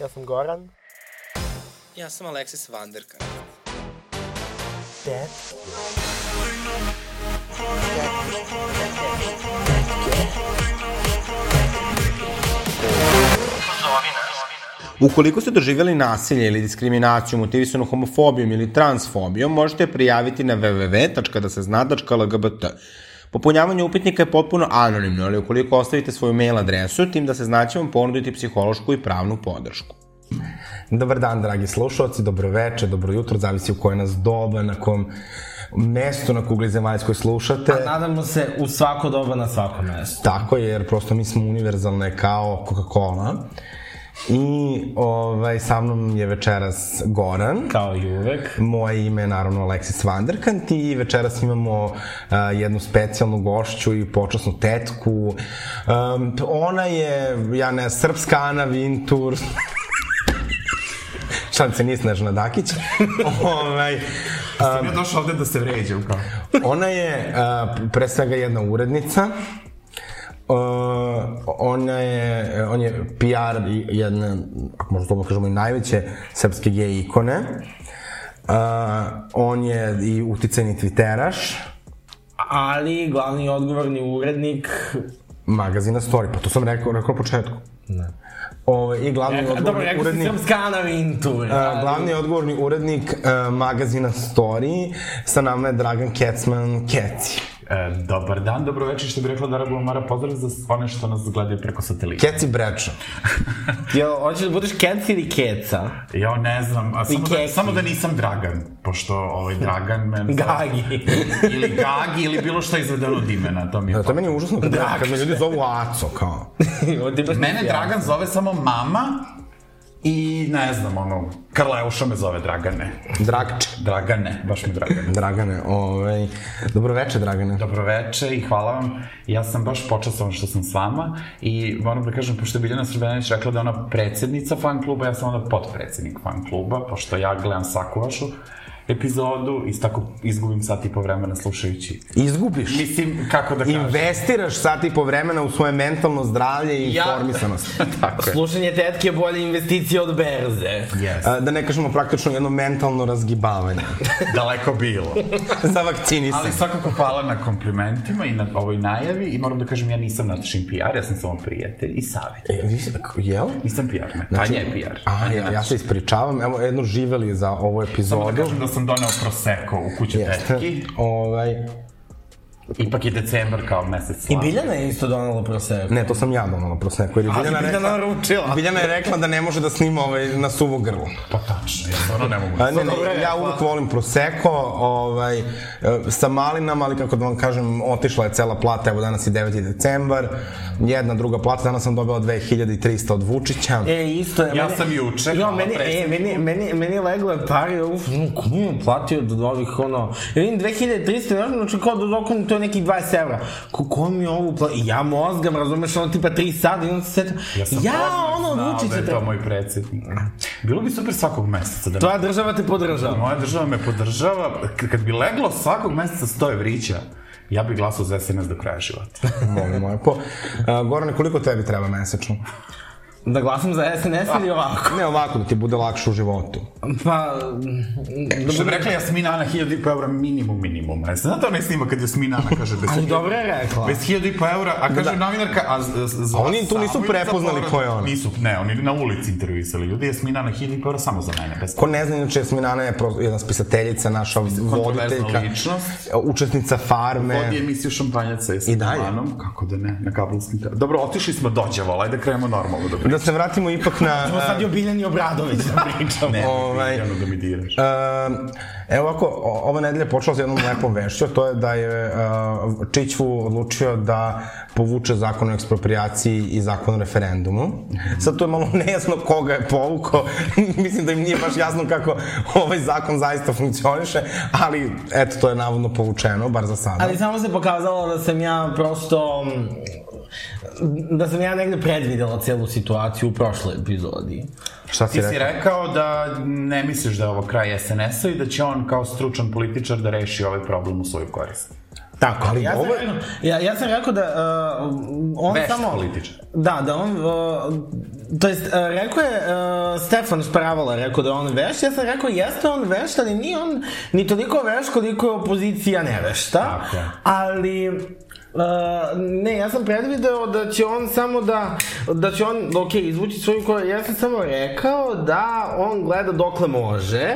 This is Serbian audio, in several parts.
Ja sam Goran. Ja sam Alexis Vanderka. Dead. Ukoliko ste doživjeli nasilje ili diskriminaciju motivisanu homofobijom ili transfobijom, možete je prijaviti na www.dasezna.lgbt. Popunjavanje upitnika je potpuno anonimno, ali ukoliko ostavite svoju mail adresu, tim da se znaće vam ponuditi psihološku i pravnu podršku. Dobar dan, dragi slušalci, dobro veče, dobro jutro, zavisi u kojoj nas doba, na kom mestu na kugli zemaljskoj slušate. A nadamo se u svako doba na svako mesto. Tako je, jer prosto mi smo univerzalne kao Coca-Cola. I ovaj, sa mnom je večeras Goran. Kao i uvek. Moje ime je naravno Aleksis Vanderkant i večeras imamo a, jednu specijalnu gošću i počasnu tetku. Um, ona je, ja ne, srpska Ana Vintur. Šalim se, nije Snežana Dakić. ovaj, Sam ja došao ovde da se vređam, kao. Ona je a, pre svega jedna urednica. Uh, ona je, on je PR i- jedne, ako možda to kažemo, i najveće srpske gej ikone. Uh, on je i uticajni twitteraš Ali glavni odgovorni urednik... magazina Story, pa to sam rekao, rekao na početku. Ne. Ove, I glavni Dobro, odgovorni E, dobro, rekao sam urednik... srpska Ana Vintur. Uh, glavni odgovorni urednik uh, magazina Story, sa nama je Dragan Kecman Keci. E, dobar dan, dobro večer, što bi rekla Dara Bulmara, pozdrav za one što nas gledaju preko satelita. Keci Brečo. Jel, hoćeš da budeš kec ili keca? Ja ne znam, a samo, da, keki. samo da nisam Dragan, pošto ovaj Dragan men... Gagi. ili Gagi, ili bilo što izvedeno od imena, to mi je... Da, to je to. meni užasno kad, kad me ljudi zovu Aco, kao. Ovo ti baš Mene nisi ja. Dragan zove samo mama i ne znam, ono, Karleuša me zove Dragane. Dragče. Dragane, baš mi Dragane. Dragane, ovaj, dobro veče, Dragane. Dobro veče i hvala vam. Ja sam baš počasovan što sam s vama i moram da kažem, pošto je Biljana Srbljanić rekla da je ona predsednica fan kluba, ja sam onda potpredsednik fan kluba, pošto ja gledam svaku vašu epizodu i tako izgubim sat i po vremena slušajući. Izgubiš. Mislim, kako da kažem. Investiraš sat i po vremena u svoje mentalno zdravlje i Ja. informisanost. Tako je. Slušanje tetke je bolja investicija od berze. Yes. A, Da ne kažemo praktično jedno mentalno razgibavanje. Daleko bilo. Za vakcinisanje. Ali svakako hvala na komplimentima i na ovoj najavi i moram da kažem ja nisam Natašin PR, ja sam samo prijatelj i savjet. E, vi, jel? Nisam PR, ne. Tanja je PR. A, Tanja ja, ja se ispričavam, evo jedno živeli za ovu Samo da epizodu. kažem da sam doneo proseko u kuću tetki. Ovaj, Ipak je decembar kao mesec I slava. Biljana je isto donala prosek. ne, to sam ja donala proseko. Jer je Biljana, rekla, naručila. Biljana je rekla da ne može da snima ovaj, na suvo grlo. Pa tačno, ja stvarno ne mogu. A, ne, ne, ja uvek volim proseko, ovaj, e, sa malinama, ali kako da vam kažem, otišla je cela plata, evo danas je 9. decembar, jedna druga plata, danas sam dobila 2300 od Vučića. E, isto je. Ja sam juče, Jo, hvala meni, e, predsjedniku. meni, meni, meni leglo je par, ja uf, no, kom je platio od ovih, ono, ja vidim 2300, znaš, znači kao da dokon, to je nekih 20 evra. Ko, ko mi je ovo platio? I Ja mozgam, razumeš, ono tipa 3 sada i onda se setim, ja, sam odmah ono, znao odlučit da će je te. to moj predsjednik. Bilo bi super svakog meseca da... Tvoja država te podržava. Moja država me podržava. K- Kad bi leglo svakog meseca stoje vrića, ja bih glasao za SNS do kraja Da, života. Molim lepo. A, Gorane, koliko tebi treba mesečno? Da glasam za SNS ili ovako? Ne ovako, da ti bude lakše u životu. Pa, Što dobro, da. bi rekla Jasmina Ana, 1500 eura minimum, minimum. Ne znam, znate onaj snima kad Jasmina Ana kaže bez... ali dobro je rekla. Bez 1500 eura, a kaže novinarka, a z- z- za Da, A oni tu nisu Samu ili za prepoznali porod? ko je ona. Nisu, ne, oni na ulici intervjuisali ljudi, Jasmina Ana 1500 eura samo za mene, bez Ko ne zna, inače, Jasminana je pro- jedna spisateljica, naša voditeljka, ličnost. učesnica farme. Vodi emisiju šampanjaca je I dalje. Manom, kako da ne, na kabelskim te... Dobro, otišli smo dođevala, ajde krenemo normalno da Da se vratimo ipak na... Ovo sad je o Biljani Obradović da pričamo. Ne, Ovaj- ovaj... da mi diraš. Um, evo ovako, o- ova nedelja počela sa jednom lepom vešću, a to je da je uh, Čićvu odlučio da povuče zakon o ekspropriaciji i zakon o referendumu. Sad to je malo nejasno koga je povukao, mislim da im nije baš jasno kako ovaj zakon zaista funkcioniše, ali eto, to je navodno povučeno, bar za sada. Ali samo se pokazalo da sam ja prosto mm, da sam ja negde predvidela celu situaciju u prošloj epizodi. Šta si Ti si rekao? rekao da ne misliš da je ovo kraj SNS-a i da će on kao stručan političar da reši ovaj problem u svoju korist. Tako, ali Ali ja, sam, ovo- rekao- ja, ja sam rekao da uh, on Vešt samo... političar. Da, da on... Uh, to jest, uh, rekao je uh, Stefan Spravala, rekao da je on vešt, ja sam rekao jeste on vešt, ali nije on ni toliko vešt koliko je opozicija nevešta. Tako je. Ali... Uh, ne, ja sam predvideo da će on samo da, da će on, ok, izvući svoju koju, ja sam samo rekao da on gleda dokle može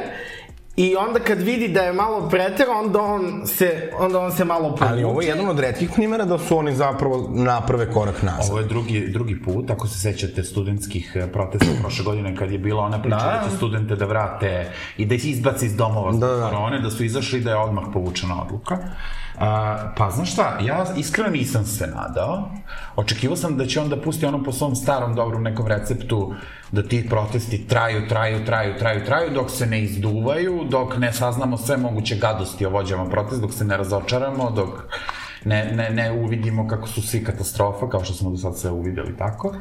i onda kad vidi da je malo preter, onda on se, onda on se malo povuče. Ali ovo je jedan od redkih primjera da su oni zapravo naprave korak nazad. Ovo je drugi, drugi put, ako se sećate studentskih eh, protesta prošle godine, kad je bila ona priča da, će studente da vrate i da ih izbaci iz domova zbog Da, da. korone, da su izašli i da je odmah povučena odluka. A, pa znaš šta, ja iskreno nisam se nadao. Očekivao sam da će onda pusti ono po svom starom dobrom nekom receptu da ti protesti traju, traju, traju, traju, traju, dok se ne izduvaju, dok ne saznamo sve moguće gadosti o vođama protesta, dok se ne razočaramo, dok ne, ne, ne uvidimo kako su svi katastrofa, kao što smo do sad sve uvideli tako. E,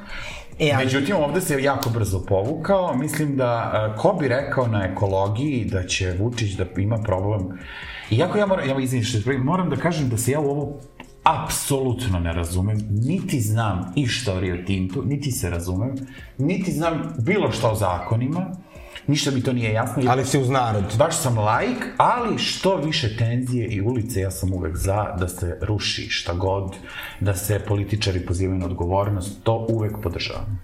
E, ali- ali... Međutim, ovde se jako brzo povukao. Mislim da, e, ko bi rekao na ekologiji da će Vučić da ima problem. Iako ja moram, ja izvim što te prekidam, moram da kažem da se ja u ovo apsolutno ne razumem, niti znam išta o Rio Tintu, niti se razumem, niti znam bilo šta o zakonima, ništa mi to nije jasno. Ali si uz narod. Baš sam laik, ali što više tenzije i ulice, ja sam uvek za da se ruši šta god, da se političari pozivaju na odgovornost, to uvek podržavam.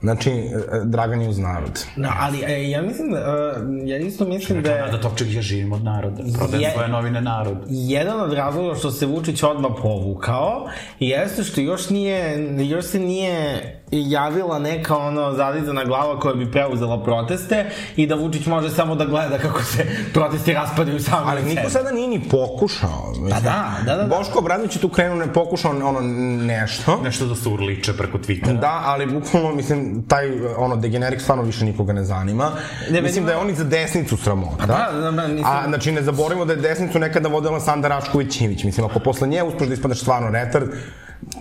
Znači, e, e, Dragan je uz narod. No, ali e, ja mislim, da, e, ja isto mislim da je Da Topčeg ja živim od naroda, prodajem Je- svoje novine narodu. jedan od razloga što se Vučić odmah povukao jeste što još nije, još se nije javila neka ono zadizana glava koja bi preuzela proteste i da Vučić može samo da gleda kako se protesti raspadaju sami. Ali od niko sebe. sada nije ni pokušao. da, Pa da, da, da. Boško Obradović je tu krenuo, ne pokušao ono nešto. Nešto da se urliče preko Twittera. Da. Da, ali bukvalno, mislim, taj ono, degenerik stvarno više nikoga ne zanima. Ne, mislim meni- da je on i za desnicu sramota. da, da, da, mislim- A, znači, ne zaboravimo da je desnicu nekada vodio Aleksandar Rašković Ivić. Mislim, ako posle nje uspeš da ispadneš stvarno retard,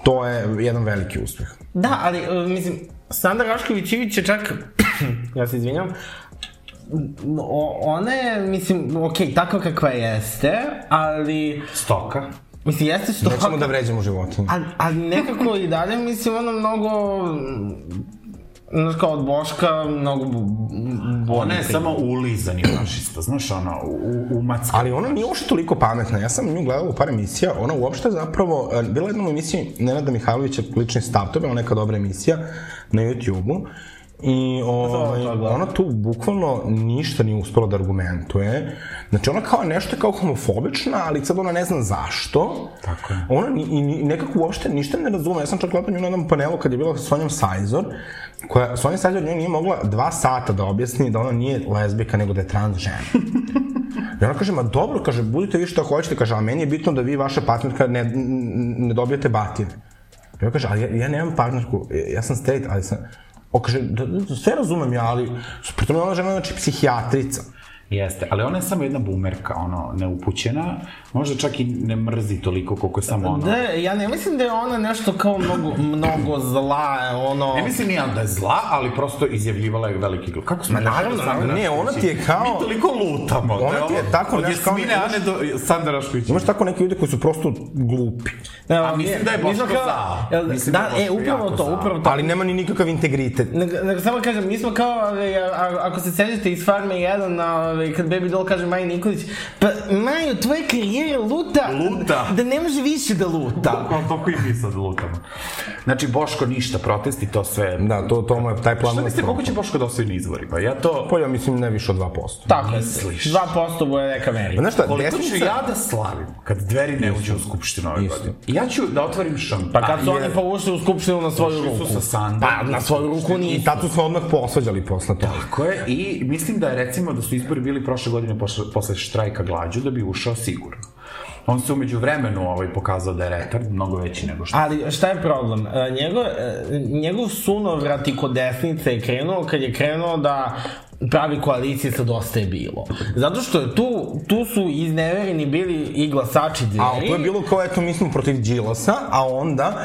to je jedan veliki uspeh. Da, ali, e, mislim, Sandra Rašković Ivić je čak, ja se izvinjam, o, ona je, mislim, okej, okay, takva kakva jeste, ali, Stoka. mislim, jeste što... Nećemo da vređamo životinje. Ali, ali nekako i dalje, mislim, ono mnogo... Znaš, kao od Boška, mnogo... Bo, Ona je samo ulizani fašista, znaš, ona, u, u macka. Ali ona nije uopšte toliko pametna. Ja sam nju gledala u par emisija. Ona uopšte zapravo, e, bila je jednom emisiji Nenada Mihajlovića, lični stav, to je bila neka dobra emisija na YouTube-u. I ovaj, ona tu bukvalno ništa nije uspela da argumentuje. Znači ona kao nešto je kao homofobična, ali sad ona ne zna zašto. Tako je. Ona ni, i ni, nekako uopšte ništa ne razume. Ja sam čak gledao nju na jednom panelu kad je bila sa Sonjom Sajzor, koja Sonja Sajzor njoj nije mogla dva sata da objasni da ona nije lezbika nego da je trans žena. I ona kaže, ma dobro, kaže, budite vi šta hoćete, kaže, a meni je bitno da vi, vaša partnerka, ne, n- n- ne dobijete batine. I ona kaže, ali ja, ja nemam partnerku, ja- ja sam straight, ali sam... O, kaže, da, da, da, sve razumem ja, ali pritom je ona žena, znači, psihijatrica. Jeste, ali ona je samo jedna bumerka, ono, neupućena, možda čak i ne mrzi toliko koliko je samo ona. Da, ja ne mislim da je ona nešto kao mnogo, mnogo zla, ono... Ne mislim ni ja da je zla, ali prosto izjavljivala je veliki glup. Kako smo došli naravno, do Sandra ne, ona Rašković? ti je kao- Mi toliko lutamo. da Ona je ti je ovo- tako od nešto kao- Jasmine Ane do Sandra Raškovića. Imaš tako neke ljude koji su prosto glupi, Ne, A mislim da je Boško mislim kao- zao. jel- Mislim da Da, je e, Boško upravo jako to, zao. upravo to. ali nema ni nikakav integritet. Nego, nego samo kažem, mi smo kao, ove, a, a, ako se sećate iz Farme 1, na, ove, kad Baby Doll kaže Maji Nikolić, pa Maju, tvoja karijera luta, Luta. da ne može više da luta. Tako, toliko i mi sad lutamo. Znači, Boško ništa protesti, to sve... Da, to, to mu je taj plan. Šta mislite, propao. koliko će Boško da osvoji na izborima? Ja to... Pa ja mislim ne više od 2%. Tako je, Misliš? 2% mu je neka Pa meri. znaš šta, Koliko ću desnica... ja da slavim kad dveri ne uđu u skupštinu ove Isto. godine? Ja ću da otvorim šampan. Pa kad su oni pa ušli u skupštinu na svoju ruku. sa Sanda. Pa na svoju ruku I nije. tad su se odmah posvađali posle toga. Tako je, i mislim da je recimo da su izbori bili prošle godine posle, posle štrajka glađu da bi ušao sigurno. On se umeđu vremenu ovaj pokazao da je retard, mnogo veći nego što... Ali šta je problem? E, Njegov, e, njegov sunovrat i kod desnice je krenuo kad je krenuo da pravi koalicije sa dosta je bilo. Zato što je tu, tu su iznevereni bili i glasači dveri. A to je bilo kao, eto, mi smo protiv Đilasa, a onda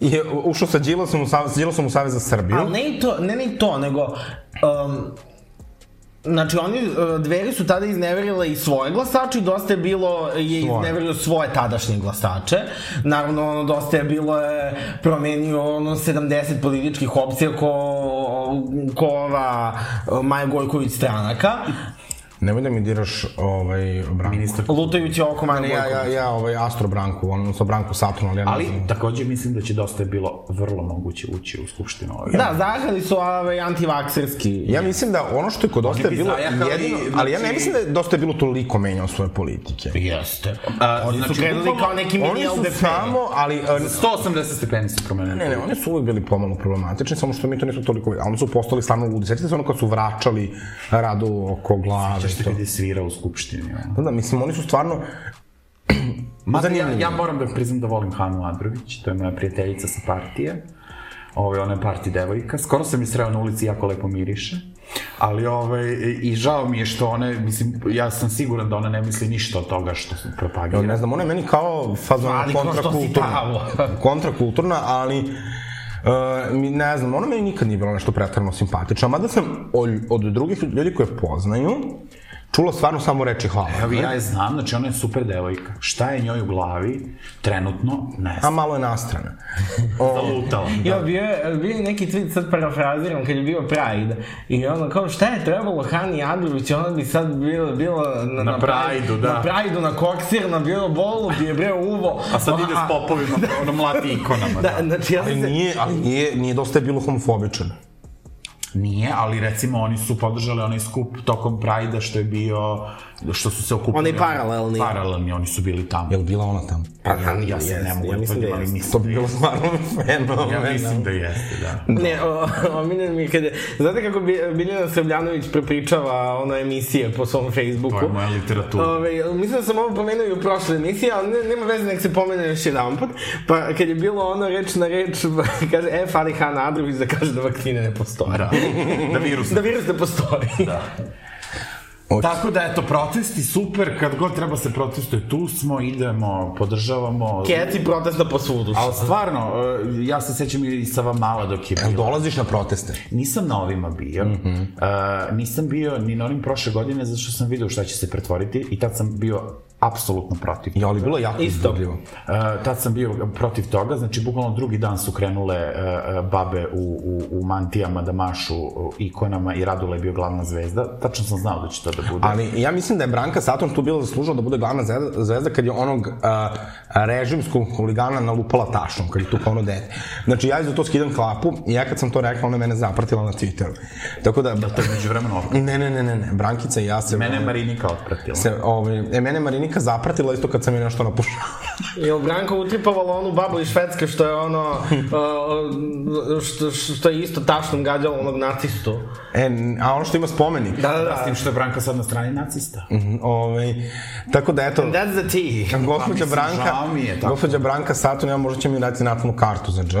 je ušao sa Đilasom u Savez, sa Đilasom u Savez za Srbiju. Ali ne i to, ne ni to, nego... Um, Znači, oni, e, dveri su tada izneverile i svoje glasače i dosta je bilo, je Svoje. izneverio svoje tadašnje glasače. Naravno, ono, dosta je bilo je promenio ono 70 političkih opcija ko, ko ova e, Maja Gojković stranaka. Nemoj da mi diraš ovaj, Branku. Ministar. Lutajući oko Maja Ja, Gojković. ja, ja, ovaj Astro Branku, on sa Branku Saturn, ali ja ne Ali znam. takođe mislim da će dosta je bilo vrlo moguće ući u skupštinu ove. Da, zahali su ovaj, antivakserski. Ja mislim da ono što je kod Dosta je bi bilo zajahali, jedino, ali ja ne znači- mislim da je Dosta je bilo toliko menjao svoje politike. Jeste. A, oni su znači, krenuli bukvalno, kao neki mini Oni su LDP. samo, ali... e, 180 stepeni su promenili. Ne, ne, oni su uvek bili pomalo problematični, samo što mi to nismo toliko videli. A oni su postali stvarno ludi. Sjetite se ono kad su vraćali radu oko glave. i Što to. kad da je svirao u skupštini. ono. Da, da, mislim, oni su stvarno... Ma, ja, Zanimljivo. ja moram da priznam da volim Hanu Adrović, to je moja prijateljica sa partije. Ove, ona je parti devojka. Skoro sam je sreo na ulici, jako lepo miriše. Ali ove, i žao mi je što ona, mislim, ja sam siguran da ona ne misli ništa od toga što se propagira. Ja Pa ne znam, ona je meni kao fazona Ali kao što si kontrakulturna. tamo. kontrakulturna, ali... Uh, mi ne znam, ona meni nikad nije bila nešto pretarno simpatična, mada sam od, od drugih ljudi koje poznaju čula stvarno samo reči hvala. Evo ja je znam, znači ona je super devojka. Šta je njoj u glavi trenutno, ne A znam. malo je nastrana. Zalutala. Ja, bio je, bio je neki tweet, sad parafraziram, kad je bio Pride. I ono, kao, šta je trebalo Hani Adrović, ona bi sad bila, bila na, Na Prideu, da. Na Pride-u, na koksir, na bilo bolu, bi je bre uvo. A sad ide s popovima, ono mlati ikonama. Da, Da. znači, ja Ali sam se... nije, ali nije, nije dosta je bilo homofobičan. Nije, ali recimo oni su podržali onaj skup tokom Prajda što je bio, što su se okupili. Onaj paralelni. Paralelni, oni su bili tamo. Je li bila ona tamo? Pa ja, ja se ne mogu ja ja mislim da tvrdim, ali jeste. To mislim. bi bilo stvarno fenomen. Ja mislim da jeste, da. Ne, o, omiljen mi je kada... Znate kako Bi- Biljana Srbljanović prepričava ono emisije po svom Facebooku? To je moja literatura. Ove, mislim da sam ovo pomenuo i u prošloj emisiji, ali ne, nema veze nek se pomene još jedan put. Pa kad je bilo ono reč na reč, kaže, e, fali Hana Adrović da kaže da vakcine ne postoje. Da, da virus. Da virus ne postoji. Da. Tako da, eto, protesti super, kad god treba se protestuje, tu smo, idemo, podržavamo. Keci protesta po svudu. Ali stvarno, e, ja se sećam i sa vam mala dok je Jel bila. dolaziš na proteste? Nisam na ovima bio, mm -hmm. uh, nisam bio ni na onim prošle godine zato što sam video šta će se pretvoriti i tad sam bio apsolutno protiv. Ja, ali bilo je jako Isto. izgubljivo. Uh, tad sam bio protiv toga, znači bukvalno drugi dan su krenule uh, uh, babe u, u, u mantijama da mašu uh, ikonama i Radula je bio glavna zvezda. Tačno sam znao da će to da bude. Ali ja mislim da je Branka Saturn tu bila zaslužila da bude glavna zvezda- zvezda kad je onog uh, režimskog huligana nalupala tašnom, kad je tu kao ono dete. Znači ja za to skidam klapu i ja kad sam to rekao, ona je mene zapratila na Twitteru. Tako da... To je među vremena opet. Ne, ne, ne, ne, ne. Brankica i ja se... Mene je Marinika otpratila. se, ovaj, e, mene je Marinika zapratila isto kad sam je nešto napušao. Jel Branko utripovala onu babu iz Švedske što je ono, uh, što, što je isto tašnom gađalo onog nacistu? E, n- a ono što ima spomenik. Da, Mm. da, S da. tim što je Branka sad na strani nacista. Ovaj, tako da, eto, That's the tea. gospođa pa mislim, Branka, žao mi je, tako. gospođa Branka Saturn, ja možda će mi dati natalnu kartu za dž.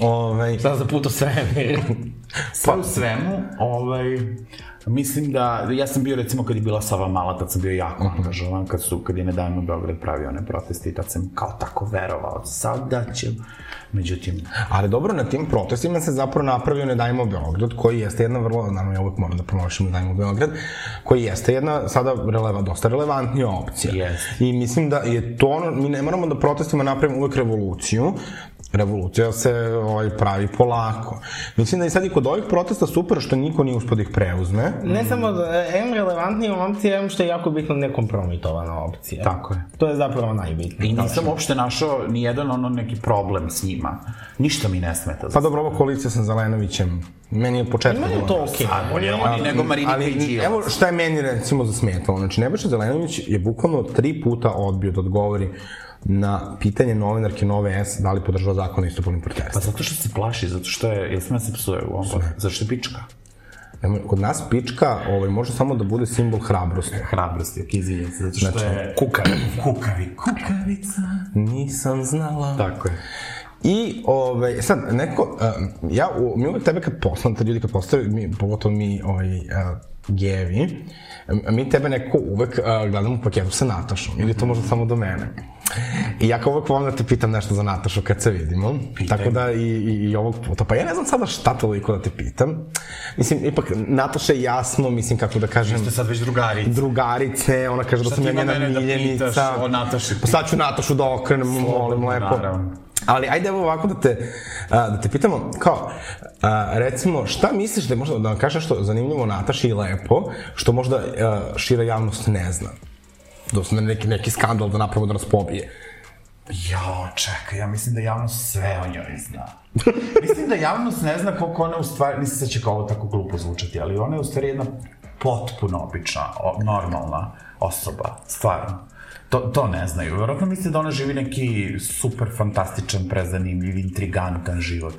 Ovaj, Ove, Sad za put u svemir. Sve Pa u svemu, ovaj, mislim da, ja sam bio recimo kad je bila Sava Mala, tad sam bio jako Mhm. angažovan, kad, su, kad je nedavno Beograd pravio one proteste i tad sam kao tako verovao, sada će, međutim, ali dobro, na tim protestima se zapravo napravio Ne dajmo Beograd, koji jeste jedna vrlo, naravno ja uvek moram da promovišem Ne dajmo Beograd, koji jeste jedna sada releva, dosta relevantnija opcija. Jeste. I mislim da je to ono, mi ne moramo da protestima napravimo uvek revoluciju, revolucija se ovaj, pravi polako. Mislim da je sad i kod ovih protesta super što niko nije uspio da ih preuzme. Ne samo, da- em relevantnija opcija, em što je jako bitno nekompromitovana opcija. tako je. To je zapravo najbitnije. I nisam uopšte našao ni jedan ono neki problem s njima. Ništa mi ne smeta. Pa dobro, ova koalicija sa Zelenovićem, meni je od početka Meni je bila- to okej. A, bolje oni nego Marinika i Ali, Đilas. evo šta je meni recimo zasmetalo. Znači, Nebojša Zelenović je bukvalno tri puta odbio da odgovori na pitanje novinarke Nove S da li podržava zakon o istopolnim Pa protestima. zato što se plaši, zato što je, jel sam ja se psuje u ovom podcastu? zašto je pička? Nemoj, Kod nas pička ovaj, može samo da bude simbol hrabrosti. Znači, Hrabrosti, ok, izvinjam se, zato što je... Kukavica. Kukavi, kukavica. Nisam znala. Tako je. I ovaj, sad, neko, uh, ja, u, mi uvek tebe kad postavim, te ljudi kad postavim, mi, pogotovo mi ovaj, uh, gevi, m- mi tebe nekako uvek uh, gledamo u paketu sa Natašom, ili je to možda samo do mene. I ja kao uvek volim da te pitam nešto za Natašu kad se vidimo. Pitaj. Tako da i, i, i ovog puta. Pa ja ne znam sada šta toliko da te pitam. Mislim, ipak, Nataša je jasno, mislim, kako da kažem Ste sad već drugari. drugarice, ona kaže da Šta sam ti ja ima njena mene da miljenica. pitaš o Nataši? Pa sad ću Natašu da okrenem, molim lepo. naravno. Ali ajde evo ovako da te, a, da te pitamo, kao, a, recimo, šta misliš da je možda, da nam kažeš što zanimljivo o Nataši i lepo, što možda a, šira javnost ne zna? Da su neki, neki skandal da napravo da nas pobije. Jao, čekaj, ja mislim da javnost sve o njoj zna. mislim da javnost ne zna koliko ona u stvari, mislim da će kao ovo tako glupo zvučati, ali ona je u stvari jedna potpuno obična, o, normalna osoba, stvarno. To, to ne znaju. Verovatno misle da ona živi neki super fantastičan, prezanimljiv, intrigantan život.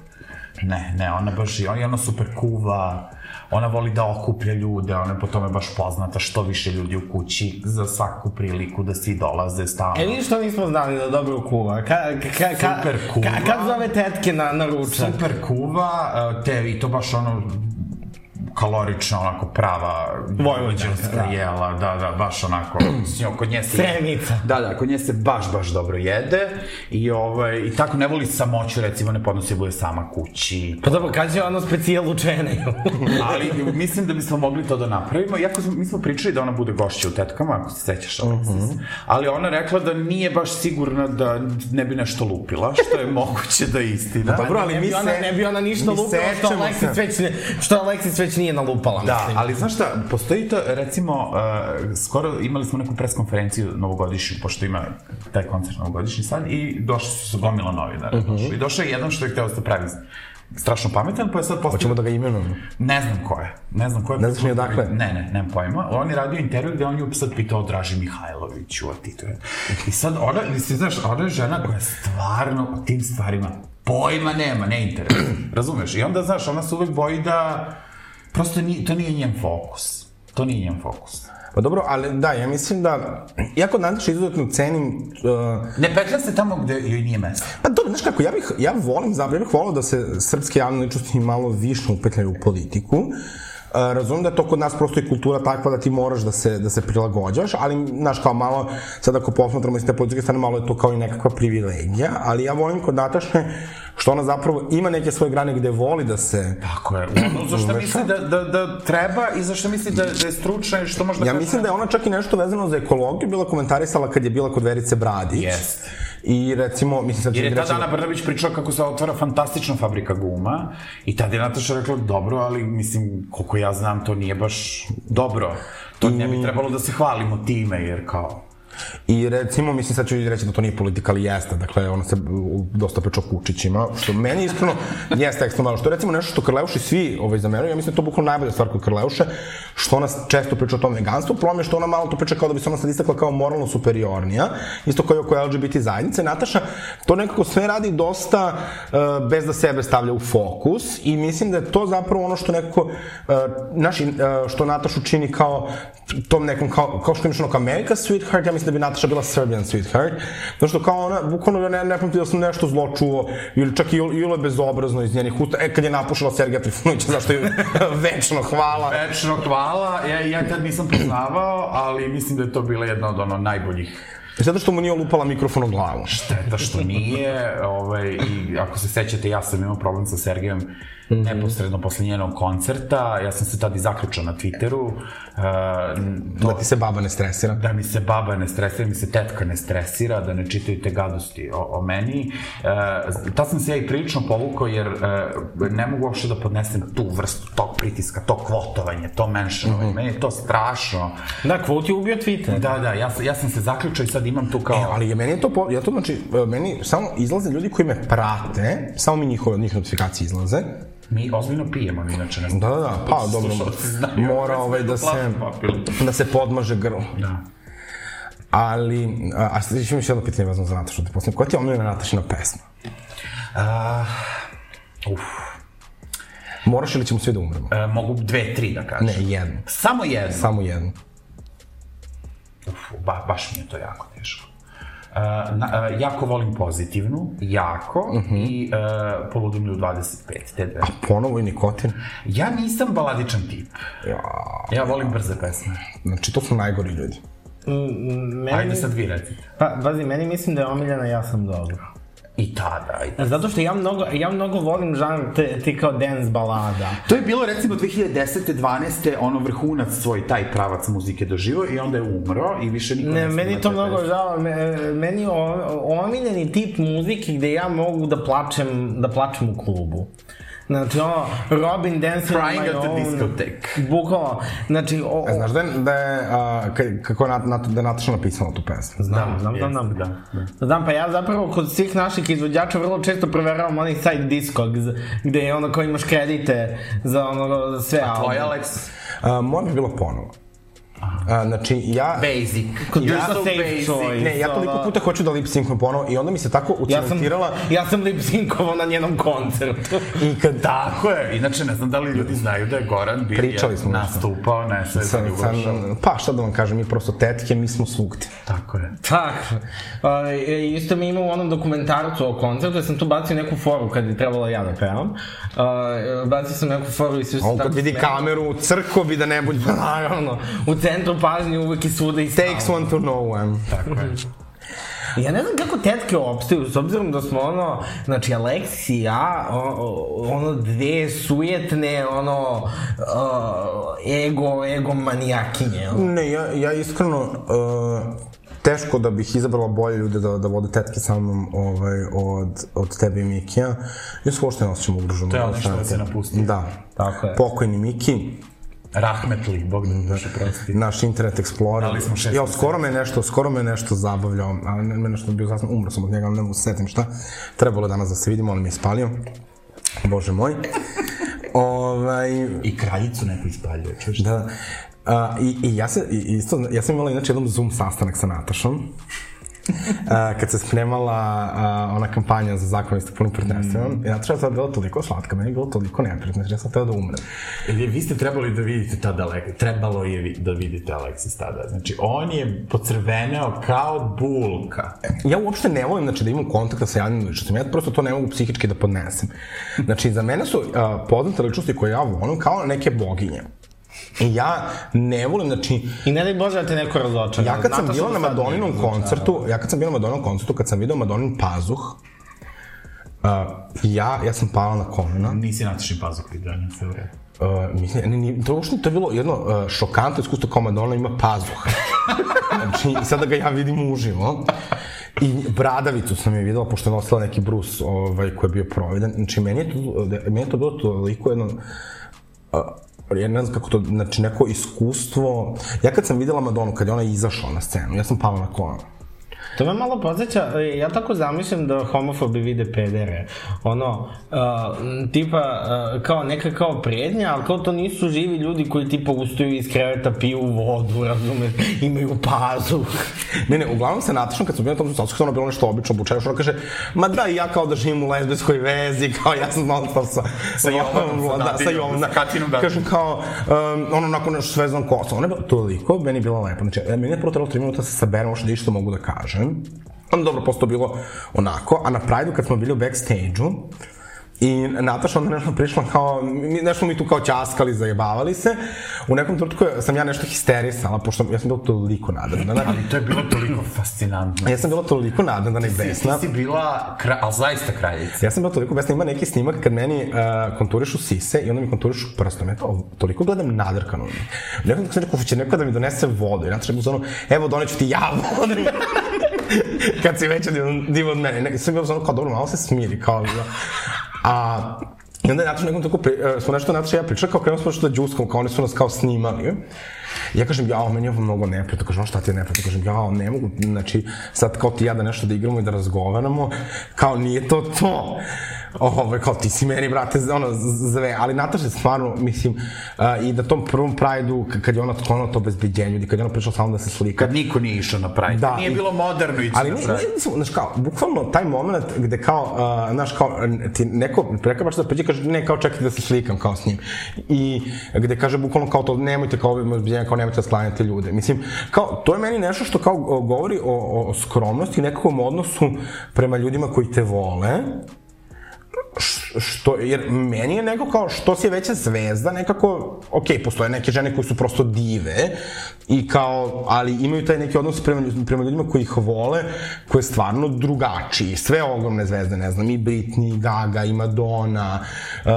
Ne, ne, ona baš i ona, ona super kuva, ona voli da okuplja ljude, ona je po tome baš poznata, što više ljudi u kući, za svaku priliku da svi dolaze stalno. E vidiš što nismo znali da dobro kuva. Ka, ka, ka, ka, Super kuva. Ka, kad zove tetke na, na ručak? Super kuva, e, te i to baš ono kalorična, onako prava vojvođanska jela, da, da, baš onako, s njom, kod nje se... Semica. Da, da, kod nje se baš, baš dobro jede i, ovaj, i tako ne voli samoću, recimo, ne podnosi da bude sama kući, Pa dobro, kad će ono specijal u Čeneju? ali mislim da bismo mogli to da napravimo. Iako smo, mi smo pričali da ona bude gošća u tetkama, ako se sećaš, Alexis. Ali ona rekla da nije baš sigurna da ne bi nešto lupila, što je moguće da je istina. dobro, ali ne mi bi ona, se... ne bi ona ništa mi lupila što sećamo Aleksis se. već, ne, što Aleksis već nije nalupala. Da, mislim. ali znaš šta, postoji to, recimo, uh, skoro imali smo neku preskonferenciju novogodišnju, pošto ima taj koncert novogodišnji sad, i došli su se gomila novinara. Uh I došao je jedan što je hteo da se pravi strašno pametan, pa je sad postao... Hoćemo da ga imenujemo. Ne znam ko je. Ne znam ko je. Ne znaš ni odakle? Ne, ne, nemam pojma. On je radio intervju gde on je sad pitao o Draži Mihajloviću, o Titu. I sad ona, mislim, znaš, ona je žena koja stvarno o tim stvarima pojma nema, ne intervju. Razumeš? I onda, znaš, ona se uvek boji da prosto ni, to nije njen fokus. To nije njen fokus. Pa dobro, ali da, ja mislim da, ja kod Nataša izuzetno cenim uh, Ne petlja se tamo gde joj nije mesto. Pa dobro, znaš kako, ja bih, ja volim, zapravo, ja bih volao da se srpske javne ličnosti malo više upetljaju u politiku. E, razumem da je to kod nas prosto i kultura takva da ti moraš da se, da se prilagođaš, ali, znaš, kao malo, sad ako posmatramo iz te politike strane, malo je to kao i nekakva privilegija, ali ja volim kod Natašne što ona zapravo ima neke svoje grane gde voli da se... Tako je. Ono za što misli da, da, da treba i za što misli da, da je stručna i što možda... Ja mislim da je ona čak i nešto vezano za ekologiju bila komentarisala kad je bila kod Verice Bradić. Jeste. I recimo, mislim sad ću Jer je reći- tada Ana Brnabić pričala kako se otvara fantastična fabrika guma i tada je Nataša rekla dobro, ali mislim, koliko ja znam, to nije baš dobro. To ne bi trebalo da se hvalimo time, jer kao... I recimo, mislim sad ću i reći da to nije politika, ali jeste, dakle, ona se u, dosta priča o kučićima, što meni iskreno jeste ekstra malo, što je recimo nešto što Krleuši svi ovaj, zameraju, ja mislim da je to bukvalno najbolja stvar kod Krleuše, što ona često priča o tom veganstvu, problem je što ona malo to priča kao da bi se ona sad istakla kao moralno superiornija, isto kao i oko LGBT zajednice, Nataša to nekako sve radi dosta e, bez da sebe stavlja u fokus i mislim da je to zapravo ono što nekako e, naši, e, što Natašu čini kao tom nekom, kao, kao što imaš ono kao America Sweetheart, ja mislim da bi Nataša bila Serbian Sweetheart, zato što kao ona, bukvalno ja ne, ne pamti da sam nešto zlo čuo, ili čak i Ilo je bezobrazno iz njenih usta, e kad je napušila Sergeja Trifunovića, zašto je večno hvala. Večno hvala, ja, ja tad nisam poznavao, ali mislim da je to bila jedna od ono najboljih Zato što mu nije lupala mikrofon u glavu. šteta što nije. Ovaj, I ako se sećate, ja sam imao problem sa Sergejem Mm. neposredno posle njenog koncerta. Ja sam se tad i zaključao na Twitteru. Uh, Da ti se baba ne stresira. da mi se baba ne stresira, da mi se tetka ne stresira, da ne čitaju te gadosti o, o meni. E, tad sam se ja i prilično povukao jer e, ne mogu uopšte da podnesem tu vrstu tog pritiska, to kvotovanje, to menšanovanje. Mhm. Mm -hmm. Meni je to strašno. Da, Kvot je ubio Twitter. Da, da, ja, sam- ja sam se zaključao i sad imam tu kao... E, ali je meni je to, po, ja to znači, e, meni samo izlaze ljudi koji me prate, samo mi njihove, njih notifikacije izlaze. Mi ozbiljno pijemo, inače ne znam. Da, da, da, pa dobro, Slušalci znaju, mora kad ovaj da se, plavu popili. da se podmaže grlo. Da. Ali, a, a sad ću još jedno pitanje vezano za Natašu, da postavim, koja ti je omiljena Natašina pesma? A, uf, Moraš ili ćemo svi da umremo? e, mogu dve, tri da kažem. Ne, jednu, Samo jedno. samo jednu. Uf, ba, baš mi je to jako teško. Uh, na, uh, jako volim pozitivnu, jako, uh Mhm. -huh. i uh, poludim li u 25, te dve. Ponovo i nikotin. Ja nisam baladičan tip. Ja, Ja volim brze pesme. znači, to su najgori ljudi. Mm, Meni, Ajde sad vi recite. Pa, pazi, meni mislim da je omiljena ja sam dobro. I tada, ajde. Zato što ja mnogo, ja mnogo volim žanr te, ti kao dance balada. To je bilo recimo 2010. 12. ono vrhunac svoj taj pravac muzike doživo i onda je umro i više niko Ne, snima meni te to mnogo pesme. žao, me- meni je o- omiljeni tip muzike gde ja mogu da plačem, da plačem u klubu. Znači ono, Robin Dancer on Crying my at the own. discotheque. Bukvalno, znači, o, E, o, znaš da je, da je a, ka- kako je Nat, Nat, da je Nataša napisala tu pesmu? znam, znam, znam, znam. Jeste, da, Znam, pa ja zapravo kod svih naših izvođača vrlo često proveravam onih side discogs, gde je ono kao imaš kredite za ono za sve da. Tvoj albume. Alex, A, moja bi bila ponovo. A, znači, ja... basic. Kod ja Društva sam Safe Choice. Ne, ja toliko puta hoću da lip syncujem ponovo i onda mi se tako Ja sam, ucementirala ja sam lipsinkovao na njenom koncertu. i kad... Tako je, inače ne znam da li ljudi znaju da je Goran bio Pričali smo nešto. nastupao na SOS Sam, sam, Ljubašom. pa šta da vam kažem, mi prosto tetke, mi smo svugde. Tako je. Tako. A, e, isto mi imao u onom dokumentarcu o koncertu, ja sam tu bacio neku foru kad je trebalo ja da pevam. A, e, bacio sam neku foru i svi su On tako kad vidi smeli. kameru u crkovi da ne bude... Naravno, u centru pažnje uvek i svuda i stalno. Takes one to know one. Tako je. Ja ne znam kako tetke opstaju, s obzirom da smo ono, znači Aleks i ja, o- o- ono dve sujetne, ono, uh, ego, ego manijakinje. ono. Ne, ja, ja iskreno uh, teško da bih izabrala bolje ljude da, da vode tetke sa mnom ovaj, od, od tebe i Mikija. Ja se uopšte ne osjećam ugroženo. To je ono što vas je napustio. Da. Tako je. Pokojni Miki, Rahmetli, Bog da duše prosti. naš internet explorer. Dali smo šest ja, skoro me je nešto, skoro me je nešto zabavljao, a ne, me nešto bio sasvim, umro sam od njega, ali ne mogu se setim šta. Trebalo je danas da se vidimo, ali mi je spalio. Bože moj. ovaj, I kraljicu neko ispaljuje, čuješ? Da, da. A, i, I ja se, i- isto, ja sam imala inače jednom Zoom sastanak sa Natašom. a, kad se spremala a, ona kampanja za zakon o istopolnim partnerstvima, mm. i Nataša je sad bila toliko slatka, meni je bilo toliko neprijatno, znači ja sam teo da umrem. Vi vi ste trebali da vidite tada, Ale- trebalo je vi- da vidite Aleksis tada. Znači, on je pocrveneo kao bulka. E, Ja uopšte ne volim znači, da imam kontakta sa javnim ličnostima, ja prosto to ne mogu psihički da podnesem. Znači, za mene su a, poznate ličnosti koje ja volim kao neke boginje. I ja ne volim, znači, I ne daj Bože da te neko razočara. Ja kad sam Nataša bio do na sad nije Madoninom razočarala. koncertu, ja kad sam bio na Madoninom koncertu, kad sam video Madonin pazuh, uh, ja, ja sam pala na kolena. Nisi natašni pazuk vidio, sve u redu. Uh, mislim, ne, ne, to, uopšte, to je bilo jedno uh, šokantno iskustvo kao Madonna ima pazuh. znači, i sada ga ja vidim uživo. I bradavicu sam je videla, pošto je nosila neki brus ovaj, koji je bio proveden. Znači, meni je to, meni je to bilo toliko jedno... Uh, ja ne znam kako to, znači neko iskustvo... Ja kad sam videla Madonu, kad je ona izašla na scenu, ja sam pala na kolena. To me malo podsjeća, e, ja tako zamišljam da homofobi vide pedere. Ono, uh, m, tipa, uh, kao neka kao prednja, ali kao to nisu živi ljudi koji tipa ustaju iz kreveta, piju vodu, razumeš, imaju pazu. Ne, ne, uglavnom sa Natašom kad smo bili na tom sastanku, ono bilo nešto obično obučeno, ona kaže, ma da, i ja kao da živim u lezbijskoj vezi, kao ja sam non stop sa, sa Jovanom, sa da, sa Natinom, Jovanom, sa Katinom, da. Kažem kao, um, ono, nakon nešto sve znam kosa, ona je bila toliko, meni je bila lepa, znači, e, meni je prvo trebalo 3 minuta da se saberem, možda da išto mogu da kažem. Onda dobro, posto bilo onako, a na Prideu kad smo bili u backstage-u, I Nataša onda nešto prišla kao, mi, nešto mi tu kao ćaskali, zajebavali se. U nekom trenutku sam ja nešto histerisala, pošto ja sam bila toliko nadredana. Ali to je bilo toliko fascinantno. Ja sam bila toliko nadana i Ti besna. E, si bila, kra, ali zaista kraljica. Ja sam bila toliko besna, ima neki snimak kad meni uh, konturišu sise i onda mi konturišu prstom. Ja to, toliko gledam nadrkano. Nekom sam rekao, će neko da mi donese vodu. I Nataša je u zonu, evo doneću ti ja vodu. kad si veća divan, divan od mene. Ne, sam bio u zonu kao, dobro, malo se smiri. Kao, ja. A I onda je Nataša nekom tako, pri, uh, smo nešto Nataša i ja pričali, kao krenuli smo nešto da džuskamo, kao oni su nas kao snimali. Ja kažem, jao, meni je ovo mnogo neprijatno. Kažem, "A šta ti je neprijatno? Kažem, jao, ne mogu, znači, sad kao ti i ja da nešto da igramo i da razgovaramo, kao nije to to. ovo, kao ti si meni, brate, ono, zve, ali Nataša je stvarno, mislim, a, i da tom prvom Prajdu, kad je ona sklonila to obezbeđenje, i kad je ona prišla samo da se slika, Kad niko nije išao na Pride. Da, Da, nije i- bilo moderno ići da Ali na mi, Pride. mi smo, znaš kao, bukvalno taj moment gde kao, uh, znaš kao, n- ti neko prekabaš da pređe, kaže, ne, kao čekajte da se slikam kao s njim. I gde kaže bukvalno kao to, nemojte kao ovo izbiljenje, kao nemojte da slanjate ljude. Mislim, kao, to je meni nešto što kao o, govori o, o, o skromnosti i nekakvom odnosu prema ljudima koji te vole, š- što, jer meni je neko kao što si je veća zvezda, nekako, ok, postoje neke žene koje su prosto dive i kao, ali imaju taj neki odnos prema, lju- prema ljudima koji ih vole, koji je stvarno drugačiji. Sve ogromne zvezde, ne znam, i Britney, i Gaga, i Madonna, uh,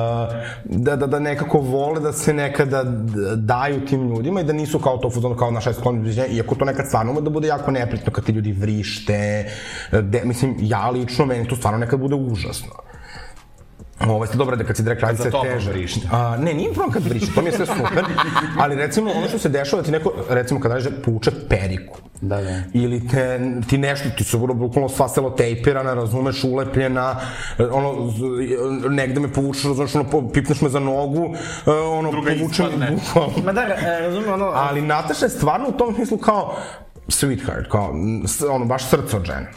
da, da, da nekako vole da se nekada d- daju tim ljudima i da nisu kao to fuzon kao naša sklon obziranja, iako to nekad stvarno ume da bude jako neprijatno kad ti ljudi vrište, de, mislim, ja lično, meni to stvarno nekad bude užasno. Ovo ste dobro da kad si drag kraljica je tobom teže. vrište. A, ne, nije problem kad vrište, to mi je sve super. Ali recimo ono što se dešava da ti neko, recimo kad daže puče periku. Da, da. Ili te, ti nešto, ti su vrlo bukvalno sva selotejpirana, razumeš, ulepljena, e, ono, z- e, negde me povučeš, razumeš, ono, po- pipneš me za nogu, e, ono, Druga povuče me ispadne. bukvalno. Ma da, e, razumem, ono, Ali Nataša je stvarno u tom smislu kao sweetheart, kao, m, s- ono, baš srce od žene.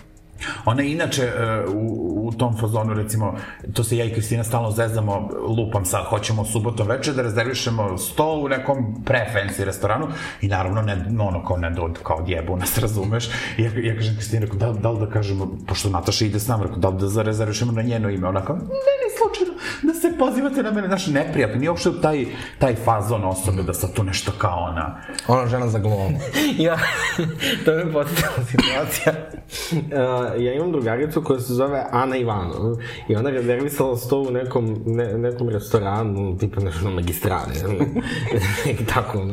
Ona je inače e, u, u tom fazonu, recimo, to se ja i Kristina stalno zezdamo, lupam sad, hoćemo subotom večer da rezervišemo sto u nekom pre-fancy restoranu i naravno, ne, ono kao ne do, kao djebu nas, razumeš? I ja, ja kažem Kristini, rekao, da, da li da kažemo, pošto Nataša ide s nama, rekao, da li da zarezervišemo na njeno ime? Ona kao, ne, ne, slučajno, da se pozivate na mene, znaš, neprijatno, nije uopšte taj, taj fazon osobe da sad tu nešto kao ona. Ona žena za glavu. ja, to me podsjetila situacija. Uh, ja imam drugaricu koja se zove Ana Ivanov i ona je rezervisala sto u nekom, ne, nekom restoranu, tipa nešto na magistrale, neke tako,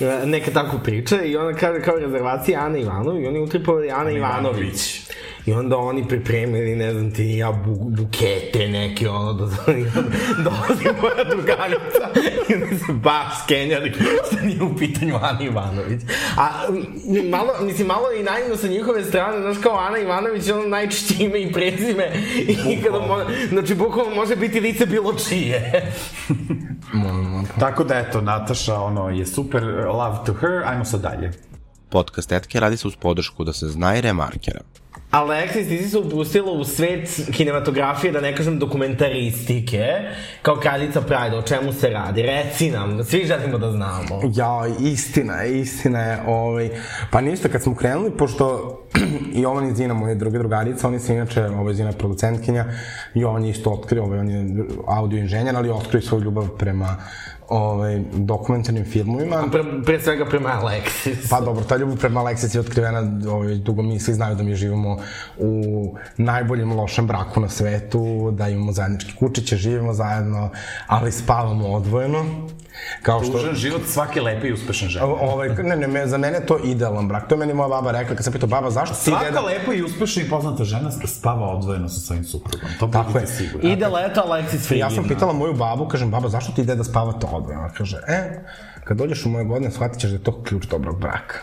e, neke tako priče i ona kaže kao rezervacija Ana Ivanov i oni utripovali Ana Ivanović. I onda oni pripremili, ne znam ti, ja bu, bukete neke, ono, da dolazi moja drugarica i onda se baš skenjali što nije u pitanju Ana Ivanović. A m, malo, mislim, malo i naivno sa njihove strane, znaš kao Ana Ivanović je ono najčešće ime i prezime i kada mo, znači bukvalno može biti lice bilo čije. Tako da, eto, Nataša, ono, je super, love to her, ajmo sad dalje. Podcast Etke radi se uz podršku da se zna i remarkera. Alexis, ti si se upustila u svet kinematografije, da ne kažem dokumentaristike, kao kraljica Pride, o čemu se radi? Reci nam, svi želimo da znamo. Ja, istina je, istina je. Ovaj. Pa ništa, kad smo krenuli, pošto Jovan i Zina, moje druge drugarice, oni se inače, ovaj, Zina je producentkinja, i on je isto otkrio, ovaj, on je audio inženjer, ali je otkrio i svoju ljubav prema ovaj, dokumentarnim filmovima. Pre, pre svega prema Alexis. Pa dobro, ta ljubav prema Aleksis je otkrivena, ovaj, dugo mi svi znaju da mi živimo u najboljem lošem braku na svetu, da imamo zajedničke kučiće, živimo zajedno, ali spavamo odvojeno. Kao što... Užan život svake lepe i uspešne žene. O- Ovaj, ne, ne, me, za mene je to idealan brak. To je meni moja baba rekla, kad sam pitao, baba, zašto si Svaka deda? lepa i uspešna i poznata žena spava odvojeno sa svojim suprugom. To Tako budite je. sigurni. Ide leto Alexis Ja Frigina. sam pitala moju babu, kažem, baba, zašto ti deda spavate odvojeno? Ona kaže, e, kad dođeš u moje godine, shvatit ćeš da je to ključ dobrog braka.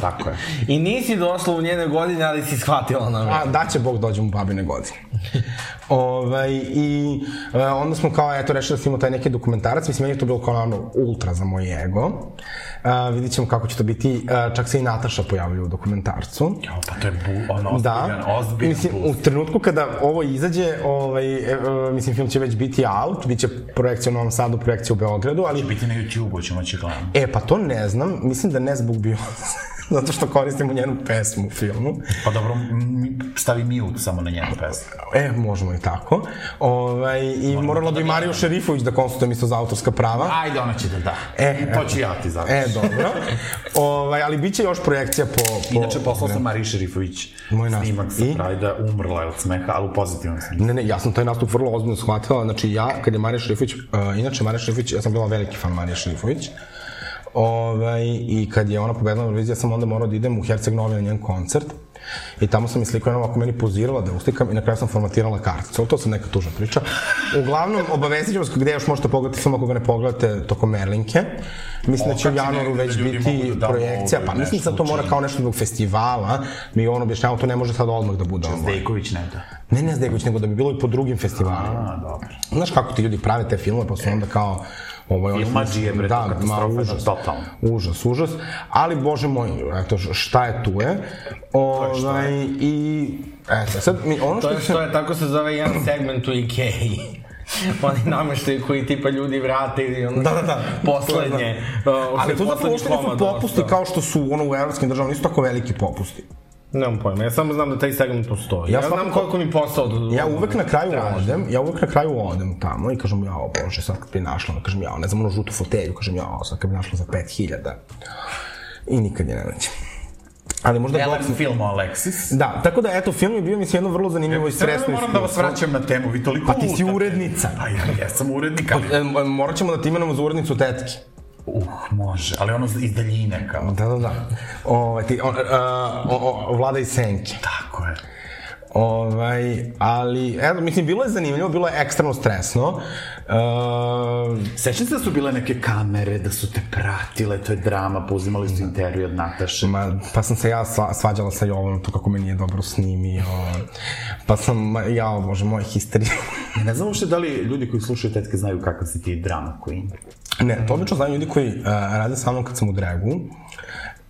Tako je. I nisi došla u njene godine, ali si shvatila na me. A da će Bog dođem u babine godine. ovaj, I e, onda smo kao, eto, rešili da snimamo taj neki dokumentarac. Mislim, meni je to bilo kao ono ultra za moj ego. E, vidit ćemo kako će to biti. E, čak se i Nataša pojavlja u dokumentarcu. Jo, pa to je bu, ono, ozbiljan, Da, ozbiljan mislim, boost. u trenutku kada ovo izađe, ovaj, e, e, mislim, film će već biti out, bit će projekcija u Novom Sadu, projekcija u Beogradu, ali... Će biti na YouTube-u, ćemo će gledati. E, pa to ne znam, mislim da ne zbog Beyoncé, zato što koristimo njenu pesmu u filmu. Pa dobro, m, stavi mute samo na njenu pesmu. E, možemo i tako. Ovaj, I moralo bi Mario Šerifović da konsultujem isto za autorska prava. Ajde, ona će da da. E, to ću ja ti zato. E, dobro. ovaj, ali bit će još projekcija po... po da. Inače, poslao sam Mariji Šerifović Moj nastup. snimak sa I? Prajda, umrla je od smeha, ali u pozitivnom smislu. Ne, ne, ja sam taj nastup vrlo ozbiljno shvatila. Znači, ja, kad je Marija Šrifović, uh, inače Marija Šrifović, ja sam bila veliki fan Marije Šrifović, ovaj, i kad je ona pobedila na Euroviziji, ja sam onda morao da idem u Herceg Novi na njen koncert. I tamo sam i slikao jedna ovako meni pozirala da uslikam i na kraju sam formatirala karticu. Ali to sam neka tužna priča. Uglavnom, obavezit ću vas gde još možete pogledati film ako ga ne pogledate tokom Merlinke. Mislim da će u Kad će januaru negde već ljudi mogu biti da damo projekcija. ovaj Pa mislim nešto da to mora učini. kao nešto zbog festivala. Mi on objašnjava, to ne može sad odmah da bude online. Zdejković ne da. Ne, ne Zdegović, nego da bi bilo i po drugim festivalima. A, dobro. Znaš kako ti ljudi prave te filmove, pa su onda kao... Ovaj, oni su- Filmadžije, bre, to da, ma, katastrofa, užas, totalno. užas, užas. Ali, bože moj, eto, šta je tu je. Ovaj, i, eto, sad, mi, ono To što je, to je, tako se zove jedan segment u Ikeji. Oni nameštaj koji tipa ljudi vrate ili ono Da, da, da. poslednje. uh, Ali to zapravo poslednji uopšte nisu komad, popusti ono što- kao što su ono u evropskim državama, nisu tako veliki popusti. Nemam pojma, ja samo znam da taj segment postoji. Ja Ja, znam svakako- koliko mi posao od... Ja uvek na kraju odem, ja uvek na kraju odem tamo i kažem, ja, bože, sad kad bi našla, kažem, ja, ne znam, ono žutu fotelju, kažem, ja, sad kad bi našla za 5000. I nikad je ne nađem. Ali možda je Elem Boxing- film o Alexis. Da, tako da, eto, film je bio mi se jedno vrlo zanimljivo i Sve stresno. moram da vas iskustvo. vraćam na temu, vi toliko Pa ti si lutate. urednica. Pa ja jesam urednik, ali... E, m- morat ćemo da ti imenamo za urednicu tetke. Uh, može, ali ono iz daljine kao. Da, da, da. Ove, ti, on, a, o, o, vlada i senke. Tako je. Ovaj, ali, eto, mislim, bilo je zanimljivo, bilo je ekstremno stresno. E, Sećam se da su bile neke kamere, da su te pratile, to je drama, pa uzimali su intervju od Nataše. Ma, pa sam se ja sva, svađala sa Jovom, to kako me nije dobro snimio. Pa sam, ma, jao, bože, moje histerije. Ja ne znam uopšte da li ljudi koji slušaju tetke znaju kakav si ti drama queen. ne, to obično znaju ljudi koji uh, rade sa mnom kad sam u dragu.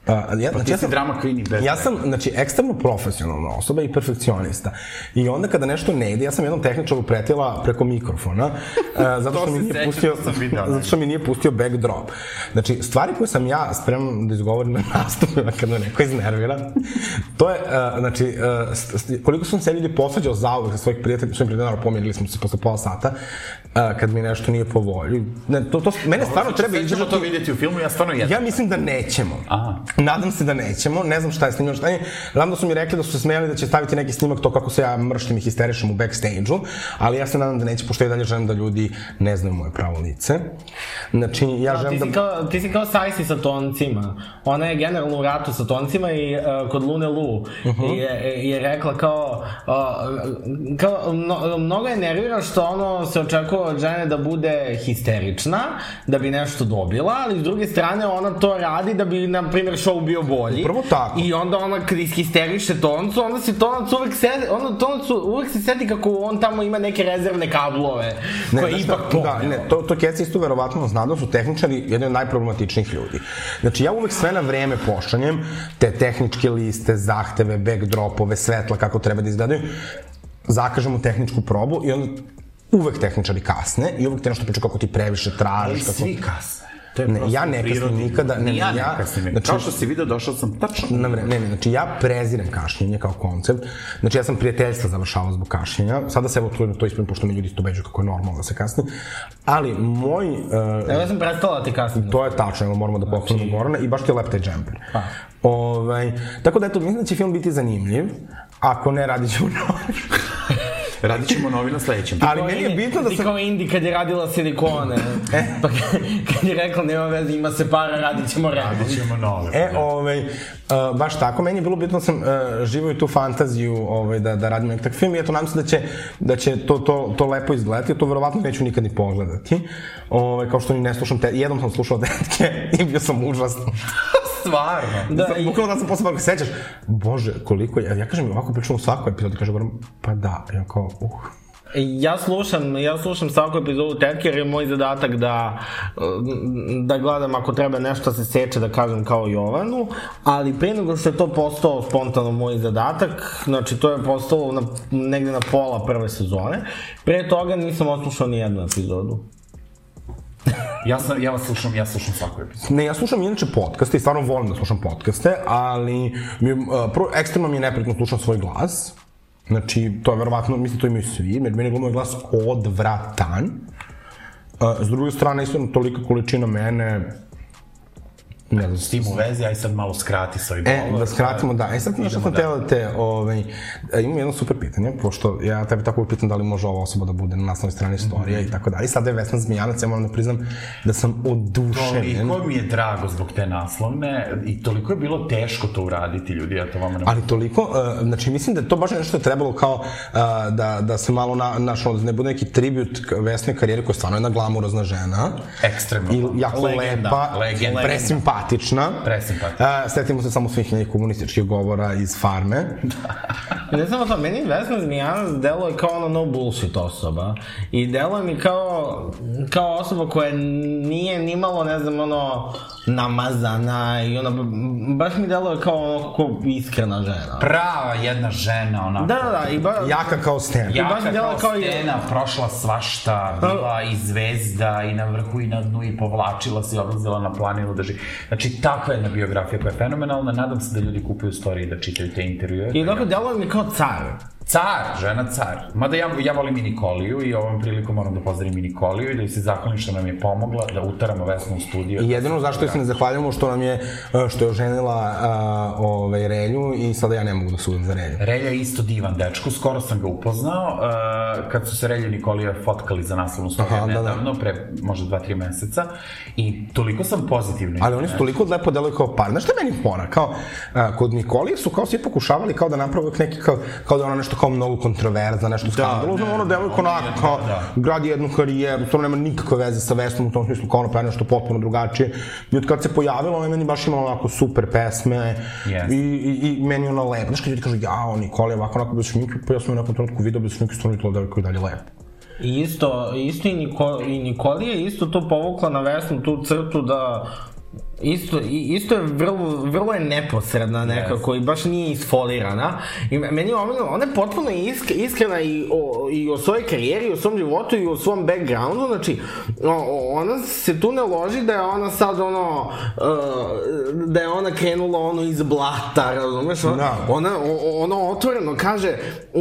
Uh, ja, znači, Ti ja si sam, drama queen i bez ja sam, znači, ekstremno profesionalna osoba i perfekcionista. I onda kada nešto ne ide, ja sam jednom tehničaru pretila preko mikrofona, uh, zato što mi nije pustio, zato što mi nije pustio backdrop. Znači, stvari koje sam ja spreman da izgovorim na nastupima kad me neko iznervira, to je, uh, znači, uh, st- st- koliko sam se ja ljudi posvađao zauvek sa svojih prijatelja, svojim prijateljima, pomirili smo se posle pola sata, uh, kad mi nešto nije po volji. Ne, to, to, mene stvarno treba Sve ćemo izdržati to vidjeti u filmu, ja stvarno jedno. Ja mislim da nećemo. Aha. Nadam se da nećemo, ne znam šta je snimljeno, šta je. Znam da su mi rekli da su se smijali da će staviti neki snimak to kako se ja mrštim i histerišem u backstage-u, ali ja se nadam da neće, pošto ja i dalje želim da ljudi ne znaju moje pravo lice. Znači, ja Ti želim si, da... kao, ti si kao Sajsi sa toncima. Ona je generalno u ratu sa toncima i uh, kod Lune Lu Uh-huh. je, e, je rekla kao, uh, kao mno, mnogo je nervira što ono se očekuje od žene da bude histerična, da bi nešto dobila, ali s druge strane ona to radi da bi, na primjer, show bio bolji. Upravo tako. I onda ona kad ishisteriše toncu, onda se tonac uvek sedi, onda tonac uvek se sedi kako on tamo ima neke rezervne kablove, Ne, koje znaš ipak šta, pomnio. da, ne, to, to Keci isto verovatno zna da su tehničari jedni od najproblematičnijih ljudi. Znači, ja uvek sve na vreme pošaljem, te tehničke liste, zahteve, backdropove, svetla, kako treba da izgledaju, zakažemo tehničku probu i onda uvek tehničari kasne i uvek te nešto pričaju kako ti previše tražiš. Ali kako... svi kasne. To je Ne, prosto ja ne kasnim prirodno. nikada, ne, Ni ja, ne, ne ja- kasnim. znači- Kao što si video, došao sam tačno. na vreme. Ne, ne, znači ja prezirem kašljenje kao koncept. Znači ja sam prijateljstva završavao zbog kašljenja. Sada se evo trudim da to ispred, pošto me ljudi to beđu kako je normalno da se kasni. Ali moj... Uh, Evo ja sam prestala da ti kasnije. To je tačno, evo moramo da pohvalimo Gorana i baš ti je lep taj džemper. Ovaj, tako da eto, mislim da će film biti zanimljiv. Ako ne, radit ćemo novi. Radit ćemo novi na sledećem. Ali meni je bitno da Ti sam... E. kao Indi kad je radila silikone. pa kad, kad je rekla nema veze, ima se para, radit ćemo radit. Radit ćemo nove. E, ovaj, uh, baš tako, meni je bilo bitno da sam uh, živao i tu fantaziju ovaj, da, da radim nekak film i eto, nadam se da će, da će to, to, to lepo izgledati, to verovatno neću nikad ni pogledati. Ovaj, kao što ni ne slušam, te, jednom sam slušao detke i bio sam užasno. stvarno. Da, Da, i- Bukvalno da sam posle toga sećaš, bože, koliko je, ja kažem, ovako pričam u svakoj epizodi, kaže Goran, pa da, ja kao, uh. Ja slušam, ja slušam svaku epizodu Tetke jer je moj zadatak da, m, da gledam ako treba nešto da se seče da kažem kao Jovanu, ali pre nego što je to postao spontano moj zadatak, znači to je postalo na, negde na pola prve sezone, pre toga nisam oslušao ni jednu epizodu. Ja, sam, ja vas slušam, ja slušam svaku epizodu. Ne, ja slušam inače podcaste i stvarno volim da slušam podcaste, ali mi, je, uh, prvo, ekstremno mi je neprijatno slušam svoj glas. Znači, to je verovatno, mislim, to imaju svi, jer meni je moj glas Eh, odvratan. Uh, s druge strane, isto toliko količina mene Ne znam. S tim u vezi, aj sad malo skrati sa ovim E, govor, da skratimo, da. E sad znaš što sam Idemo teo da te, ovaj, e, imam jedno super pitanje, pošto ja tebe tako pitam da li može ova osoba da bude na naslovnoj strani storije i tako dalje. I sada je Vesna Zmijanac, ja moram da priznam da sam oduševljen. Toliko mi je drago zbog te naslovne i toliko je bilo teško to uraditi, ljudi, ja to vama ne... Ali toliko, uh, znači mislim da je to baš nešto je trebalo kao uh, da, da se malo na, našo, da ne bude neki tribut k- Vesnoj karijeri koja je stvarno jedna glamurozna žena. Ekstremno. I jako Legenda, lepa, legenda. presimpatična. Presimpatična. Uh, setimo se samo svih njenih komunističkih govora iz farme. Ne samo to, meni Vesna Zmijanac deluje kao ono no bullshit osoba. I deluje mi kao, kao osoba koja nije nimalo, ne znam, ono, namazana i ono, baš mi deluje kao ono, kao iskrena žena. Prava jedna žena, onako. Da, da, da, i ba, Jaka kao sten. I baš Jaka mi kao, djeluje kao kao je- stena, prošla svašta, bila i zvezda i na vrhu i na dnu i povlačila se i odlazila na planinu da živi. Znači, takva jedna biografija koja je fenomenalna, nadam se da ljudi kupuju storije i da čitaju te intervjue. i dok deluje mi kao car. Car, žena car. Mada ja, ja volim i Nikoliju i ovom prilikom moram da pozdravim i Nikoliju i da joj se zahvalim što nam je pomogla da utaramo Vesnu u studio. I jedino zašto joj se ne zahvaljujemo što nam je, e, što je oženila uh, ovaj, Relju i sada ja ne mogu da sudim za Relju. Relja je isto divan dečko, skoro sam ga upoznao, uh, kad su se Relja i Nikolija fotkali za naslovnu Aha, storiju da, da. nedavno, pre možda 2-3 meseca, i toliko sam pozitivno. Ali oni su toliko lepo deluju kao par. Znaš šta je meni fora? Kao, a, kod Nikolije su kao svi pokušavali kao da naprave uvek neki kao, kao da je ona nešto kao mnogo kontroverzna, nešto skandalozno, ono deluju kao onako, kao gradi jednu karijeru, to nema nikakve veze sa Vesnom u tom smislu, kao ono pravi nešto potpuno drugačije. I od kad se pojavila, ona je meni baš imala onako super pesme Jeste. i, i, i meni je ona lepa. Znaš kad ljudi kažu, jao, Nikolija, ovako, onako, bez šminke, pa ja sam u nekom trenutku video bez šminke, stvarno je to devojka i dalje lepa. I isto, isto i, Niko, i Nikolija je isto to povukla na vesnu tu crtu da Isto, i- isto je vrlo, vrlo je neposredna nekako yes. i baš nije isfolirana. I me- meni je omiljeno, ona je potpuno isk, iskrena i o, i o svojoj karijeri, i o svom životu i o svom backgroundu, znači o- o, ona se tu ne loži da je ona sad ono, uh, da je ona krenula ono iz blata, razumeš? Ona, Da. ona, o- ono otvoreno kaže,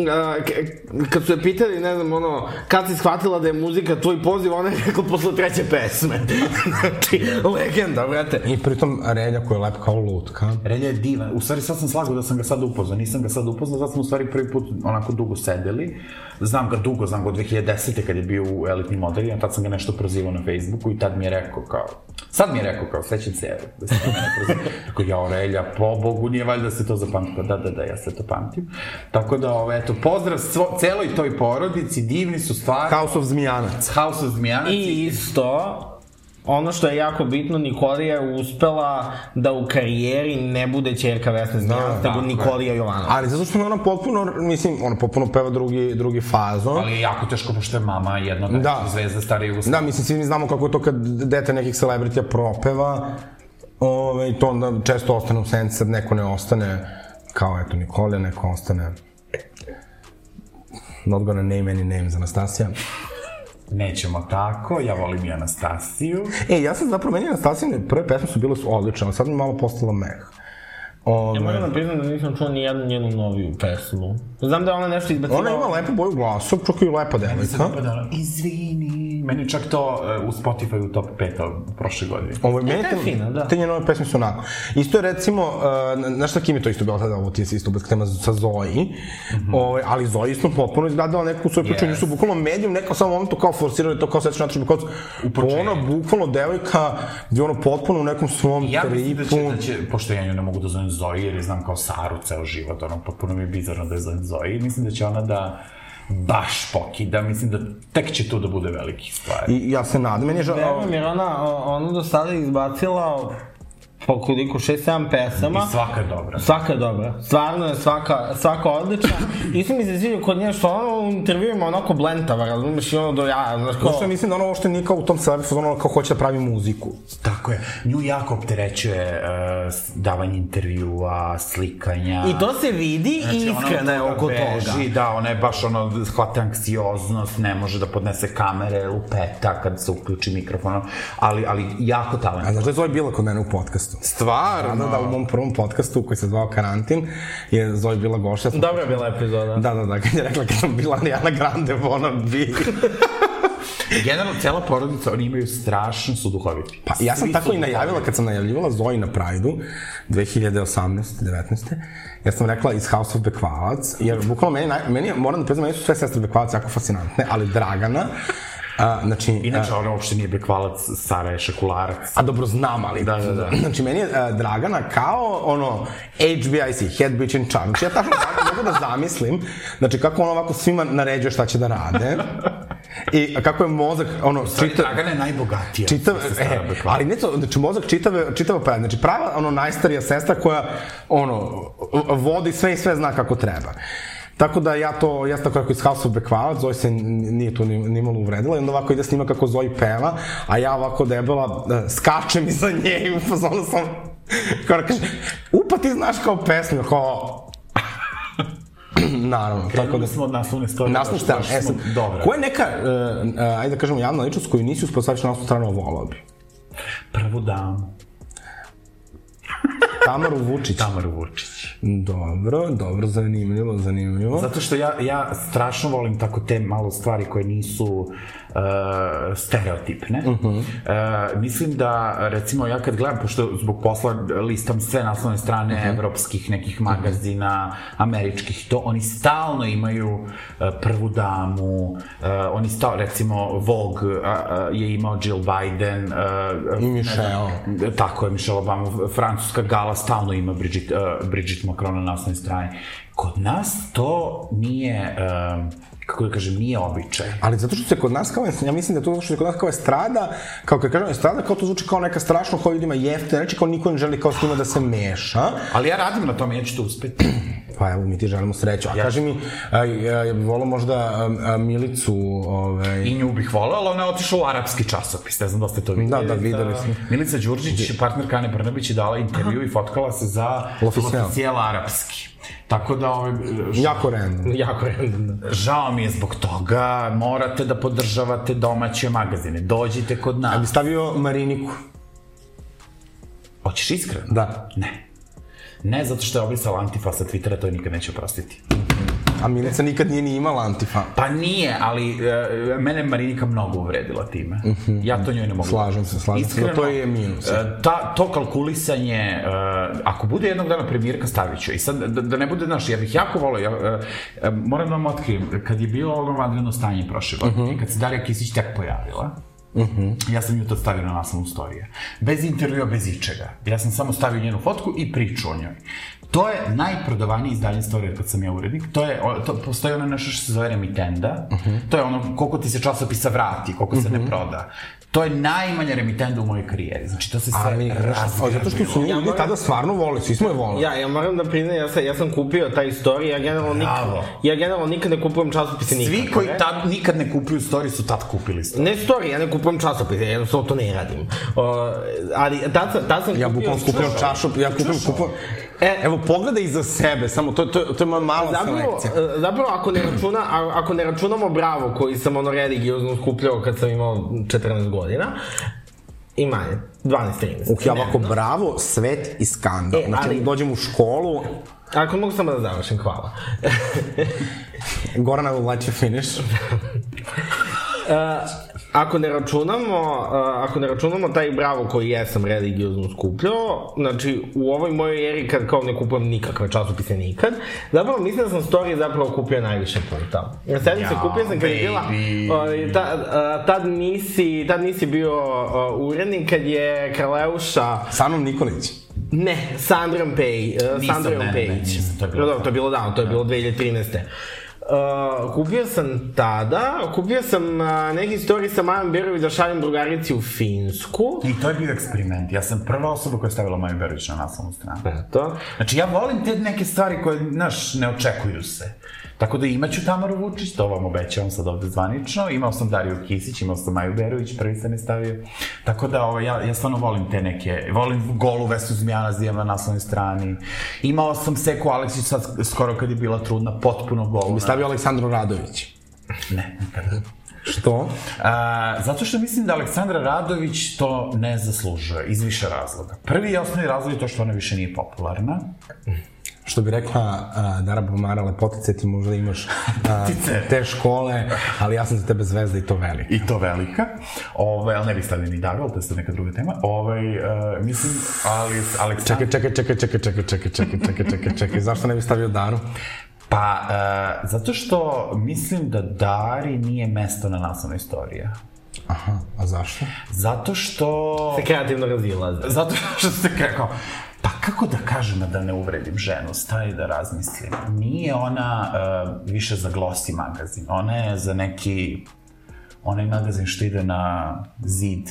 a, k- kad su je pitali, ne znam, ono, kad si shvatila da je muzika tvoj poziv, ona je rekla posle treće pesme. znači, legenda, brate. I pritom Relja koja je lepa kao lutka. Relja je divan. U stvari sad sam slagao da sam ga sad upoznao, nisam ga sad upoznao, sad smo u stvari prvi put onako dugo sedeli. Znam ga dugo, znam ga od 2010. kad je bio u elitnim modelima, tad sam ga nešto prozivao na Facebooku i tad mi je rekao kao, sad mi je rekao kao, sećam se, evo, da se mene prozivao. Rekao, jao Relja, po Bogu, nije valjda se to zapamtilo. Da, da, da, ja sve to pamtim. Tako da, ovo, eto, pozdrav svo, celoj toj porodici, divni su stvari. House of Zmijanac. House of Zmijanac. I isto, ono što je jako bitno, Nikolija je uspela da u karijeri ne bude čerka Da, Vesna Zmijanac, nego Nikolija Jovanova. Ali zato što mi ona potpuno, mislim, ona potpuno peva drugi, drugi fazon. Ali je jako teško, pošto je mama jedna od Da. da. zvezda stare Jugoslavije. Da, mislim, svi mi znamo kako je to kad dete nekih celebritija propeva, ove, to onda često ostane u senci, sad neko ne ostane, kao eto Nikolija, neko ostane... Not gonna name any names, Anastasija. Nećemo tako, ja volim i Anastasiju. E, ja sam zapravo, meni Anastasijine prve pesme su bile su odlične, ali sad mi je malo postala meh. Ovaj, Ove, Ja moram da priznam da nisam čuo ni jednu njenu noviju pesmu. Znam da je ona nešto izbacila. ona ima lepu boju glasa, čak i lepa devojka. Pa da, ono, izvini. Meni je čak to e, u Spotify u top 5 od prošle godine. Ovo, meni to je te, fino, da. Te njene nove pesme su onako. Isto je recimo, uh, znaš sa kim je to isto bilo tada, ovo ti je isto bez tema sa Zoji, ovaj, ali Zoji isto potpuno izgledala neku svoju priču, Yes. yes. su bukvalno medijum, neko samo momentu kao forsirali to kao sečno natršbi kocu. Ona bukvalno devojka gdje ono potpuno u nekom svom Ja mislim da tripu. će, da će, pošto ja nju ne mogu da zovem Zoe, jer je znam kao Saru ceo život, ono, potpuno mi je bizarno da je zovem Zoe, mislim da će ona da baš pokida, mislim da tek će to da bude veliki stvari. I ja se nadam, meni je žao, Verujem jer ona, o- ona do sada je izbacila pa koliko, 6-7 pesama. I svaka je dobra. Svaka je dobra. Stvarno je svaka, svaka odlična. Isto mi se sviđa kod nje što ona u intervjuima onako blentava, razumiješ, i ono do jaja, znaš kao... Zato što mislim da ona uopšte nije kao u tom celebi fazonu, ona kao hoće da pravi muziku. Tako je. Nju jako opterećuje e, s- davanje intervjua, slikanja. I to se vidi i Da. Znači, ona od iskrena da je toga oko beži, toga. Da, ona je baš ono, hvata anksioznost, ne može da podnese kamere, lupeta kad se uključi mikrofon, ono, ali, ali jako A talent. znaš da je Zoja bila kod mene u podcastu? Stvarno? Da, da, u mom prvom podcastu koji se zvao Karantin je Zoja bila gošća. Da, Dobra je bila epizoda. Da, da, da, kad je rekla kad sam bila Ariana Grande, ona bi. Generalno, cela porodica, oni imaju strašno su duhoviti. Pa ja sam tako i najavila, kad sam najavljivala Zoji na Prajdu 2018. 19. Ja sam rekla iz House of Bekvalac, jer bukvalno meni, naj, meni je- moram da priznam, meni su sve sestre Bekvalac jako fascinantne, ali Dragana, a, znači... Inače, ona uopšte nije bekvalac, Sara je šakularac. A dobro znam, ali... Da, da, da. Znači, meni je uh, Dragana kao, ono, HBIC, head bitch in charge. Znači, ja tačno tako mogu da zamislim, znači, kako ona ovako svima naređuje šta će da rade. I kako je mozak, ono, čita... Dragana je najbogatija. Čitav, e, sestara Bekvalac. ali ne to, znači mozak čitave, čitava pa, znači prava ono najstarija sestra koja ono vodi sve i sve zna kako treba. Tako da ja to, ja sam tako kako iz House of Bekvalac, Zoe se n- nije tu ni, ni malo uvredila i onda ovako ide snima kako Zoe peva, a ja ovako debela e, skačem iza nje i u fazonu sam, kao da kaže, upa ti znaš kao pesmu, kao, naravno, tako da... Krenuli smo od naslovne strane. Naslovna strana, e sad, Dobro. koja je neka, uh, uh, ajde da kažemo, javna ličnost koju nisi uspostaviš na naslovnu stranu, a volao bi? Prvu damu, Tamaru Vučić. Tamaru Vučić. Dobro, dobro, zanimljivo, zanimljivo. Zato što ja, ja strašno volim tako te malo stvari koje nisu uh, stereotipne. Uh -huh. uh, mislim da, recimo, ja kad gledam, pošto zbog posla listam sve naslovne strane uh -huh. evropskih nekih magazina, američkih, to oni stalno imaju uh, prvu damu, uh, oni stalno, recimo, Vogue uh, uh, je imao Jill Biden, uh, I Michelle. Oh. Tako je, Michelle Obama, francuska gala stalno ima Bridget, uh, Bridget Macron na nasnoj strani. Kod nas to nije, um, kako da kažem, nije običaj. Ali zato što se kod nas kao, ja mislim da je to zato što se kod nas kao estrada, kao kad kažem estrada, kao to zvuči kao neka strašno koja ljudima jefte, reči kao niko ne želi kao s njima da se meša. Ali ja radim na tome, ja ću to uspeti. Pa evo, mi ti želimo sreću. A kaži mi, a, a, ja bih volao možda a, a, Milicu, ovaj... I nju bih volao, ali ona je otišla u arapski časopis, ne znam da ste to videli. Da, da, videli smo. Milica Đurđić, partnerka Ane Brnabić, je dala intervju i fotkala se za L'Officiel. oficijel arapski. Tako da, ovaj, Jako random. Jako random, da. žao mi je zbog toga, morate da podržavate domaće magazine, dođite kod Ja nas. bi stavio Mariniku. Hoćeš iskreno? Da. Ne. Ne, zato što je obrisala Antifa sa Twittera, to je nikad neće oprostiti. A Milica nikad nije ni imala antifa. Pa nije, ali e, mene je Marinika mnogo uvredila time. Ja to njoj ne mogu. Mhm. Slažem se, slažem se. Da, to je minus. e, ta, to kalkulisanje, e, ako bude jednog dana premijerka, stavit ću. je. I sad, da, da ne bude, znaš, ja bih jako volao, ja, e, e, moram da vam otkrijem, kad je bilo ono vanredno stanje prošle godine, Mhm. kad se Darija Kisić tek pojavila, Ja sam ju tad stavio na naslovnu storije. Bez intervjua, bez ičega. Ja sam samo stavio njenu fotku i priču o njoj. To je najprodavaniji izdanje storije kad sam ja urednik. To je, o- to, postoji ono nešto što se zove remitenda. Mhm. To je ono koliko ti se časopisa vrati, koliko se ne proda. To je najmanja remitenda u mojoj karijeri. Znači, to se sve Ali, znaš, a razgrabilo. zato što su nju ljudi moram- tada stvarno vole, svi smo je volili. Ja, ja moram da priznam, ja sam, ja sam kupio taj story, ja generalno, nik, Bravo. ja generalno nikad ne kupujem časopise nikad. Svi koji tad nikad ne kupuju storije su tad kupili storije. Ne story, ja ne kupujem časopise, ja jednostavno to ne radim. O, ali tad sam, tad sam Ja bukvalno kupio čašu, ja kupim kupujem. E, E. evo pogledaj iza sebe, samo to, to, to je moja mala Zapravo, selekcija. e, zapravo ako, ne računa, a- ako ne računamo Bravo koji sam ono religiozno skupljao kad sam imao 14 godina, i manje, 12-13. Uh, ja ovako, bravo, svet i skandal. E, znači, ali- dođem u školu, Ako mogu samo da završim, hvala. Gorana will let you finish. Ako ne računamo, a, ako ne računamo taj bravo koji jesam religiozno skupljao, znači u ovoj mojoj eri kad kao ne kupujem nikakve časopise nikad, zapravo mislim da sam story zapravo kupio najviše puta. Ja sedim se Ja, kupio sam kad je bila, baby. ovaj, ta, a, tad, nisi, tad nisi bio a, urednik kad je Kraleuša Sa mnom Nikolić. ne, sa Andrejom Pej, uh, sa Nisam, Andrejom ne, ne, Pejić. ne, nisam, to je bilo No, dobro, Da, to je bilo davno, to je bilo 2013. Uh, E, kupio sam tada, kupio sam uh, neki story sa Majom Berović da šaljem drugarici u Finsku. I to je bio eksperiment. Ja sam prva osoba koja je stavila Maju Berović na naslovnu stranu. Eto. Znači, ja volim te neke stvari koje, znaš, ne očekuju se. Tako da imaću Tamaru Vučić, to vam obećavam sad ovde zvanično. Imao sam Dariju Kisić, imao sam Maju Berović, prvi sam je stavio. Tako da, ovaj, ja, ja stvarno volim te neke, volim golu Vesu Zmijana Zijem na naslovnoj strani. Imao sam Seku Aleksić sad skoro kad je bila trudna, potpuno golu. Bi stavio Aleksandru Radović. Ne, nikada. Što? A, zato što mislim da Aleksandra Radović to ne zaslužuje, iz više razloga. Prvi i osnovni razlog je to što ona više nije popularna. što bi rekla a, Dara Bomara, lepotice ti možda imaš a, te škole, ali ja sam za tebe zvezda i to velika. I to velika. Ovaj, ali ne bih stavio ni Daru, ali to je sad neka druga tema. Ovaj, uh, mislim, ali Aleksandar... Čekaj, čekaj, čekaj, čekaj, čekaj, čekaj, čekaj, čekaj, čekaj, čekaj, zašto ne bi stavio Daru? Pa, uh, zato što mislim da Dari nije mesto na naslovnoj istoriji. Aha, a zašto? Zato što... Se kreativno razilaze. Zato što se kako... Pa kako da kažem a da ne uvredim ženu? Stari da razmislim. Nije ona uh, više za glossy magazin. Ona je za neki... Onaj magazin što ide na zid.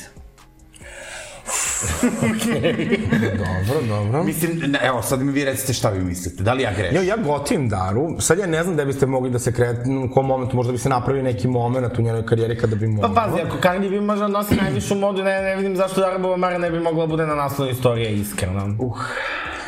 Dobro, dobro. Mislim, ne, evo, sad mi vi recite šta vi mislite. Da li ja grešim? Jo, ja gotivim Daru. Sad ja ne znam da biste mogli da se kretnu, u kom momentu, možda bi se napravio neki moment u njenoj karijeri kada bi mogli. Pa pazi, ako Cardi B možda nosi najvišu modu, ne, ne vidim zašto Darbo Mara ne bi mogla bude na naslovnoj istorije, iskreno. Uh,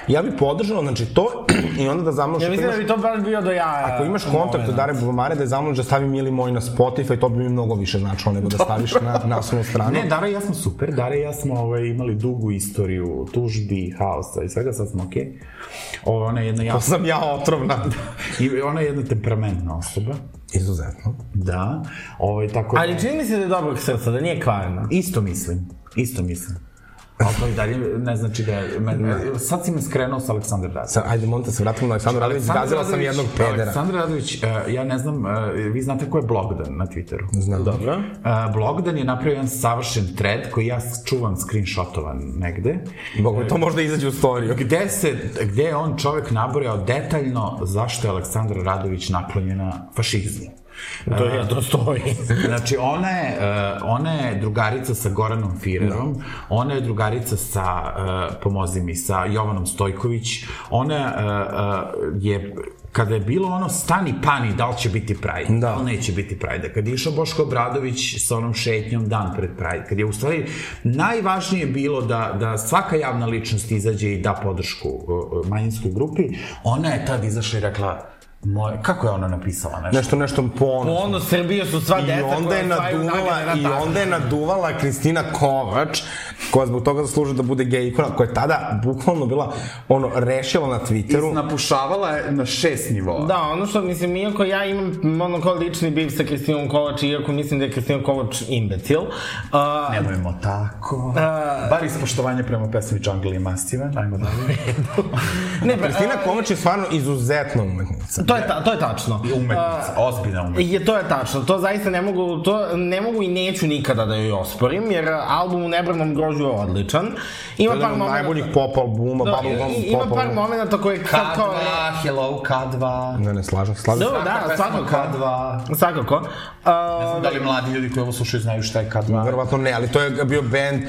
Ja bi podržao, znači to, i onda da zamoliš... ja ako mislim da imaš- bi to baš bio do jaja. Ako imaš kontakt od Dare Bubamare da je zamoliš da stavi Mili Moj na Spotify, to bi mi mnogo više značilo nego da staviš na naslovnu stranu. Ne, Dara i ja smo super, Dara i ja smo ovaj, imali dugu istoriju tužbi, haosa i svega, sad smo okej. Okay. Ona je jedna To jako... Pa sam ja otrovna. I ona je jedna temperamentna osoba. Izuzetno. Da. Ovaj, tako da- Ali čini mi se da je dobrog srca, da nije kvarna. Isto mislim, isto mislim. Ali to i dalje ne znači da je... Me, sad si me skrenuo sa Aleksandar Radović. Sad, ajde, molim te, se vratimo na Aleksandru Radović, gazila sam jednog pedera. Aleksandar Radović, eh, ja ne znam, eh, vi znate ko je Blogdan na Twitteru? Znam. Dobro. Eh, Blogdan je napravio jedan savršen thread koji ja čuvam screenshotovan negde. Bogu, to možda izađe u storiju. Gde, se, gde je on čovek nabrojao detaljno zašto je Aleksandra Radović naklonjena fašizmu. To je, to stoji. Znači, ona je, uh, ona je drugarica sa Goranom Firerom, da. ona je drugarica sa, uh, pomozi mi, sa Jovanom Stojković, ona uh, uh, je kada je bilo ono stani pani da li će biti Pride, da, li neće biti Pride. Kad je išao Boško Obradović sa onom šetnjom dan pred Pride, kad je u stvari najvažnije bilo da, da svaka javna ličnost izađe i da podršku uh, uh, manjinskoj grupi, ona je tad izašla i rekla, moj, kako je ona napisala nešto? Nešto, nešto ponosno. Ono, Srbija su sva I deca onda je naduvala, i onda je naduvala Kristina Kovač, koja zbog toga zaslužuje da bude gej ikona, koja je tada bukvalno bila, ono, rešila na Twitteru. napušavala je na šest nivoa. Da, ono što mislim, iako ja imam ono kao lični biv sa Kristinom Kovač, iako mislim da je Kristina Kovač imbecil, a, Nemojmo tako. Bar ispoštovanje prema pesmi Jungle i Mastiva, ajmo dalje. ne, pa, da, Kristina Kovač je stvarno izuzetna umetnica. a, to, je ta, to je tačno. I umetnica, ozbiljna umetnica. Je, to je tačno, to zaista ne mogu, to ne mogu i neću nikada da joj osporim, jer album u nebranom grožu je odličan. Ima Jedan par od momenta... najboljih pop albuma, Da, bubblegum i- pop ima par albuma. momenta koje K2, sad kao... hello K2. Ne, ne, slažem se, slažem se. Dobro, da, svakako. K2. Svakako. A, Da li mladi ljudi koji ovo slušaju znaju šta je K2? Verovatno ne, ali to je bio band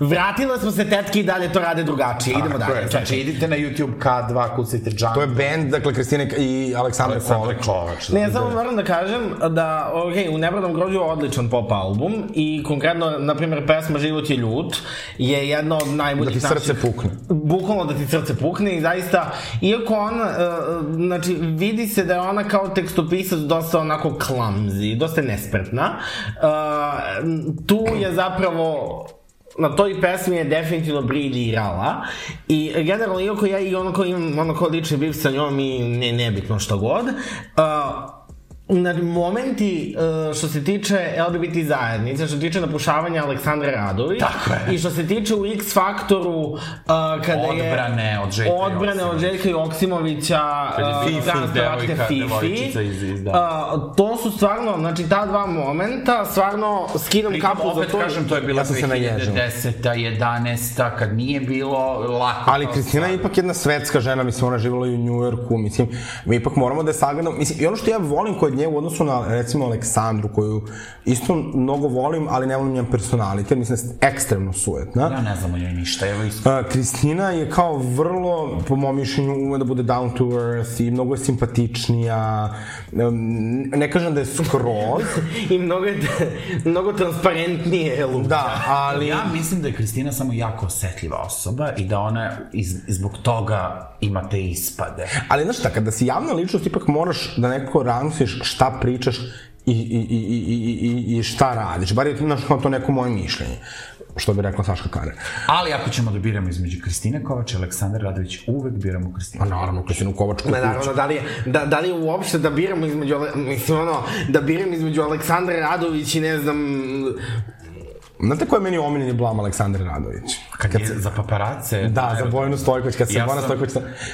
vratila smo se tetki i dalje to rade drugačije. Idemo Tako je, dalje. Znači, idite na YouTube K2, kucajte Jungle. To je bend, dakle, Kristine i Aleksandra Sandra Kovač. Kovač. Ne, ja samo moram da kažem da, ok, u Nebradom grođu je odličan pop album i konkretno, na primjer, pesma Život je ljut je jedna od najboljih Da ti naših- srce pukne. Bukvalno da ti srce pukne i zaista, iako ona, e, znači, vidi se da je ona kao tekstopisac dosta onako klamzi, dosta nespretna, e, tu je zapravo na toj pesmi je definitivno briljirala i generalno iako ja i onako imam onako lični biv sa njom i ne, nebitno šta god uh, Na momenti uh, što se tiče LGBT zajednice, što se tiče napušavanja Aleksandra Radović Tako je. i što se tiče u X Faktoru uh, kada je... Odbrane od Željka Odbrane od Joksimovića. Željka Joksimovića, Kad je uh, Fifi, trans devojka, pevačica Fifi. devojčica iz- iz- da. Uh, to su stvarno, znači ta dva momenta, stvarno skidam Pritom, kapu za to. opet kažem, to je bila Ja sam se naježio. 2010. 11. kad nije bilo lako. Ali Kristina je ipak jedna svetska žena, mislim, ona je živjela i u Njujorku, mislim, mi ipak moramo da je sagledamo, mislim, i ono što ja volim kod nje u odnosu na, recimo, Aleksandru, koju isto mnogo volim, ali ne volim njen personalitet, mislim, da je ekstremno sujetna. Ja ne znam o njoj ništa, evo iskreno. A, Kristina je kao vrlo, po mom mišljenju, ume da bude down to earth i mnogo je simpatičnija. Em, Ne kažem da je skroz, I mnogo je, mnogo transparentnije je Luka. da, ali... Ja mislim da je Kristina samo jako osetljiva osoba i da ona iz, zbog toga ima te ispade. Ali znaš šta, kada si javna ličnost, ipak moraš da nekako ranosiš šta pričaš i, i, i, i, i, i- i šta radiš. Bar je to, znaš, kao to neko moje mišljenje. što bi rekla Saška Kare. Ali ako ćemo da biramo između Kristine Kovač i Aleksandar Radović, uvek biramo Kristinu. A naravno, Kristinu Kovačku. Ma naravno, znači- da li, je, da, da li je uopšte da biramo između, Ale- mislim ono, da biram između Aleksandra Radović i ne znam, Znate ko je meni omiljeni blam Aleksandar Radović? Kad, je za paparace... Da, za Bojanu Stojković, kad se Ja Bojana sam- Stojković...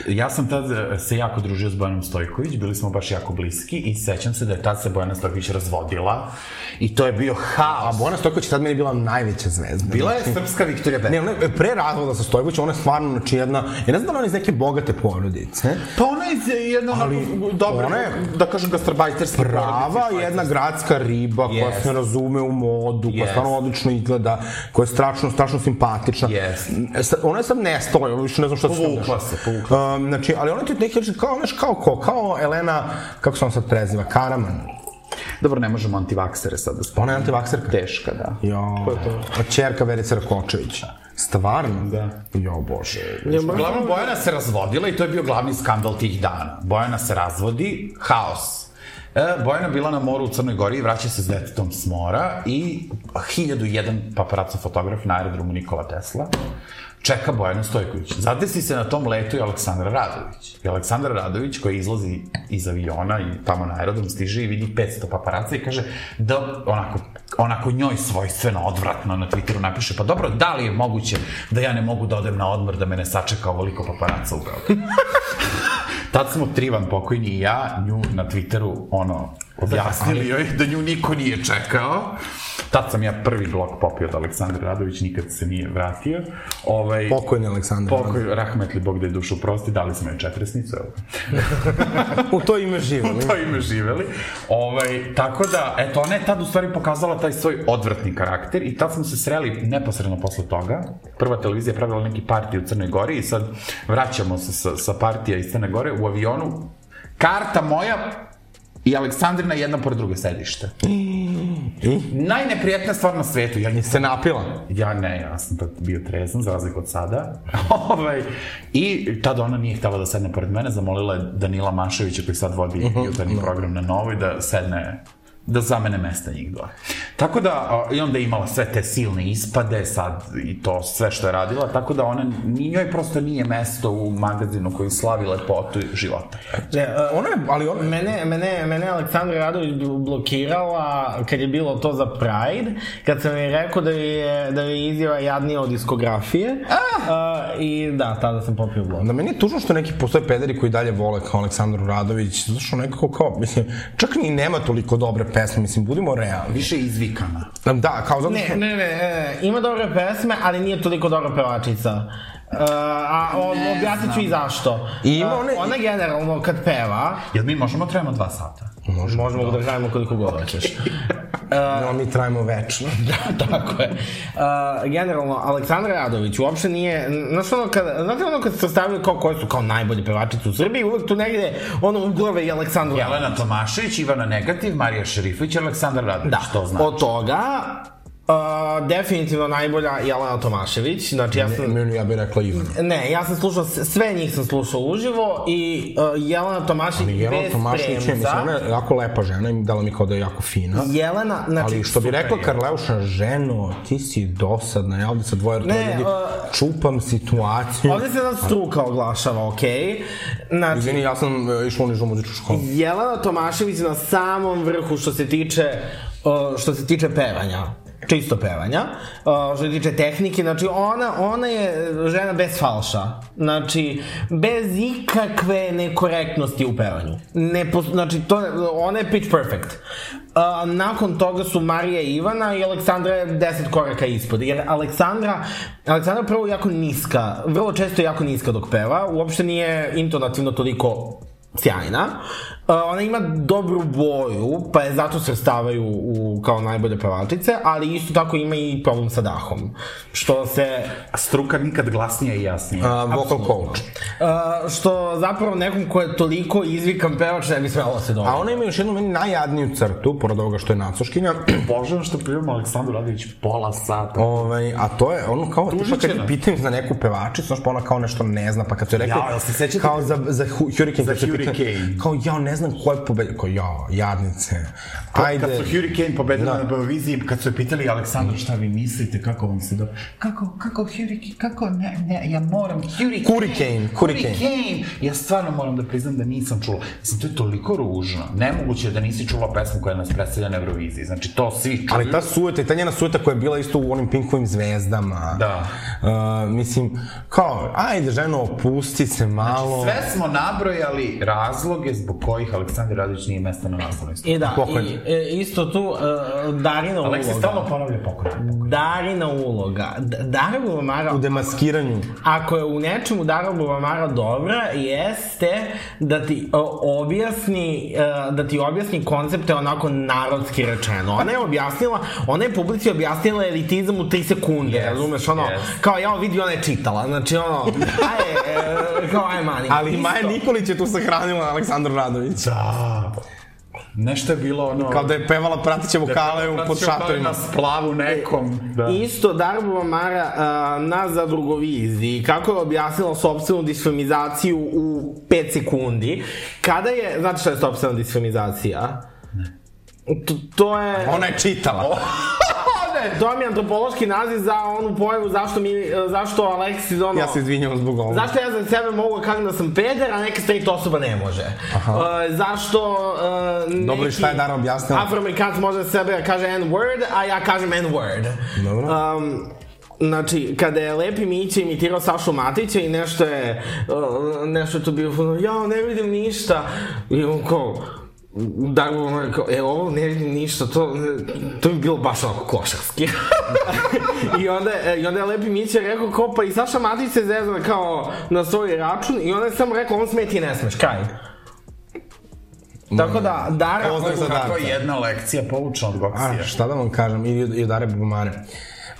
Ja sam tad e, se jako družio s Bojanom Stojković, bili smo baš jako bliski i sećam se da je tad se Bojana Stojković razvodila i to je bio A haos. Bojana Stojković je tad meni bila najveća zvezda. Bila je srpska Viktorija Becka. Ne, ona je pre razvoda sa Stojkovićem, ona je stvarno, znači jedna, ja ne znam da li ona je iz neke bogate porodice, Pa ona je z- jedna Ali onako dobra, ona je da kažem, gastarbajterska prava jedna gradska riba koja Jest. se ne razume u modu, koja Jest. stvarno odlično izgleda, koja je strašno, strašno simpatična. Jest. Sa- Ona je sad nestala, ja više ne znam šta se s njom Povukla dešava. se, povukla Um, znači, ali ona je tu neki način kao, znaš, kao ko, kao Elena, kako se ona sad preziva, Karaman. Dobro, ne možemo antivaksere sad da Ona je spomenem. antivakserka. Teška, da. Jo, a čerka Verice Rakočević. Stvarno? Da. Jo, bože. Znači, Uglavnom, Bojana se razvodila i to je bio glavni skandal tih dana. Bojana se razvodi, haos. E, Bojana bila na moru u Crnoj Gori i vraća se s detetom s mora i 1001 paparaco fotograf na aerodromu Nikola Tesla čeka Bojana Stojković. Zadesi se na tom letu i Aleksandra Radović. I Aleksandar Radović koji izlazi iz aviona i tamo na aerodrom stiže i vidi 500 paparaca i kaže da onako, onako njoj svojstveno, odvratno na Twitteru napiše pa dobro, da li je moguće da ja ne mogu da odem na odmor da me ne sačeka ovoliko paparaca u Beogradu? Tad smo Trivan pokojni i ja nju na Twitteru ono objasnili joj da nju niko nije čekao. Tad sam ja prvi blok popio od Aleksandra Radović, nikad se nije vratio. Ovaj, Pokojni Aleksandar. Pokoj, rahmetli Bog da je dušu prosti, dali smo joj četresnicu, evo. U to ime živo. To ime živeli. Ovaj, tako da, eto, ona je tad u stvari pokazala taj svoj odvratni karakter i tad smo se sreli neposredno posle toga. Prva televizija je pravila neki partij u Crnoj Gori i sad vraćamo se sa, sa partija iz Crne Gore u avionu. Karta moja i Aleksandrina jedna pored druge sedište. Najneprijatnija stvar na svetu, ja Se napila. Ja ne, ja sam tad bio trezan, za razliku od sada. ovaj, I tad ona nije htjela da sedne pored mene, zamolila je Danila Maševića koji sad vodi Mhm, jutarnji program na Novoj da sedne da zamene mesta njih dvoje. Tako da, a, i onda je imala sve te silne ispade sad i to sve što je radila, tako da ona, ni njoj prosto nije mesto u magazinu koji slavi lepotu života. ne, e, Ona je, ali ona... Mene, mene, mene je Aleksandra Radović bl- blokirala kad je bilo to za Pride, kad sam joj rekao da je, da je izjava jadnija od diskografije. A, I da, tada sam popio blok. Da meni je tužno što neki postoje pederi koji dalje vole kao Aleksandru Radović, zato što nekako kao, mislim, čak ni nema toliko dobre pesme, mislim, budimo realni. Više izvikana. Da, kao zato što... Ne, ne, ne, e, ima dobre pesme, ali nije toliko dobra pevačica. Uh, a o, objasnit ću i zašto. I ima E, one- ona generalno kad peva, Jel mi možemo trajamo dva sata? možemo, možemo da gledamo koliko god hoćeš. No, mi trajimo večno. da, tako je. Uh, generalno, Aleksandar Radović uopšte nije, znaš ono kad, znate ono kad se stavljaju kao koje su kao najbolje pevačice u Srbiji, uvek tu negde ono uglave i Aleksandru Radović. Jelena Tomašević, Ivana Negativ, Marija Šerifović, Aleksandar Radović, Da, to znači. od toga, uh, definitivno najbolja Jelena Tomašević, znači ja sam... Meni ja bih rekla Ivana. Ne, ja sam slušao, s- sve njih sam slušao uživo i uh, Jelena Tomašić Jelena bez Tomašić je, mislim, premca. ona je jako lepa žena i dala mi kao da je jako fina. Jelena, znači... Ali što bi rekla je. Karleuša, ženo, ti si dosadna, ja ovde sa dvoje Ne, ljudi a- čupam situaciju. Ovde se jedna struka oglašava, okej? Znači, Izvini, ja sam e, išao u nižu muzičku školu. Jelena Tomašević na samom vrhu što se tiče uh, što se tiče pevanja čisto pevanja, uh, što se tiče tehnike, znači ona, ona je žena bez falša, znači bez ikakve nekorektnosti u pevanju. Ne, pos- znači to, ona je pitch perfect. Uh, nakon toga su Marija i Ivana i Aleksandra je 10 koraka ispod, jer Aleksandra, Aleksandra prvo jako niska, vrlo često je jako niska dok peva, uopšte nije intonativno toliko sjajna. Uh, ona ima dobru boju, pa je zato srstavaju u, kao najbolje pevačice, ali isto tako ima i problem sa dahom. Što se... Struka nikad glasnije i jasnije. A, vocal coach. Uh, što zapravo nekom ko je toliko izvikan pevač ne bi smelo da se A dobro. ona ima još jednu meni najjadniju crtu, pored ovoga što je nacoškinja, Božem što primamo Aleksandru Radović pola sata. ovaj, a to je ono kao, tipa kad je Tužićena. pitam za neku pevačicu, znaš pa ona kao nešto ne zna, pa kad su joj rekli, Jao, jel se sećate? kao za, za hu, Hurricane, Za kad su joj pitali, Hurricane. kao ja ne ne znam ko je pobedio. Ko, ja, jadnice. Ajde. Da. Kad su Hurricane pobedili na Euroviziji, kad su je pitali Aleksandra šta vi mislite, kako vam se do... Kako, kako Hurricane, kako ne, ne, ja moram Hurricane. Hurricane, Hurricane. Hurricane. Ja stvarno moram da priznam da nisam čula. Mislim, to je toliko ružno. Nemoguće je da nisi čula pesmu koja nas predstavlja na Euroviziji. Znači, to svi čuju. Ali ta sueta i ta njena sueta koja je bila isto u onim pinkovim zvezdama. Da. Uh, mislim, kao, ajde ženo, opusti se malo. Znači, Sve smo nabrojali razloge zbog kojih Aleksandar Radić nije mesta na naslovnoj strani. I da, Pokoj. i, e, isto tu uh, Darina Aleksi uloga. stalno ponavlja pokoj. Darina uloga. D Dara Bulomara, u demaskiranju. ako je u nečemu Dara Bulomara dobra, jeste da ti o, objasni, e, da ti objasni koncepte onako narodski rečeno. Ona je objasnila, ona je publici objasnila elitizam u 3 sekunde, Yes, razumeš, ono, yes. kao ja vidi, ona je čitala, znači ono, aj, e, kao aj mani. Ali Maja Nikolić je tu sahranila Aleksandru Radović. Da. Nešto je bilo ono... Kao da je pevala pratiće vokale u pod šatorima. Na splavu nekom. Da. Isto Darbo Mara a, na zadrugoviziji, kako je objasnila sobstvenu disfemizaciju u 5 sekundi, kada je, znate šta je sobstvena disfemizacija? To, to je... Ona je Oh. čitala. To vam je antropološki naziv za onu pojavu zašto mi, zašto Aleksis ono... Ja se izvinjam zbog ovoga. Zašto ja za sebe mogu da kažem da sam peder, a neka straight osoba ne može? E, zašto e, neki Dobro, i šta je Dara objasnila? afroamerikanac može za sebe da kaže n-word, a ja kažem n-word. Dobro. Um, Znači, kada je Lepi Mića imitirao Sašu Matića i nešto je, e, nešto je tu bio, ono, jao, ne vidim ništa. I on kao, Darbo ono je kao, e, ovo ne vidim ništa, to, to bi bilo baš onako košarski. I onda, e, I onda je Lepi Mića rekao kao, pa i Saša Matić se zezna kao na svoj račun i onda je samo rekao, on sme ti ne smeš, kraj. Tako da, Dara... Pozdrav za Kako Darka. je jedna lekcija poučna od A, Goksija. šta da vam kažem, i, i od Dare Bubamare.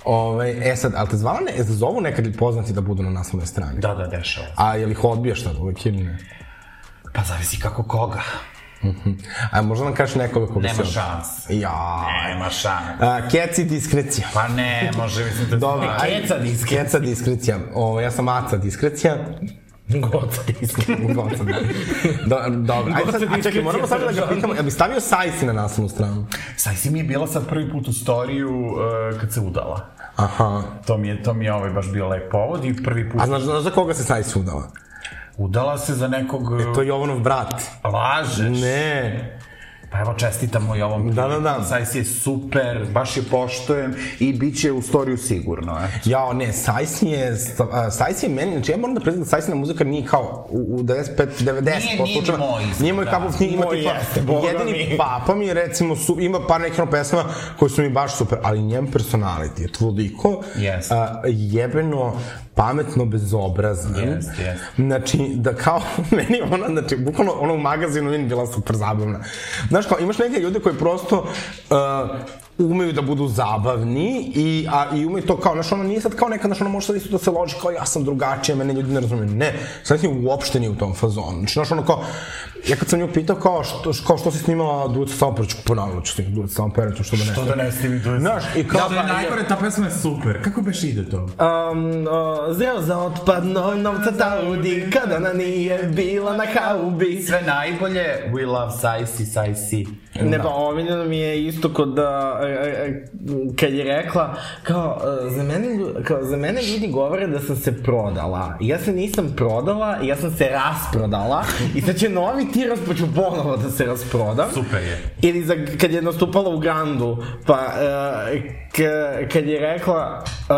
Ove, e sad, ali te zvala ne, zovu nekad poznati da budu na naslovnoj strani? Da, da, dešava. se. A je li ih odbijaš tad uvek ili ne? Mhm. Pa zavisi kako koga. A možda nam kažeš nekoga koga Nema si od- šans. Ja. Nema šans. A, keci diskrecija. Pa ne, može, mislim da... Dobro, Dobro, ajde. Keca diskrecija. Keca diskrecija. Ovo, ja sam Aca diskrecija. Goca diskrecija. Goca, da. Do, dobro, ajde sad, a čekaj, moramo sad da ga pitamo, jel bi stavio Sajsi na naslovnu stranu? Sajsi mi je bila sad prvi put u storiju uh, kad se udala. Aha. To mi je, to mi je ovaj baš bio lep povod i prvi put A znaš, znaš za koga se Sajsi udala? udala se za nekog... E, To je Jovanov brat. Lažeš. Ne. Pa evo čestitamo i ovom. Da, da, da. Sajsi je super, baš je poštojem i bit će u storiju sigurno. Eh. Jao, ne, Sajsi je, sta- a, Sajsi je meni, znači ja moram da priznam da Sajsina muzika nije kao u, u 95, 90 Nije- po nije slučaju. moj izbor, Nije moj da. cup of tea, ima Moj tipa, jeste, boga mi. jedini papa mi je recimo, su, ima par nekih ono pesama koje su mi baš super, ali njem personality je toliko Jeste. a, jebeno, pametno, bezobrazno. Jeste, jeste. Znači, da kao, meni ona, znači, bukvalno ona u magazinu meni bila super zabavna. Znaš kao, imaš neke ljude koji prosto uh, umeju da budu zabavni i, a, i umeju to kao, znaš, ona nije sad kao neka, znaš, ona može sad isto da se loži kao ja sam drugačija, mene ljudi ne razumeju. Ne, sad nije uopšte nije u tom fazonu. Znači, znaš, ono kao, ja kad sam nju pitao kao, što, kao što si snimala Duca Saoperović, ponavljala ću snimati Duca Saoperović, što da ne. To da ne snimi to je... Znaš, i kao, Da, najgore, ta pesma je super. Kako beš ide to? Um, uh, zreo za otpadno novca taudi Kada ona nije bila na haubi Sve najbolje, we love Da. Sajsi, Sajsi. Ne pa omiljeno mi je isto kod da, e, e, kad je rekla kao e, za, mene, lju- kao za mene ljudi govore da sam se prodala ja se nisam prodala, ja sam se rasprodala i sad će novi tiras pa ću ponovo da se rasprodam Super je. Ili za, kad je nastupala u Grandu, pa e, k- kad je rekla e,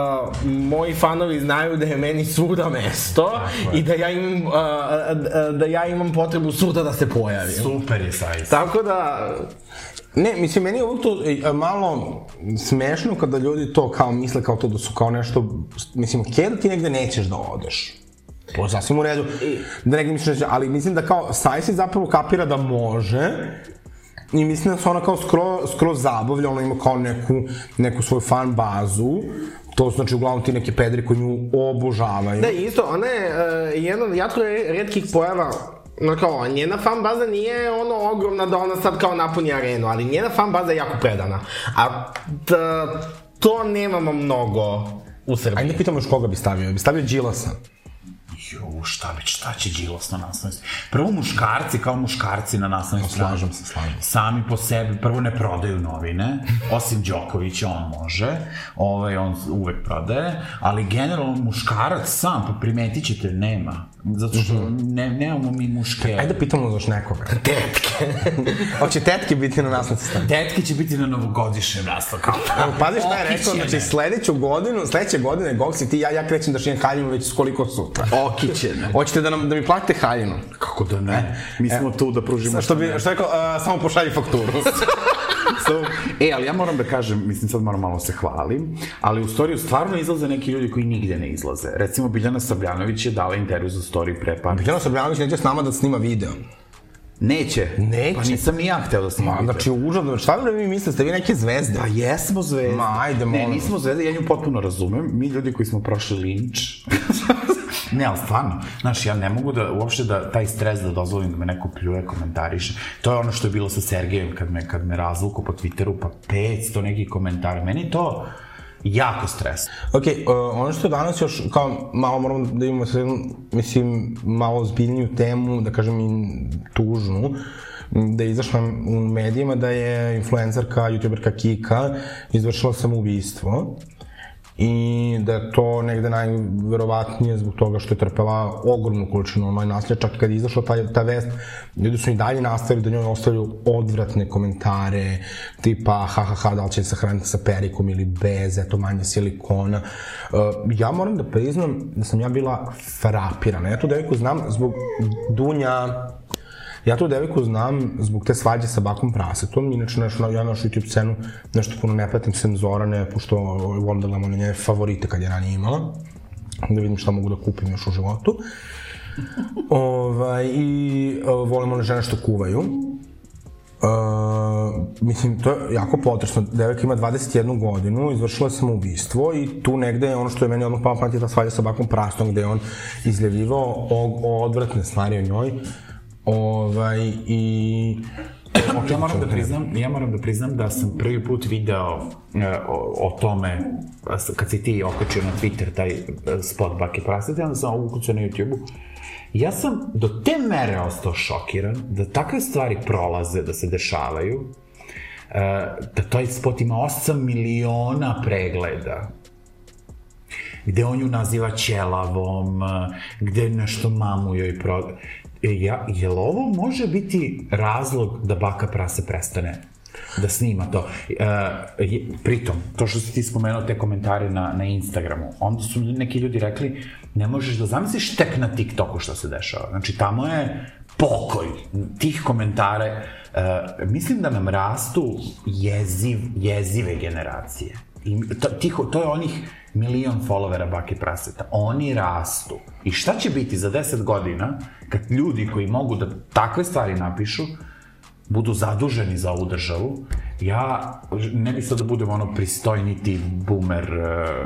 moji fanovi znaju da je meni svuda mesto i da ja imam, e, e, da ja imam potrebu svuda da se pojavim. Super je Sajsi. Tako da, Ne, mislim, meni je uvijek to e, malo smešno kada ljudi to kao misle kao to da su kao nešto, mislim, okej da ti negde nećeš da odeš. To je sasvim u redu. Da negde misliš, da će- ali mislim da kao Sajsi zapravo kapira da može i mislim da se ona kao skroz, skroz zabavlja, ona ima kao neku, neku svoju fan bazu, to su znači uglavnom ti neki pedri koji nju obožavaju. da isto, ona je e, jedna od jako re- retkih pojava No kao, njena fan baza nije ono ogromna da ona sad kao napuni arenu, ali njena fan baza je jako predana. A t- to nemamo mnogo u Srbiji. Ajde da pitamo još koga bi stavio, bi stavio Đilasa. Jo, rekao, šta bi, šta će Đilas na naslovnoj strani? Prvo muškarci kao muškarci na naslovnoj strani. slažem se, slažem se. Sami po sebi, prvo ne prodaju novine, osim Đokovića, on može, ovaj, on uvek prodaje, ali generalno muškarac sam, pa primetit ćete, nema. Zato što ne, nemamo mi muške... Ajde da pitamo još nekoga. Tetke. Hoće tetke biti na naslovnici strani. Tetke će biti na novogodišnjem naslovu. kao, Evo, pazi šta je Okić rekao, je, znači ne. sledeću godinu, sledeće godine Goksi ti i ja, ja krećem da šijem haljinu već koliko sutra. Okićene. Hoćete da, nam, da mi platite haljinu? Kako da ne? Mi smo E, tu da pružimo Što bi, što je rekao, a, samo pošalji fakturu. So, e, ali ja moram da kažem, mislim sad moram malo se hvalim, ali u storiju stvarno izlaze neki ljudi koji nigde ne izlaze. Recimo Biljana Sabljanović je dala intervju za storiju pre par. Jelena Srbljanović neće s nama da snima video. Neće. Neće. Pa nisam ni ja hteo da snimam. A, znači, užasno, šta vi vi mislite, ste vi neke zvezde? Pa jesmo zvezde. Ma, ajde, Ne, molim. nismo zvezde, ja nju potpuno razumem. Mi ljudi koji smo prošli linč. ne, ali stvarno, znaš, ja ne mogu da, uopšte da, taj stres da dozvolim da me neko pljuje, komentariše. To je ono što je bilo sa Sergejem kad me, kad me razvuku po Twitteru, pa 500 neki komentari. Meni to jako stres. Ok, uh, ono što danas još, kao malo moramo da imamo sad jednu, mislim, malo ozbiljniju temu, da kažem i tužnu, m, da je izašla u medijima da je influencerka, youtuberka Kika izvršila samoubistvo i da je to negde najverovatnije zbog toga što je trpela ogromnu količinu online nasilja, čak i kad je izašla ta, ta vest, ljudi su i dalje nastavili da njoj ostavljaju odvratne komentare, tipa ha ha ha, da li će se sahraniti sa perikom ili bez, eto manje silikona. Uh, ja moram da priznam da sam ja bila frapirana. Ja tu devojku znam zbog Dunja Ja tu devojku znam zbog te svađe sa bakom prasetom, inače naš, ja našu YouTube scenu nešto puno ne pratim sem Zorane, pošto volim da gledam one njene favorite kad je ranije imala, da vidim šta mogu da kupim još u životu. ovaj, I uh, volim one žene što kuvaju. Uh, mislim, to je jako potresno. Devojka ima 21 godinu, izvršila sam ubistvo i tu negde je ono što je meni odmah pao pamati ta svađa sa bakom prastom gde je on izljevljivao o, o odvratne stvari o njoj. Ovaj, i... ja moram da priznam, ja moram da priznam da sam prvi put video e, o, o tome a, s- kad si ti okačio na Twitter taj e, spot Baki Prasete, onda sam ukucao na YouTubeu. Ja sam do te mere ostao šokiran da takve stvari prolaze, da se dešavaju, e, da taj spot ima 8 miliona pregleda gde on ju naziva ćelavom, gde nešto mamu joj proda. E, ja, jel ovo može biti razlog da baka prase prestane da snima to? E, je- pritom, to što si ti spomenuo te komentare na, na Instagramu, onda su neki ljudi rekli ne možeš da zamisliš tek na TikToku što se dešava. Znači, tamo je pokolj tih komentare. E, mislim da nam rastu jeziv, jezive generacije. I to, tiho, to je onih milion followera Baki Praseta. Oni rastu. I šta će biti za 10 godina kad ljudi koji mogu da takve stvari napišu budu zaduženi za ovu državu? Ja ne bi sad da budem ono pristojniti boomer, eh,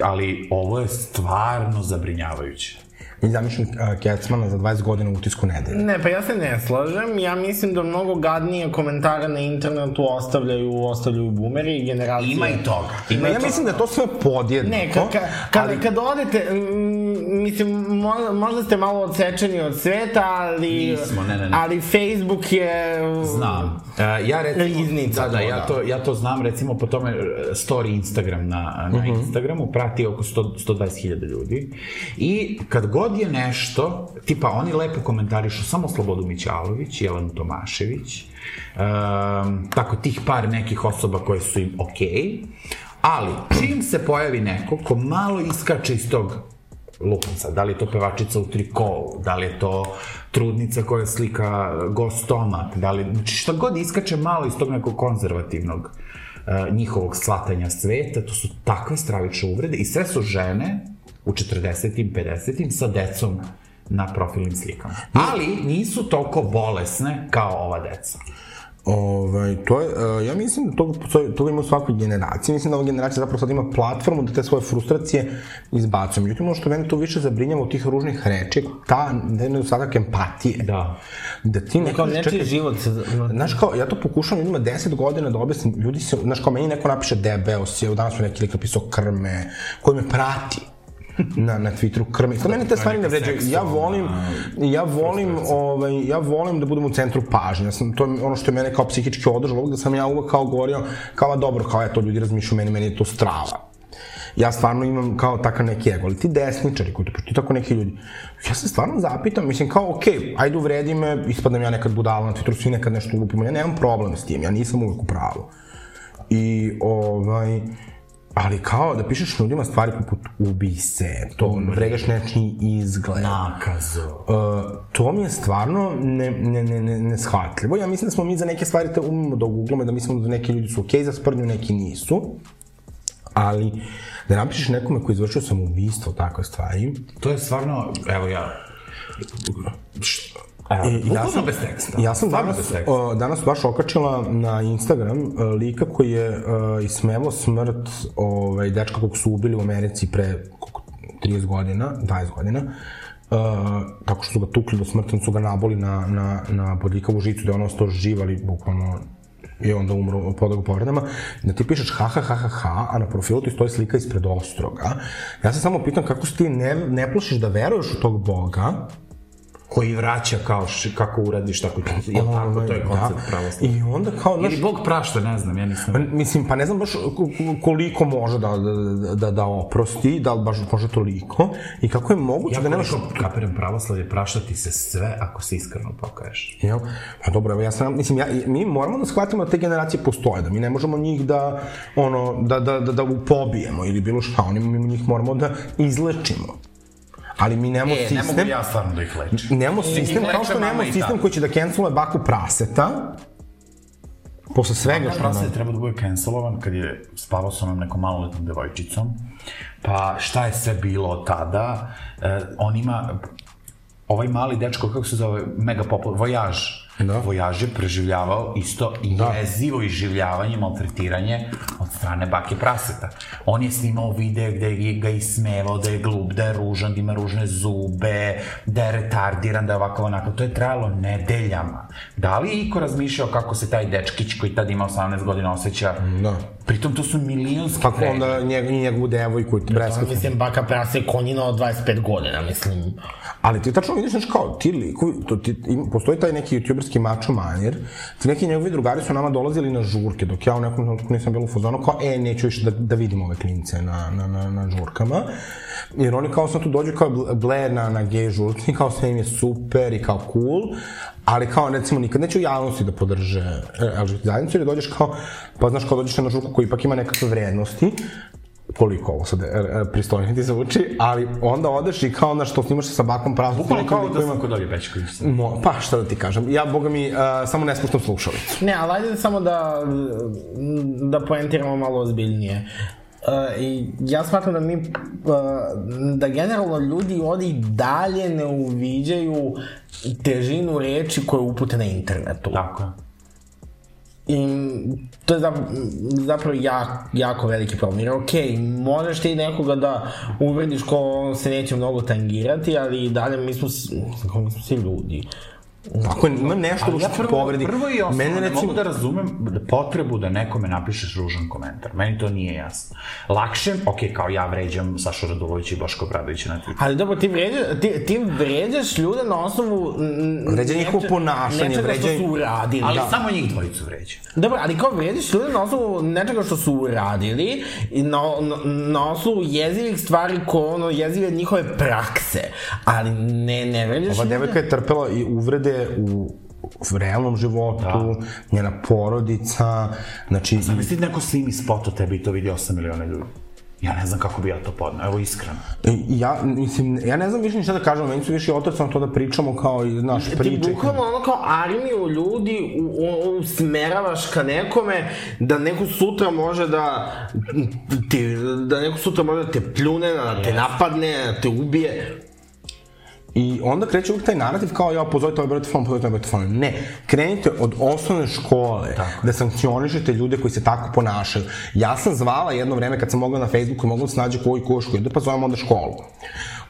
ali ovo je stvarno zabrinjavajuće. I zamišljam uh, Kecmana za 20 godina u utisku nedelje. Ne, pa ja se ne slažem. Ja mislim da mnogo gadnije komentare na internetu ostavljaju, ostavljaju boomeri i generacije. Ima i toga. Ima Ne, i ja toga. mislim da je to sve podjedno. Ne, ka, ka, kad, ali... kad odete, mm, mislim, možda, možda ste malo odsečeni od sveta, ali... Nismo, ne, ne, ne. Ali Facebook je... Znam. E, ja recimo, Riznica da, da, to, ja da. to, ja to znam recimo po tome e, story Instagram na, na Instagramu prati oko 100, 120.000 ljudi i kad god je nešto, tipa oni lepo komentarišu samo Slobodu Mićalović, Jelenu Tomašević, um, tako tih par nekih osoba koje su im okej, ali čim se pojavi neko ko malo iskače iz tog lupnica, da li je to pevačica u trikovu, da li je to trudnica koja slika gost stomak, da li, znači šta god iskače malo iz tog nekog konzervativnog uh, njihovog svatanja sveta, to su takve stravične uvrede i sve su žene u 40-im, 50-im sa decom na profilnim slikama. Ali nisu toliko bolesne kao ova deca. Ovaj, to je, uh, ja mislim da toga, postoji, toga ima u svakoj generaciji. Mislim da ova generacija zapravo sad ima platformu da te svoje frustracije izbacuju. Međutim, ono što mene tu više zabrinjava od tih ružnih reči, je ta nedostatak empatije. Da. Da ti neko... Kao nečiji život se... Znaš kao, ja to pokušavam ljudima 10 godina da objasnim, ljudi se, znaš kao, meni neko napiše debeo si, evo danas mi neki lik napisao krme, koji me prati. na, na Twitteru krmi. To meni te stvari ne vređaju. Ja volim, ja volim, ovaj, ja volim da budem u centru pažnje. Ja sam, to je ono što je mene kao psihički održalo, da sam ja uvek kao govorio, kao "A dobro, kao je to ljudi razmišljaju o meni, meni je to strava. Ja stvarno imam kao takav neki ego, ali ti desničari koji te poštuju, tako neki ljudi. Ja se stvarno zapitam, mislim kao, okej, ajde uvredi me, ispadnem ja nekad budala na Twitteru, svi nekad nešto ulupimo, ja nemam problem s tim, ja nisam uvek u pravu. I ovaj, ali kao da pišeš ljudima stvari poput ubi se, to vregaš nečiji izgled. Nakazo. Uh, to mi je stvarno ne, ne, ne, ne, neshvatljivo. Ja mislim da smo mi za neke stvari te umimo da uguglamo i da mislimo da neki ljudi su okej okay za sprdnju, neki nisu. Ali da napišeš nekome koji je izvršio samoubistvo, takve stvari. To je stvarno, evo ja, Evo, E, bukvalno bez teksta. Ja E, sam Stvarno danas, bez teksta. o, danas baš okačila na Instagram e, lika koji je e, ismevao smrt ovaj, dečka kog su ubili u Americi pre koliko, 30 godina, 20 godina. E, tako što su ga tukli do smrti, onda su ga naboli na, na, na bodljikavu žicu da je on ostao živ, ali bukvalno je onda umro podog povredama, da ti pišeš ha, ha, ha, ha, ha, a na profilu ti stoji slika ispred ostroga. Ja se samo pitam kako se ti ne, ne plašiš da veruješ u tog boga, koji vraća kao š, kako uradiš, tako ću. Jel tako, to je Ovaj, koncept da. pravoslavlja. I onda kao, znaš, Ili Bog prašta, ne znam, ja nisam. Pa, Mislim, pa ne znam baš ko- ko- koliko može da, da, da, da oprosti, da li baš može toliko, i kako je moguće Ja da nemaš... koliko kapiram pravoslavlje, prašta ti se sve ako se iskreno pokaješ. Jel? Pa dobro, evo ja sam, mislim, ja, mi moramo da shvatimo da te generacije postoje, da mi ne možemo njih da, ono, da, da, da, da pobijemo ili bilo šta, oni, mi njih moramo da izlečimo. Ali mi nemamo E, ne sistem... mogu ja stvarno da ih lečim. Nemamo I sistem, kao leče što mama nemamo i sistem tata. koji će da cancele baku praseta, posle svega što Prase je trebao da bude cancelovan kad je spavao sa onom nekom maloletnom devojčicom. Pa šta je sve bilo od tada? E, on ima ovaj mali dečko, kako se zove, mega popular, Vojaž. Da. Vojaž je preživljavao isto i da. jezivo iživljavanje, maltretiranje od strane bake praseta. On je snimao videe gde je ga ismevao, da je glup, da je ružan, da ima ružne zube, da je retardiran, da je ovako onako. To je trajalo nedeljama. Da li je iko razmišljao kako se taj dečkić koji tad ima 18 godina osjeća? Da. Pritom to su milionski Kako trend. onda njeg, i njegovu devojku, Da, Breska, Mislim, baka prase konjina od 25 godina, mislim. Ali ti tačno vidiš, znaš, kao, ti likovi, to ti, im, postoji taj neki youtuberski mačo manjer, ti neki njegovi drugari su nama dolazili na žurke, dok ja u nekom trenutku nisam bila u fazonu, kao, e, neću više da, da vidim ove klince na, na, na, na žurkama, jer oni kao sam tu dođu kao bl- ble na, na gej žurci, i kao sve im je super i kao cool, ali kao, recimo, nikad neću u javnosti da podrže e, LGBT zajednicu, jer dođeš kao, pa znaš, kao dođeš na žurku koja ipak ima nekakve vrednosti, koliko ovo sad e, e, pristojnije ti zvuči, ali onda odeš i kao na što snimaš se sa bakom pravom. Bukvalno kao da sam kod Olje Bećković. Mo, pa šta da ti kažem, ja boga mi uh, samo ne spuštam slušalicu. Ne, ali ajde samo da, da poentiramo malo ozbiljnije. Uh, i ja smatram da mi uh, da generalno ljudi ovdje i dalje ne uviđaju težinu reči koje upute na internetu. Tako je. I to je zapravo, zapravo jak, jako veliki problem. Jer okej, možeš ti nekoga da uvrediš ko on se neće mnogo tangirati, ali i dalje mi smo, s- mislim, kao mi smo svi ljudi. Ako imam nešto Ali da što ti povredi, prvo i osnovno, mene ne recimo, mogu da razumem da potrebu da nekome napišeš ružan komentar. Meni to nije jasno. Lakše, ok, kao ja vređam Sašu Radulovića i Boško Bradovića na Twitteru. Ali dobro, ti vređaš, ti, ti vređaš ljude na osnovu... mm, Vređa njihovo neče- ponašanje, nečega vređa- što su uradili. Ali da. samo njih dvojicu vređa. Dobro, ali kao vrediš ljude na osnovu nečega što su uradili i na, na, na osnovu jezivih stvari koje ono jezive njihove prakse, ali ne, ne vrediš ova da- devojka je trpela i uvrede u u realnom životu, da. njena porodica, znači... Misli da neko snimi spot o tebi i to vidi 8 miliona ljudi. Ja ne znam kako bi ja to podnao, evo iskreno. I- Ja, mislim, ja ne znam više ništa da kažem, meni su više otrcano to da pričamo kao i, znaš, Ti priče. bukvalno ono kao armiju ljudi u, u, usmeravaš ka nekome da neko sutra može da ti, da neko sutra može da te pljune, da te napadne, da te ubije. I onda kreće uvijek taj narativ kao ja pozovite ovaj broj telefon, pozovite ovaj broj telefona. Ne, krenite od osnovne škole tako. da sankcionišete ljude koji se tako ponašaju. Ja sam zvala jedno vreme kad sam mogla na Facebooku i mogla da se nađe koji košku, da pa zovem onda školu.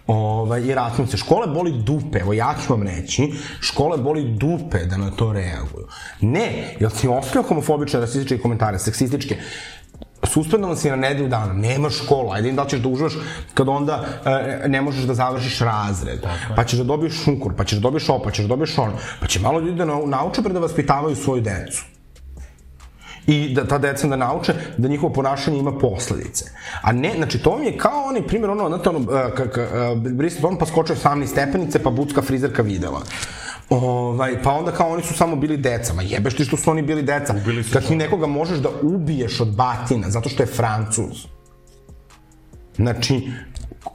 Ovaj, I račun se, škole boli dupe, evo ja ću vam reći, škole boli dupe da na to reaguju. Ne, jel si ostavio homofobične, rasističke komentare, seksističke, suspendovan si na nedelju dana, nema škola, ajde da li ćeš da uživaš kad onda e, ne možeš da završiš razred, pa ćeš da dobiješ šunkor, pa ćeš da dobiješ ovo, pa ćeš da dobiješ ono, pa će malo ljudi da nau- nauče pre da vaspitavaju svoju decu i da ta deca da nauče da njihovo ponašanje ima posledice. A ne, znači to mi je kao onaj primjer ono, znate ono, e, k, k, brisao on pa skočio 18 stepenice pa bucka frizerka videla. Ovaj, pa onda kao oni su samo bili deca. Ma jebeš ti što su oni bili deca. Kad ti nekoga možeš da ubiješ od batina zato što je francuz. Znači,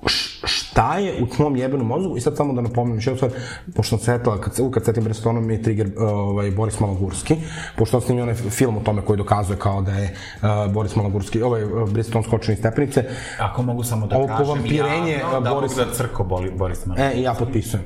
š- šta je u tvom jebenom mozgu i sad samo da napomenem još jednu stvar pošto sam setila kad, se- uvijek kad setim Brestona mi je trigger ovaj, Boris Malogurski pošto on snimio onaj film o tome koji dokazuje kao da je uh, Boris Malogurski ovaj uh, Breston skočio iz stepenice Ako mogu samo da Ovo kažem povampirenje, javno, da Boris- Boris... da crko boli, Boris Manojlović. e i ja potpisujem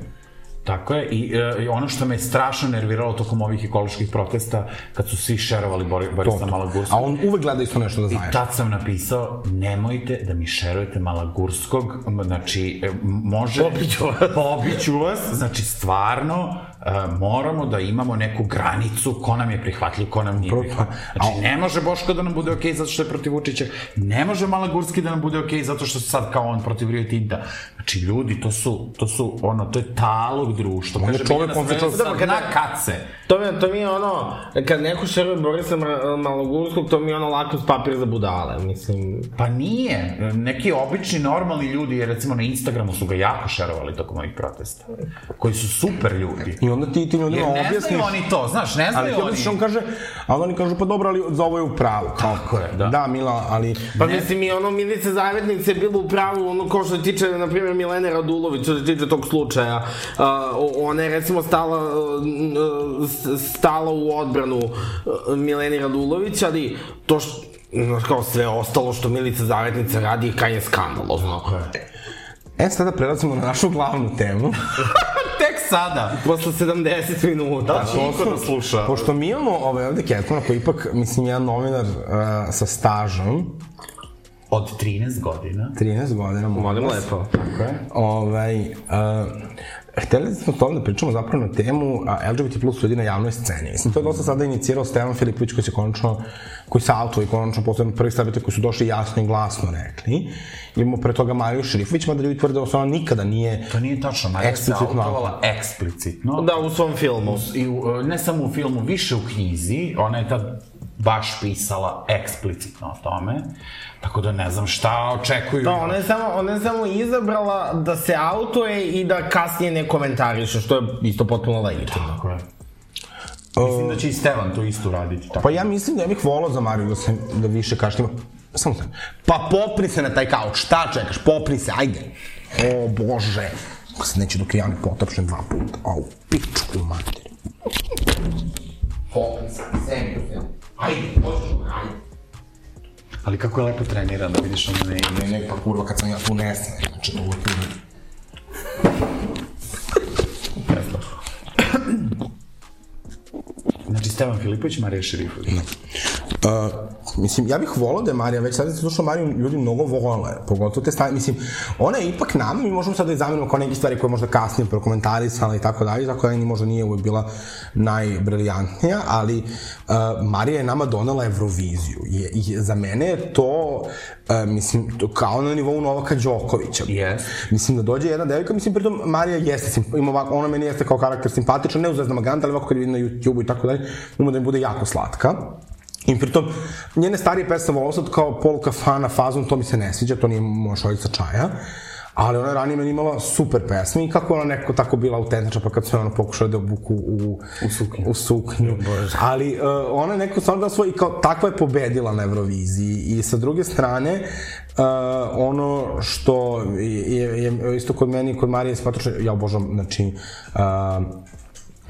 Tako je, i e, i ono što me je strašno nerviralo tokom ovih ekoloških protesta, kad su svi šerovali Bori, Borisa Malagurskog, a on uvek gleda isto nešto da zajedno tad sam napisao, nemojte da mi šerujete Malagurskog, m, znači, e, m- može... Pobiću vas. Pobiću vas, znači, stvarno, e, moramo da imamo neku granicu ko nam je prihvatljiv, ko nam nije prihvatljiv. Znači, ne može Boško da nam bude okej zato što je protiv Vučića, ne može Malagurski da nam bude okej zato što sad kao on protiv Rio Tinta. Znači, ljudi, to su, to su, ono, to je talog društva. On je čovek, on se čovek- Sa dna kace. To mi, to mi je ono, kad neko šeruje Borisa Mar- Malogurskog, to mi je ono lako s papir za budale, mislim. Pa nije. Neki obični, normalni ljudi, jer recimo na Instagramu su ga jako šerovali tokom ovih protesta, koji su super ljudi. i onda ti tim Jer ljudima ne objasniš znaju oni to, znaš, ne ali znaju ti oni. objasniš on kaže a onda oni kažu pa dobro ali za ovo je u pravu kao, Tako je, da. da Mila ali Pa mislim i ono Milica Zavetnica je bila u pravu ono ko što se tiče na primjer Milene Radulović što se tiče tog slučaja a, o- ona je recimo stala a, n- a, s- stala u odbranu a, Mileni Radulović ali to što znaš, kao sve ostalo što Milica Zavetnica radi kaj je skandalozno. e sada prelazimo na našu glavnu temu Tek sada. Posle 70 minuta. Da, niko da sluša. Pošto mi imamo ovaj, ovde Ketmana koji je ipak, mislim, jedan novinar uh, sa stažom, Od 13 godina. 13 godina, molim vas. lepo. Tako je. Ovaj, uh, hteli smo o tome da pričamo zapravo na temu a, LGBT plus ljudi na javnoj sceni. Mislim, to je dosta sada inicirao Stevan Filipović koji se konačno, koji se auto i konačno posledno prvih stavite koji su došli jasno i glasno rekli. Imamo pre toga Mariju Šerifović, mada ljudi tvrde da ona nikada nije To nije tačno, Marija se Eksplicitno. autovala eksplicitno. Da, u svom filmu. I u, e, ne samo u filmu, više u knjizi. Ona je tad baš pisala eksplicitno o tome. Tako da ne znam šta očekuju. Da, ona je samo, ona je samo izabrala da se autoje i da kasnije ne komentariše, što je isto potpuno legitimno. Tako je. Mislim da će i Stevan to isto raditi. Tako. Pa ja mislim da ja bih volao za Mariju da, se, da više kaštima. Samo sam. Pa popni se na taj kauč, šta čekaš, popni se, ajde. O bože, ako se neće dok ja ne potapšem dva puta. Au, pičku mater. Ali kako je lepo trenirana, vidiš ono ne Ne, ne, pa kurva, kad sam ja tu nesen, znači to uvijek ide. Znači, Stevan Filipović, Marija Šerifović. Uh, mislim, ja bih volao da je Marija, već sada se slušao Mariju, ljudi mnogo vole, pogotovo te stvari, mislim, ona je ipak nam, mi možemo sad da je zamenimo kao neke stvari koje je možda kasnije prokomentarisala i tako dalje, tako da ni možda nije uvek bila najbriljantnija, ali uh, Marija je nama donela Euroviziju. Je, je, za mene je to, uh, mislim, to kao na nivou Novaka Đokovića. Yes. Mislim da dođe jedna devojka, mislim pritom Marija jeste, simp- ima ovako, ona meni jeste kao karakter simpatična, ne u Zvezdama Ganta, ali ovako kad je vidim na YouTube i tako dalje, ima da mi bude jako slatka. I pritom, njene starije pesme volao sad kao polka fana fazom, to mi se ne sviđa, to nije moja šoljica čaja. Ali ona je ranije meni imala super pesme i kako je ona nekako tako bila autentična, pa kad su je ona pokušala da je obuku u, u suknju. U suknju. Ali uh, ona je nekako stvarno dala svoj, i kao takva je pobedila na Euroviziji. I sa druge strane, uh, ono što je, je, je isto kod meni, i kod Marije Spatroša, ja obožavam, znači, uh,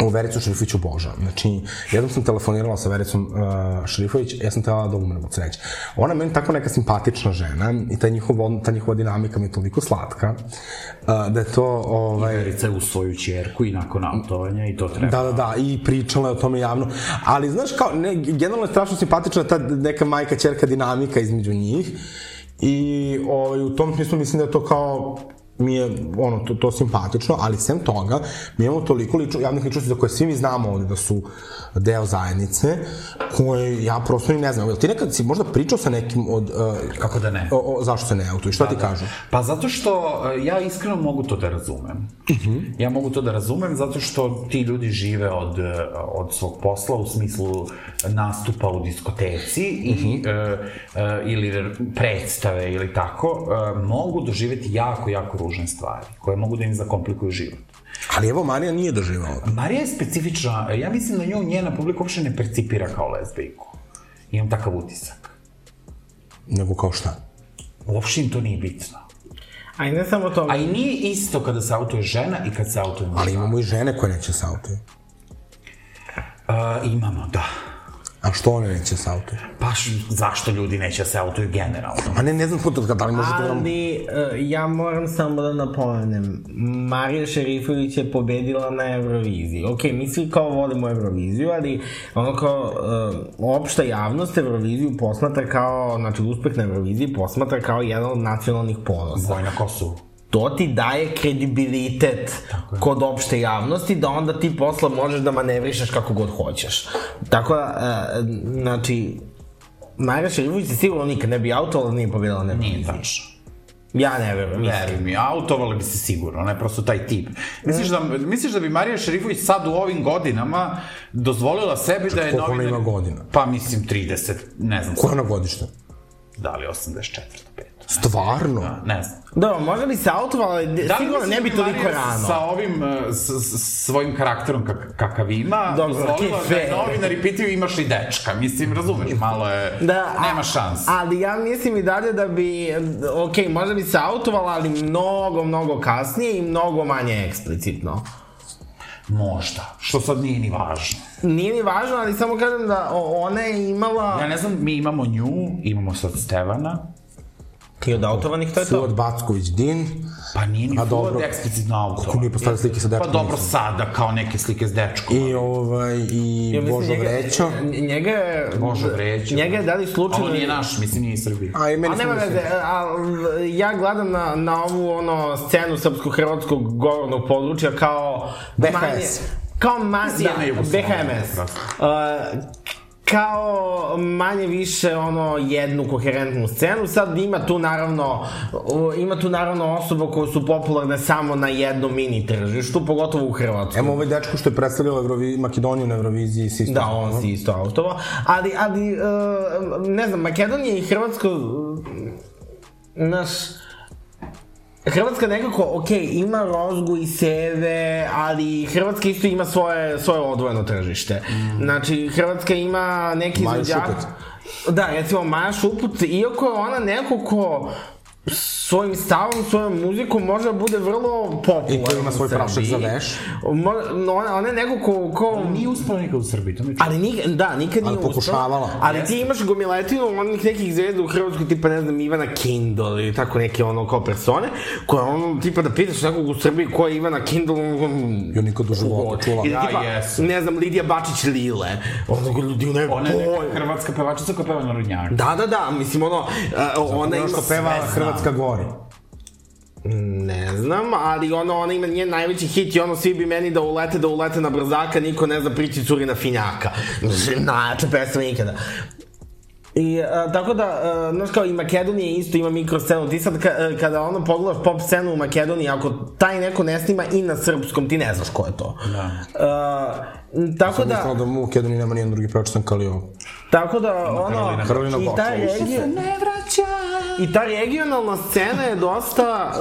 u Vericu Šerifović obožavam. Znači, jednom sam telefonirala sa Vericom uh, Šerifović, ja sam trebala da umrem od sreće. Ona je meni tako neka simpatična žena i ta njihova, ta njihova dinamika mi je toliko slatka uh, da je to... Ovaj, Verica je u svoju čerku i nakon autovanja i to treba. Da, da, da, i pričala je o tome javno. Ali, znaš, kao, ne, generalno je strašno simpatična ta neka majka-čerka dinamika između njih. I ovaj, u tom smislu mislim da je to kao mi je ono, to, to simpatično, ali sem toga, mi imamo toliko liču, javnih ličnosti za koje svi mi znamo ovde da su deo zajednice, koje ja prosto ni ne znam. Jel ti nekad si možda pričao sa nekim od... Uh, Kako da ne? O, o, zašto se ne autuju? Šta da, ti kažu? Pa zato što e, ja iskreno mogu to da razumem. Ja mogu to da razumem zato što ti ljudi žive od, e, od svog posla u smislu nastupa u diskoteci i, e, e, ili predstave ili tako. e, mogu doživeti jako, jako ružne stvari koje mogu da im zakomplikuju život. Ali evo, Marija nije doživao. Marija je specifična, ja mislim da nju njena publika uopšte ne percipira kao lezbijku. Imam takav utisak. Nego kao šta? Uopšte im to nije bitno. A i ne samo to. A i nije isto kada se autuje žena i kad se autuje muškarac. Ali imamo i žene koje neće sa autuju. Uh, imamo, da. A što one neće sa autuju? Pa š- zašto ljudi neće da se autuju generalno? Ma ne, ne znam kod, da li možda to nam... Ali, e, ja moram samo da napomenem, Marija Šerifović je pobedila na Euroviziji. Ok, mi svi kao volimo Euroviziju, ali ono kao, e, opšta javnost Euroviziju posmatra kao, znači uspeh na Euroviziji posmatra kao jedan od nacionalnih ponosa Boj na Kosovu. to ti daje kredibilitet kod opšte javnosti da onda ti posla možeš da manevrišaš kako god hoćeš. Tako da, e, znači, Marija Šerifović se sigurno nikad ne bi autovala, da nije pobjedala na Nije Euroviziji. tačno. Ja ne verujem. Ne. Veruj mi, autovali bi se sigurno, ona je prosto taj tip. Misliš da, misliš da bi Marija Šerifović sad u ovim godinama dozvolila sebi da je koliko ona novinar... ima godina? Pa mislim 30, ne znam, Koja je ona godišta? da li 84, 5. Stvarno? Da. Ne znam. Dobro, možda bi se autovala, ali Da li sigurno misliš ne bi da toliko Marija rano. Sa ovim, e, s, s, svojim karakterom kak, kakav ima, Dobro, dozvolila da je kefe. novinari pitaju imaš li dečka. Mislim, razumeš, malo je, Da, a- nema šans. Ali ja mislim i dalje da bi, ok, možda bi se autovala, ali mnogo, mnogo kasnije i mnogo manje eksplicitno. Možda, što sad nije ni važno. Nije ni važno, ali samo kažem da o- ona je imala... Ja ne znam, mi imamo nju, imamo sad Stevana, I od autovanih to je to. Fuad Backović Din. pa nije ni A Fuad dobro. eksplicitno auto. Kako nije postavio slike sa Pa dečkom? dobro, nisam. sada, kao neke slike s dečkom. I ovaj, i mislim, da Božo njega- Vrećo. Njega je... Bože, vreće. Njega je da li slučajno... Ovo nije naš, mislim, nije iz Srbije. A i A meni nema se veze, a, ja gledam na, na ovu ono scenu srpsko-hrvatskog govornog područja kao... BHS. manje- kao manje... Sjena Da, Jugoslavija. BHMS. Uh, kao manje više ono jednu koherentnu scenu. Sad ima tu naravno uh, ima tu naravno osoba koje su popularne samo na jednom mini tržištu, pogotovo u Hrvatskoj. Emo ovaj dečko što je predstavljao Eurovi, Makedoniju na Euroviziji s istom. Da, on si isto autovo. Ali, ali, uh, ne znam, Makedonija i Hrvatska, uh, naš, Hrvatska nekako, ok, ima Rozgu i Seve, ali Hrvatska isto ima svoje, svoje odvojeno tržište. Mm. Znači, Hrvatska ima neki Maju izvođač... Da, recimo Maja Šuput, iako je ona neko ko svojim stavom, svojom muzikom može da bude vrlo popularan I koji ima svoj u Srbiji. prašak za veš. Mo- no, ona, ona je neko ko, ko Nije uspela nikad u Srbiji, to mi je čudno. Ali nik, da, nikad Ali nije uspeo. pokušavala. Ali ti imaš gomiletinu onih nekih zvezda u Hrvatskoj, tipa ne znam, Ivana Kindle ili tako neke ono kao persone, koja ono, tipa da pitaš nekog u Srbiji ko je Ivana Kindle, ono, mm, Jo nikad u životu čula. ili Ja tipa, jesam. ne znam, Lidija Bačić Lile. Ono, ljudi, ona je Ona je boj. neka hrvatska pevačica koja peva na rodnjaku. Da, da, da, mislim, ono, a, ona ima Ono što peva Hrvatska Da. gori. Ne znam, ali ono, ona ima njen najveći hit i ono, svi bi meni da ulete, da ulete na brzaka, niko ne zna priči curi na finjaka. Mislim, Najjača pesma ikada. I, a, tako da, a, znaš kao i Makedonija isto ima mikroscenu, ti sad ka, e, kada ono pogledaš pop scenu u Makedoniji, ako taj neko ne snima i na srpskom, ti ne znaš ko je to. Da. tako da... Mislim da mu u Makedoniji nema nijedan drugi pevač sam Kalio. Tako da, ono, Karolina i ta, Goča, regio, i ta regionalna scena je dosta...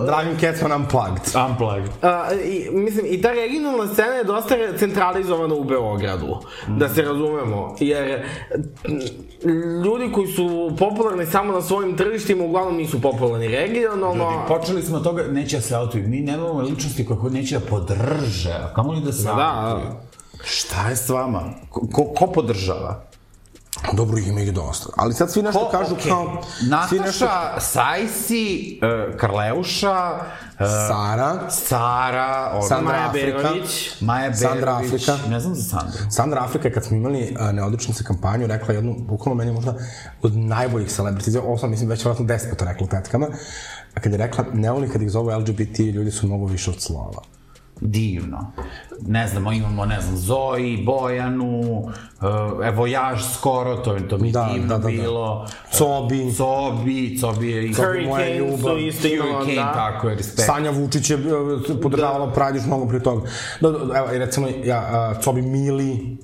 Uh, Dragin Kecman Unplugged. Unplugged. A, i, mislim, i ta regionalna scena je dosta re- centralizovana u Beogradu, da se razumemo, jer m, ljudi koji su popularni samo na svojim tržištima uglavnom nisu popularni regionalno. Počeli smo od toga, neće da se autuju. Mi nemamo ličnosti koje ko- neće da podrže, a kamo li da se autuju? da. Šta je s vama? Ko, ko, ko podržava? Dobro, ima ih dosta. Ali sad svi nešto kažu kao... Svi nešto... Nataša, Sajsi, e, Karleuša, e, Sara. Sara, ono, Sandra Maja Afrika. Berović. Maja Berović. Sandra Afrika. Ne znam za Sandru. Sandra Afrika je kad smo imali a, neodličnice kampanju rekla jednu, bukvalno meni možda od najboljih celebrity, ovo sam mislim već vratno deset puta rekla u petkama, A kad je rekla, ne volim kad ih zove LGBT, ljudi su mnogo više od slova. divno. Ne znamo, imamo, ne znam, Zoji, Bojanu, eh, evo Jaž skoro, to, to mi je Da, divno da, da, da. bilo. Cobi. Cobi, Cobi je... Cobi moja ljubav. su isto imali, Hurricane, da. tako je, respekt. Sanja Vučić je e, podržavala da. Pradiš mnogo prije toga. Da, da, evo, i recimo, ja, a, Cobi Mili,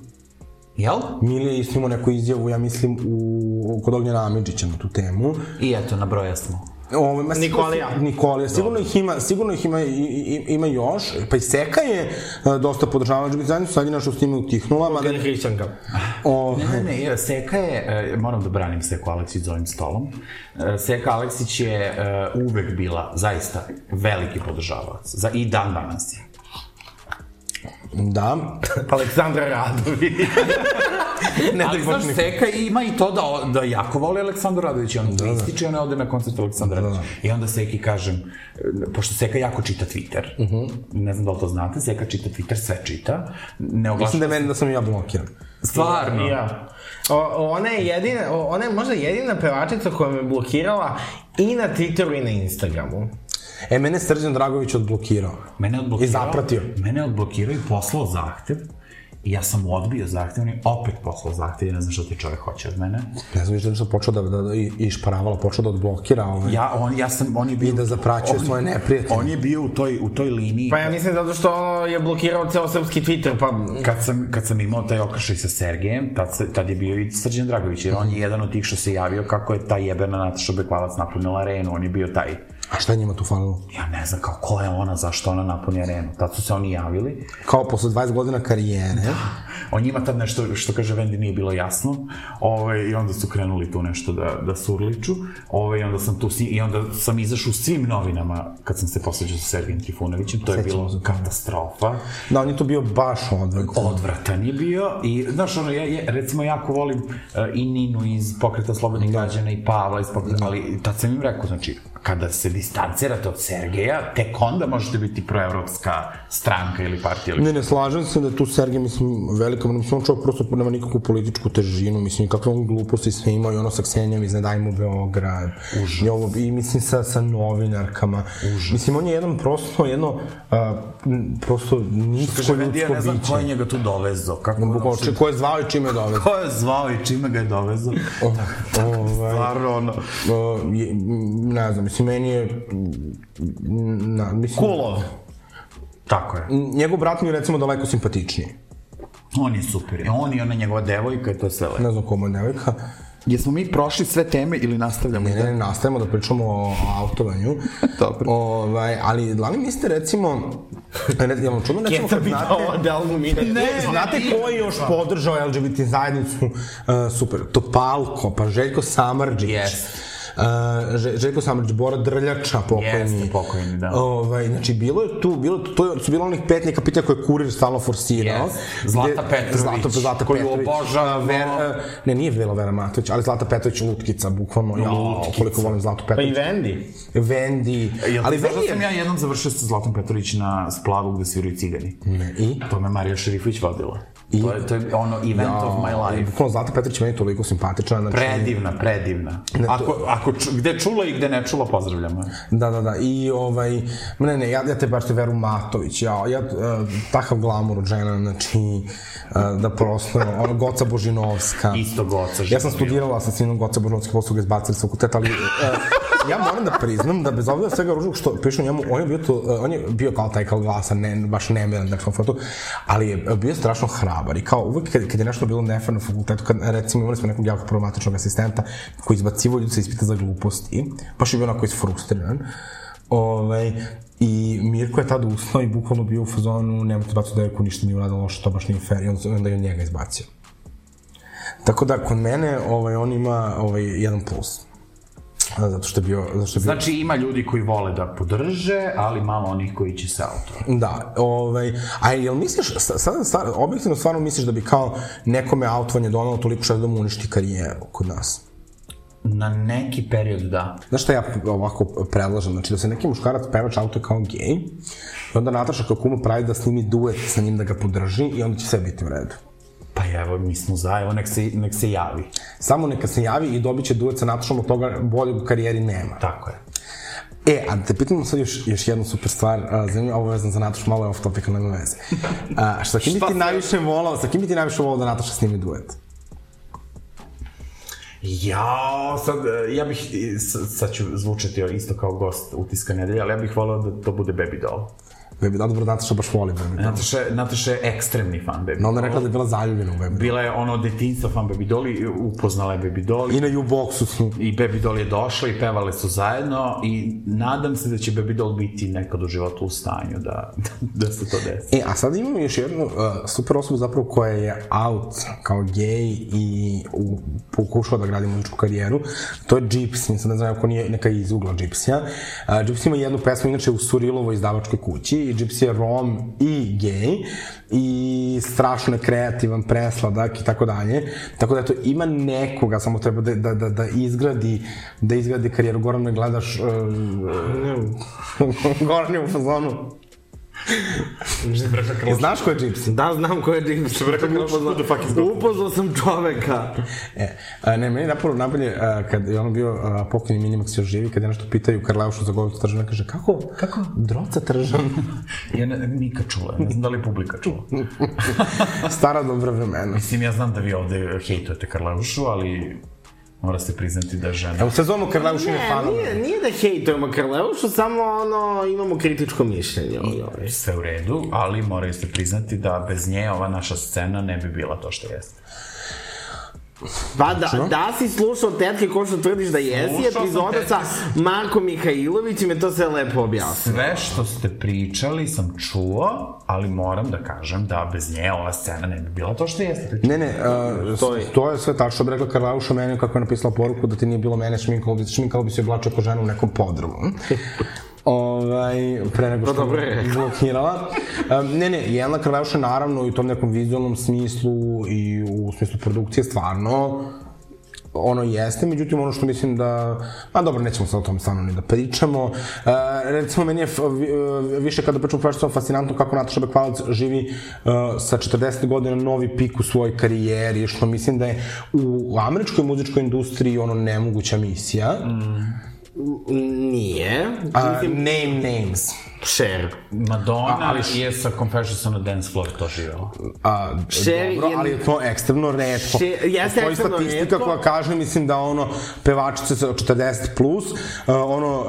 Jel? Mili je isto imao neku izjavu, ja mislim, u, kod Ognjena Amidžića na tu temu. I eto, nabroja smo. Ovo, ma, sigurno- Nikolija. Nikolija, sigurno ih ima, sigurno ih ima, i, i, ima još, pa i Seka je e, dosta podržavala LGBT zajednicu, sad je naša s time utihnula, mada... Kada hrišćanka. O, Ne, ne, ne, Seka je, e, moram da branim Seku Aleksić za ovim stolom, E, Seka Aleksić je e, uvek bila zaista veliki podržavac, za, i dan danas je. da, Pa Aleksandra Radović. Ne, ali znaš, Seka ima i to da, o- da jako voli Aleksandar Radović, i on da, ističe i ona ode na koncert Aleksandra Radovića. I onda Seki kažem, e, pošto Seka jako čita Twitter, ne znam da li to znate, Seka čita Twitter, sve čita, ne oglaša. mislim da je meni da sam i ja blokiran. Stvarno. Ja. O, ona je jedina, o, ona je možda jedina pevačica koja me blokirala i na Twitteru i na Instagramu. E, mene je Srđan Dragović odblokirao. Mene je odblokirao. I zapratio. Mene je odblokirao i poslao zahtev. I ja sam mu odbio zahtev, on je opet poslao zahtev, ja ne znam što ti čovjek hoće od mene. Ne znam, više da sam počeo da, da, da i, i šparavala, počeo da odblokira ove. Ja, on, ja sam, on je bio... I da zapraćuje on- svoje neprijatelje. On je bio u toj, u toj liniji. Pa ja mislim zato što ono je blokirao ceo srpski Twitter, pa... Kad sam, kad sam imao taj okršaj sa Sergejem, tad, se, tad je bio i Srđan Dragović, jer on je jedan od tih što se javio kako je ta jebena Nataša Bekvalac napunila arenu, on je bio taj, A šta je njima tu falilo? ja ne znam kao ko je ona, zašto ona napuni arenu, tad su se oni javili, Kao posle 20 godina karijere. Da. on njima tad nešto, što kaže Vendi, nije bilo jasno, ovaj, i onda su krenuli tu nešto da, da surliču, ovaj, i onda sam tu, s njim- i onda sam izašao u svim novinama kad sam se posveđao sa Sergejem Trifunovićem, to je bilo katastrofa. Da, on je tu bio baš odvratan. odvratan je bio i znaš ono ja, ja recimo jako volim uh, i Ninu iz pokreta slobodnih građana i Pavla iz pokreta, ali tad sam im rekao znači kada se distancirate od Sergeja tek onda možete biti proevropska stranka ili partija ili Ne, ne, slažem se da je tu Sergej, mislim, velika, mislim, on čovjek prosto nema nikakvu političku težinu, mislim, i kakve on gluposti sve imao i ono sa Ksenijom iz Ne dajmo Beograd. I, ovo, I mislim, sa, sa novinarkama. Užas. Mislim, on je jedan prosto, jedno, a, m, prosto nisko Vendi, ja ljudsko ne znam ko je biće. njega tu dovezo kako ono, Bukvalno, če- Ko je zvao i čime je dovezao. ko je zvao i čime ga je dovezo Ovaj, stvarno ono o, E, je, m, ne znam, mislim, meni je... m, Na, mislim, kulo tako je Njegov brat mi je recimo daleko simpatičniji. on je super I on i ona njegova devojka i to je sve lepo Ne znam komu je devojka. jesmo mi prošli sve teme ili nastavljamo Ne, ne, ne, nastavimo da pričamo o autovanju. Dobro. Ovaj, ali, da li mislite, recimo, re, jel vam čudno recimo Kjeca kad bi znate... dao od albumina. Ne, E, Znate ko je još podržao LGBT zajednicu? Uh, super, Topalko, pa Željko Samarđić. Yes. Uh, Že- Željko Samarđić, Bora Drljača, pokojni. Jeste, pokojni, da. Ovaj, znači, bilo je tu, bilo, je tu- to je, su bilo onih pet neka pitanja koje je kurir stalno forsirao. Yes. Zlata Gde- Petrović, Zlata, Zlata koju Petrović. obožavamo. Ver- e, ne, nije bila Vera Matović, ali Zlata Petrović Lutkica, bukvalno. Ja, koliko volim Zlatu Pa i Petrović. Vendi. Vendi. ali Jel ali znaš da Vendi sam ja jednom završio sa Zlatom Petrović na splavu gde sviraju cigani? Ne, i? To me Marija Šerifović vodila. To je, to je ono event of my life. Bukvalno Zlata Petrović je meni toliko simpatična. Znači, Predivna, predivna. Ne, to- Ako, ako ču, gde čula i gde ne čula, pozdravljamo. je. Da, da, da. I ovaj, ma ne, ne, ja, ja te baš te veru Matović, ja, ja, eh, takav glamur od žena, znači, eh, da prosto, ono, Goca Božinovska. Isto goca. Ja sam studirala sa sinom Goca Božinovske, posle ga izbacili sa fakulteta, ali... eh, ja moram da priznam da bez obzira svega ružnog što pišu njemu, on je bio, to, eh, on je bio kao taj kao glasan, ne, baš nemiran, dakle, foto, ali je e, bio strašno hrabar i kao uvek kad, kad je nešto bilo nefer na fakultetu, kad recimo imali smo nekog jako problematičnog asistenta koji izbacivo ljudi sa ispita za gluposti, baš je bio onako isfrustriran, Ovaj, I Mirko je tad ustao i bukvalno bio u fazonu, nemojte baciti devojku, ništa nije uradila loše, to baš nije fair, i onda, se- onda je njega izbacio. Tako da, kod mene, ovaj, on ima ovaj, jedan plus. A, Zato što je bio... Zato što je bio Znači, ima ljudi koji vole da podrže, ali malo onih koji će se auto. Da, ovaj, a jel misliš, sa- sada stvar, objektivno stvarno misliš da bi kao nekome autovanje donalo toliko što da mu uništi karijeru kod nas? Na neki period, da. Znaš šta ja ovako predlažem? Znači da se neki muškarac pevač auto kao gej, i onda Nataša kao kuma pravi da snimi duet sa njim da ga podrži i onda će sve biti u redu. Pa evo, mi smo za, evo, nek se, nek se javi. Samo neka se javi i dobit će duet sa Natašom, od toga boljeg u karijeri nema. Tako je. E, a da te pitam sad još, još jednu super stvar, a, zanimljivo, ovo je vezano za Natašu, malo je off topic, ali nema veze. A, šta kim bi ti najviše volao, sa kim bi ti najviše volao da Nataša snimi duet? Jao, sad, e, ja bih, i, s- sad ću zvučati isto kao gost utiska nedelja, ali ja bih volao da to bude Baby Doll. Baby, da, dobro, Nataša baš voli Baby. Da. Nataša, je- Nataša je ekstremni fan Baby No, Doll. ona je rekla da je bila zaljubljena u Baby. Bila je ono od detinjstva fan Baby Doll i upoznala je Baby Doll. I na U-boxu su. I Baby Doll je došla i pevale su zajedno i nadam se da će Baby Doll biti nekad u životu u stanju da, da se to desi. E, a sad imamo još jednu uh, super osobu zapravo koja je out kao gej i u, pokušala da gradi muzičku karijeru. To je Gypsy, sad ne znam ako nije neka iz ugla Gypsya. Uh, Gypsy ima jednu pesmu, inače u Surilovo izdavačkoj kući i Gypsy je rom i gej i strašno je kreativan, presladak i tako dalje. Tako da eto, ima nekoga, samo treba da, da, da, da izgradi da izgradi karijeru. Goran me gledaš... e, Uh, Goran je u fazonu. Znaš ko je Gypsy? Da, znam ko je James. Što rekao, upoznao, upoznao sam čoveka. E, a, ne, meni napravo najbolje, a, kad je ono bio a, pokojni Minimax još živi, kad je nešto pitaju Karleušu za govor tržana, kaže, kako, kako droca tržan? Ja ne, nikad čula, ne znam da li je publika čula. Stara dobra vremena. Mislim, ja znam da vi ovde hejtujete Karleušu, ali mora se priznati da je žena. Evo, sezonu Karleušu ne Ne, fanova. nije, nije da hejtujemo Karleušu, samo ono, imamo kritičko mišljenje o njoj. Sve u redu, ali moraju se priznati da bez nje ova naša scena ne bi bila to što jeste. Pa da, da si slušao tetke ko što tvrdiš da jesi, Slušao sam epizoda sa Markom Mihajlovićem je to sve lepo objasnio. Sve što ste pričali sam čuo, ali moram da kažem da bez nje ova scena ne bi bila to što jeste. Ne, ne, a, s- to je sve tačno, bi rekla Karleuša meni kako je napisala poruku da ti nije bilo mene, šminkalo bi, šminkalo bi se i oblačio ko žena u nekom podrumu. ovaj, pre nego što dobro je. me blokirala. Um, ne, ne, Jelena Karleuša naravno i u tom nekom vizualnom smislu i u smislu produkcije stvarno ono jeste, međutim ono što mislim da, a dobro, nećemo sad o tom stvarno ni da pričamo. E, recimo, meni je f- vi- e, više kada pričamo profesionalno fascinantno kako Nataša Bekvalac živi e, sa 40 godina novi pik u svojoj karijeri, što mislim da je u američkoj muzičkoj industriji ono nemoguća misija. Nije. A, name names. Cher. Madonna je sa Confessions on a Dance Floor to živela. A, Šer dobro, je- ali je to ekstremno redko. Šer- jeste Postoji ekstremno statistika retko. koja kaže, mislim da ono, pevačice sa 40 plus, uh, ono, uh,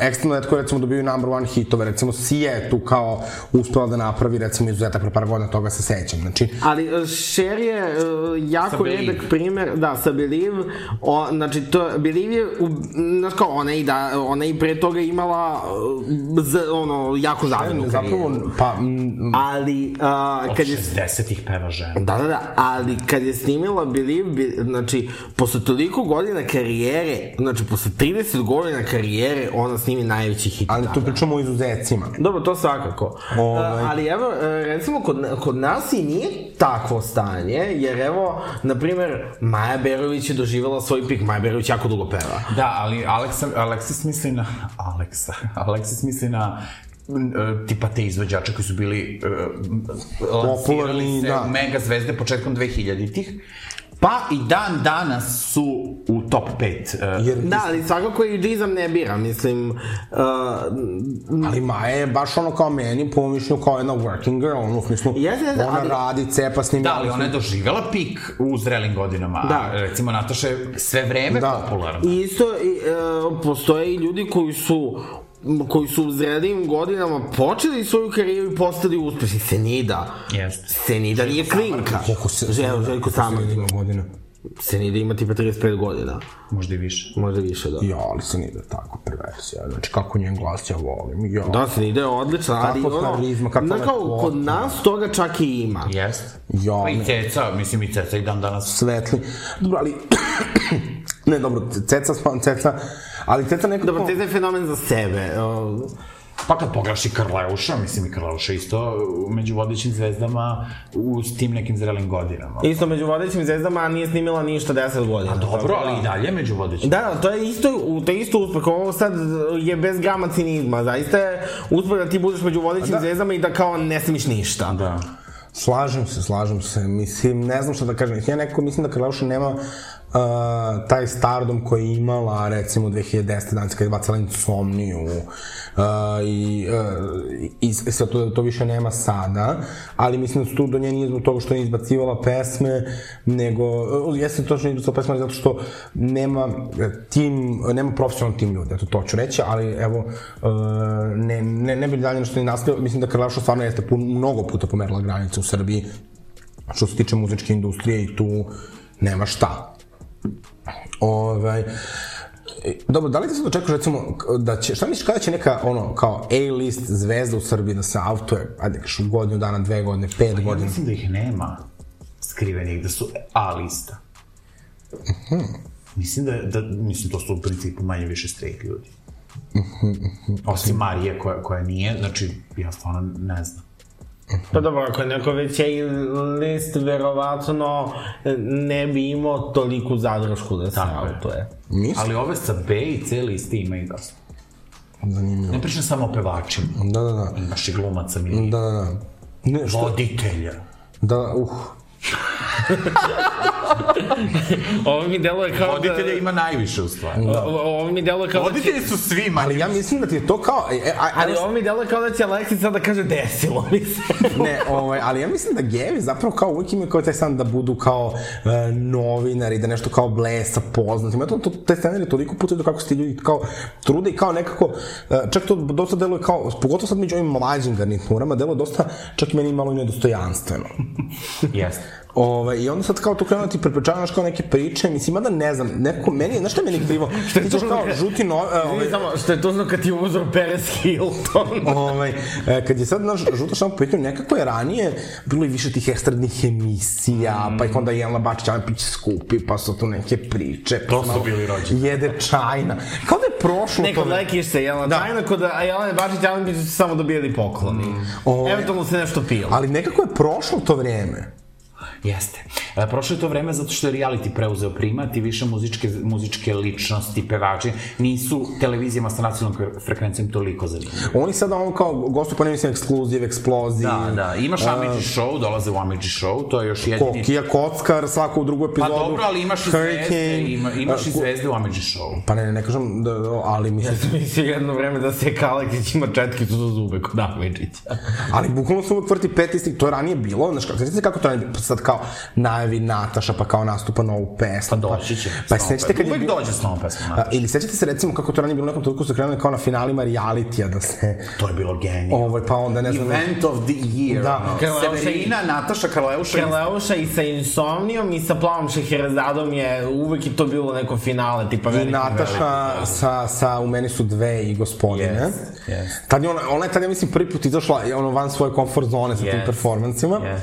ekstremno redko recimo dobiju number one hitove, recimo Sija je tu kao uspela da napravi recimo izuzetak pre par godina, toga se sećam, znači, Ali e, Cher je e, jako Sa sa Believe. redak primer, da, sa Believe, o, znači to, Believe je, u, znaš kao, ona i, da, ona i pre toga imala, e, z, ono, jako zavrnu zapravo, pa, mm, Ali, a, Od kad je 60-ih peva žena. Da, da, da, ali kad je snimila Believe, bi, znači, posle toliko godina karijere, znači, posle 30 godina karijere, ona snimi najveći hit. ali tu pričamo o izuzecima. Dobro, to svakako. Ovaj. A, ali evo, e, recimo, kod, na- kod nas i nije takvo stanje, jer evo, na primer, Maja Berović je doživjela svoj pik, Maja Berović jako dugo peva. Da, ali Aleksa, Aleksis misli na... Aleksa. Aleksis misli na m, e, tipa te izvođače koji su bili e, m, Popularni, lansirali se da. mega zvezde početkom 2000-ih pa i dan danas su u top e, 5 Jer, Da, ali svakako i džizam ne bira, mislim, uh, ali Maja je baš ono kao meni, po mom mišljenju, kao jedna working girl, ono, u smislu, Jeste, jeste, ona ali- radi, cepa, snima, Da, ali ona je doživjela pik u zrelim godinama. a Da. Recimo, Nataša je sve vreme Da. popularna. I isto i, e, postoje i ljudi koji su m, koji su u zrelim godinama počeli svoju karijeru i postali uspešni. Senida. Jeste. Senida nije klinka. Koliko se... Žel, Željko Samar. Ima godina. Senida ima tipa 35 godina. Možda i više. Možda više, da. Ja, ali se nije tako perverzija. Znači, kako njen glas ja volim. Ja. Da, Senida je odlična, ali Kako ono... karizma, kako znaš kao, lepota. kod nas toga čak i ima. Jest. Ja, Pa i ne. Ceca, mislim i Ceca i dan danas. Svetli. Dobro, ali... ne, dobro, ceca, sma- ceca, ali ceca nekako... Dobro, Teza je fenomen za sebe. o, Pa kad pogledaš i Karleuša, mislim i Karleuša isto u- među vodećim zvezdama u, s tim nekim zrelim godinama. Isto među vodećim zvezdama nije snimila ništa 10 godina. Dobro, ali i dalje među vodećim. Da, da, to je isto, u- to je isto uspeh, ovo sad je bez grama cinizma, zaista je uspeh da ti budeš među vodećim da. zvezdama i da kao ne smiš ništa. Da. Slažem se, slažem se. Mislim, ne znam šta da kažem. Ja nekako mislim da Karleuša nema uh, taj stardom koji je imala recimo 2010. danas kada je bacala insomniju uh, i, uh, i, i sad to, to više nema sada, ali mislim da su tu do nje nije zbog toga što je izbacivala pesme, e, nego, uh, jeste to što nije izbacivala pesme, zato što nema e, tim, nema profesionalno tim ljudi, eto to ću reći, ali evo, uh, ne, ne, ne bi dalje nešto ni nastavio, mislim da Karlašo stvarno jeste pun, mnogo puta pomerila granice u Srbiji, što se tiče muzičke industrije i tu nema šta. Ovaj, e, Dobro, da li ti se dočekaš recimo k- da će, šta misliš kada će neka ono kao A-list zvezda u Srbiji da se autuje, ajde kažeš u godinu dana, dve godine, pet Ja godina? mislim da ih nema skrivenih, da su A lista. Mislim da, da, mislim to su u principu manje više straight ljudi. Mhm, Osim Marije koja, koja nije, znači ja stvarno ne znam. Pa dobro, ako je neko već je list, verovatno ne bi imao toliku zadršku da se Tako je. autuje. Mislim, Ali ove sa B i C liste ima i dosta. Zanimljivo. Mhm. Ne pričam samo o pevačima, da, da, da. imaš i glumaca, mi Da, da, da. Ne, što? voditelja. Da, uh. Ovo mi deluje kao da... Voditelja ima najviše u stvari. o- Ovo mi deluje kao da će... Voditelji su svi, ma Ali ja mislim da ti je to kao... E, e, a, Ali ali, ovo mi deluje kao da će Alexis sad da kaže desilo mi se. ne, ovaj, ali ja mislim da gevi zapravo kao uvijek imaju kao taj san da budu kao e, novinari, da nešto kao blesa poznati. Ima to, to te scenarije toliko puta do kako se ti ljudi kao trude i kao nekako, e, čak to dosta deluje kao, pogotovo sad među ovim mlađim garniturama, deluje dosta, čak i meni malo i nedostojanstveno. Jeste. Ove, I onda sad kao tu krenu da ti prepričavaš kao neke priče, mislim, mada ne znam, neko, meni, je- znaš šta je meni krivo? ti ćeš kao žuti no, e, Ovo ove, je samo što je tužno kad ti je uzor Perez Hilton. ovaj, e, kad je sad naš žuta šampa pitanju, nekako je ranije bilo i više tih estradnih emisija, pa ih onda Jelena Bačić Ampić skupi, pa su tu neke priče. pa To su malo bili rođeni. Jede čajna. Kao da je prošlo Neko to. lekiš se, Jelena da. Mm. Tajna, kod a Jelena Bačić i Alan Bić su samo dobijali pokloni. Ovo je- Eventualno se nešto pilo. Ali nekako je prošlo to vrijeme. Jeste. E, prošlo je to vreme zato što je reality preuzeo primat i više muzičke, muzičke ličnosti, pevači nisu televizijama sa nacionalnom frekvencijom toliko zanimljivi. Oni sada on kao gostu pa ne mislim ekskluziv, eksploziv. Da, da, imaš Amidži show, dolaze u Amidži show, to je još jedini... Kokija, Kockar, svaku u drugu Pa epizodu. dobro, ali imaš i zvezde, Hurricane. ima, imaš i A, ko- zvezde u Amidži show. Pa ne, ne kažem, da, ali mislim, Mislim jedno vreme da se Kalekić ima četkicu za zube kod Ahmedžića. ali bukvalno se uvek vrti pet istih, to je ranije bilo, znaš, kako, sjećate kako to ranije, pa sad kao najavi Nataša, pa kao nastupa novu pesmu, Pa doći će pa, s novom sjećate kad je pesmom. Uvek bilo- dođe s novom pesmom, A, Nataša. ili sjećate se recimo kako to ranije bilo u nekom trenutku su krenuli kao na finalima realitija da se, To je bilo genijal. ovaj, pa onda ne znam, Event of the year. Da. ono. Karleuša i- Severina, Nataša, Karleuša. i- Kraleuša i sa Insomnijom i sa Plavom Šeherezadom je uvek je to bilo neko finale, tipa i veliki Nataša sa, sa U meni su dve i gospodine. Yes, yes. Tad je ona, ona je tad, ja mislim, prvi put izašla e, ono, van svoje komfort zone sa tim Yes, performansima. yes.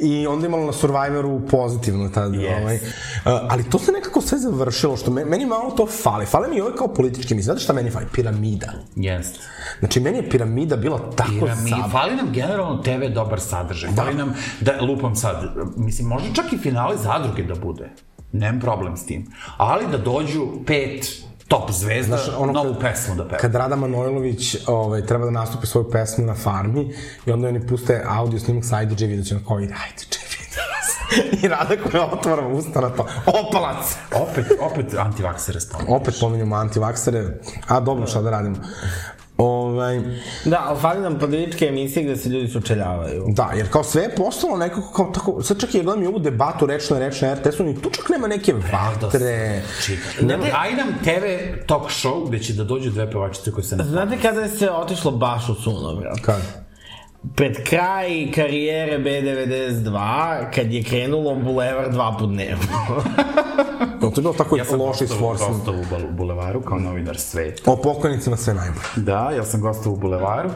I onda je imala na Survivoru pozitivno tad. Yes. Ovaj. A, ali to se nekako sve završilo, što me, meni malo to fali. Fale mi i ovaj kao politički mislim. Znate šta meni fali? Piramida. Jeste. Znači, meni je piramida bila tako Piramid. piramida. Fali nam generalno TV dobar sadržaj. Fali nam, da lupam sad, mislim, možda čak i finale zadruge da bude. Nemam problem s tim. Ali da dođu pet top zvezda, Znaš, ono ono novu kad- pesmu da peva. Kad Rada Manojlović ovaj, treba da nastupi svoju pesmu na farmi i onda oni puste audio snimak sa da IDJ videćem kao ide IDJ videćem. da I Rada koja otvara usta na to. Opalac! Opet, opet antivakser responde. Opet pominjamo antivaksere. A dobro, šta da radimo? Ovaj, Da, ali fali nam političke emisije gde se ljudi sučeljavaju. da, jer kao sve je postalo nekako kao tako, sad čak i ja gledam i ovu debatu rečno je rečno na RTS-u, ni tu čak nema neke vatre. Čita. Daj Znači, nam TV talk show gde će da dođu dve pevačice koje se ne... Znate kada je se otišlo baš u sunobrat? Kad? Pred kraj karijere B92, kad je krenulo Bulevar dva put dnevno. No, to je bilo tako ja loši s gostovao- Forsom. gostovao u Bal- Bulevaru kao novinar sveta. O pokojnicima sve najbolje. Da, ja sam gostao u Bulevaru. Uh,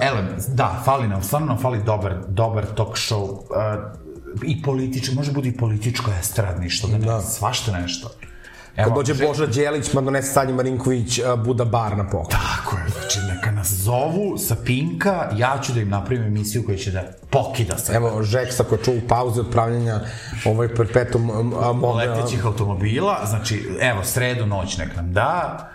ele, da, fali nam, stvarno nam fali dobar, dobar talk show. Uh, I politički, može bude i političko estradni, što da ne, da. svašta nešto. Evo, Kad dođe Boža Đelić, ma donese Sanje Marinković uh, Buda bar na poklon. Tako je, znači neka nas zovu sa Pinka, ja ću da im napravim emisiju koja će da pokida se. Evo, Žeksa koja čuva u pauzi od pravljenja ovaj perpetum um, um, letećih automobila, znači, evo, sredu noć nek nam da,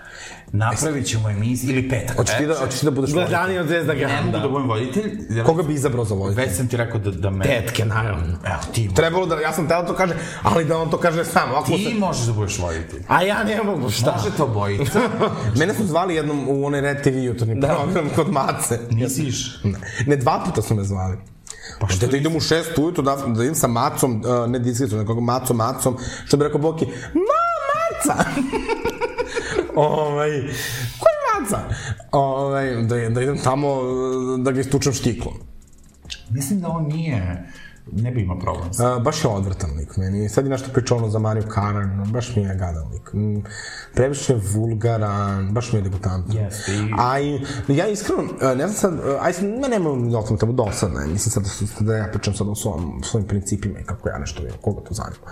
Napravit ćemo emisiju, ili petak. Hoćeš ti da, hoćeš ti da budeš voditelj? Gledani od Zvezda Ne mogu da Granda. budem voditelj. jer Koga bi izabrao za voditelj? Već sam ti rekao da, da me... Tetke, naravno. Evo, ti, mo- Trebalo da, ja sam teo to kaže, ali da on to kaže sam. Ako ti možeš da budeš voditelj. A ja ne mogu, šta? Može to bojica. se, mene su zvali jednom u onaj Red TV jutarnji da. program kod Mace. Nisiš. Ne, ne, dva puta su me zvali. Pa što da idem u šest ujutru, da, da idem sa macom, uh, ne diskretom, nego macom, macom, što bi rekao Boki, ma, maca! ovaj, koji maca? Ovaj, da, da idem tamo, uh, da ga istučem štiklom. Mislim da on nije... Ne bi imao problem. A, baš je odvrtan lik meni. Sad je nešto pričao ono za Mariju Karan, baš mi je gadan lik. Mm, Previše je vulgaran, baš mi je degutantan. Jeste, i- A i, ja iskreno, e, ne znam sad, e, aj sad, ne nemam da otim tamo dosadno, je. mislim sad da, su- da ja pričam sad o svom, svojim principima i kako ja nešto vidim, koga to zanima.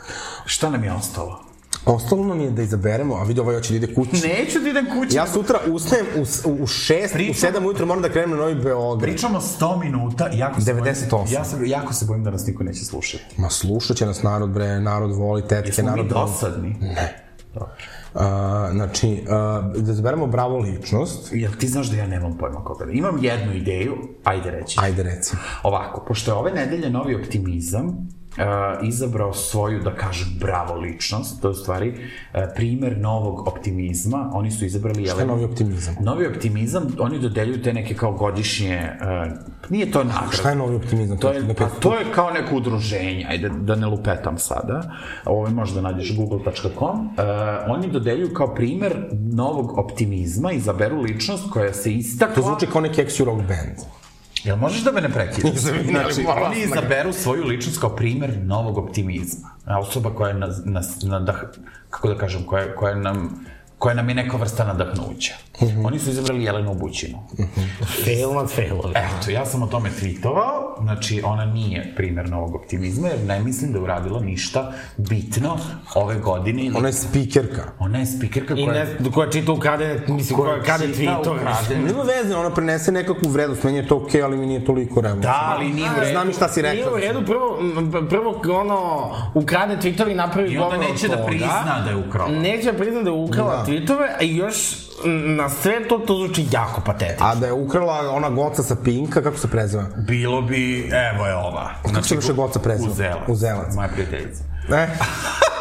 Šta nam je ostalo? Ostalo nam je da izaberemo, a vidi ovaj hoće da ide kući. Neću da idem kući. Ja sutra ustajem u, s- u, u šest, u Pričam- sedam ujutro moram da krenem na Novi Beograd. Pričamo 100 minuta, jako se 98. Bojim, ja se, jako se bojim da nas niko neće slušati. Ma slušat će nas narod, bre, narod voli, tetke, Smo mi narod voli. dosadni. Ne. A, znači, a, da izaberemo bravo ličnost, Jel ti znaš da ja nemam pojma koga da... Imam jednu ideju, ajde reći. ajde reci. Ovako, pošto je ove nedelje novi optimizam, uh, izabrao svoju, da kažem, bravo ličnost, to je u stvari uh, primer novog optimizma, oni su izabrali... Šta je novi optimizam? Novi optimizam, oni dodeljuju te neke kao godišnje, uh, nije to nagrada. Šta je novi optimizam? To je, Da pa pet- to je kao neko udruženje, ajde da ne lupetam sada, ovo možda nađeš google.com, e, oni dodeljuju kao primer novog optimizma, izaberu ličnost koja se istakla. To zvuči kao neki ex rock band. Jel možeš da me ne prekidaš? Izvini, ali znači, moram oni da ga- izaberu svoju ličnost kao primer novog optimizma. A Osoba koja je, na, na, nadah, kako da kažem, koja, koja nam koja nam je neka vrsta nadahnuća. Oni su izabrali Jelenu Bućinu. Fail nad failove. Eto, ja sam o tome tweetovao, znači ona nije primer novog optimizma, jer ne mislim da je uradila ništa bitno ove godine. Ili... Ona je speakerka. ona je speakerka I koja... ne, koja čita ukradene, mislim, koja krade čita tweetove. ukradene. Nema veze, ona prinese nekakvu vrednost, meni je to okej, ali mi nije toliko revolucija. Da, ali nije u redu. Znam i šta si Nije rekao. u redu, prvo, m, prvo ono, ukrade tweetove i napravi I onda govor od neće da toga. prizna da je ukrao. Neće da prizna da je ukrala da. tweetove, a još m, na sve to, to zvuči jako patetično. A da je ukrala ona goca sa Pinka, kako se preziva? Bilo bi, evo je ova. Kako se više goca preziva? Uzelac. Uzelac. Moja prijateljica. E,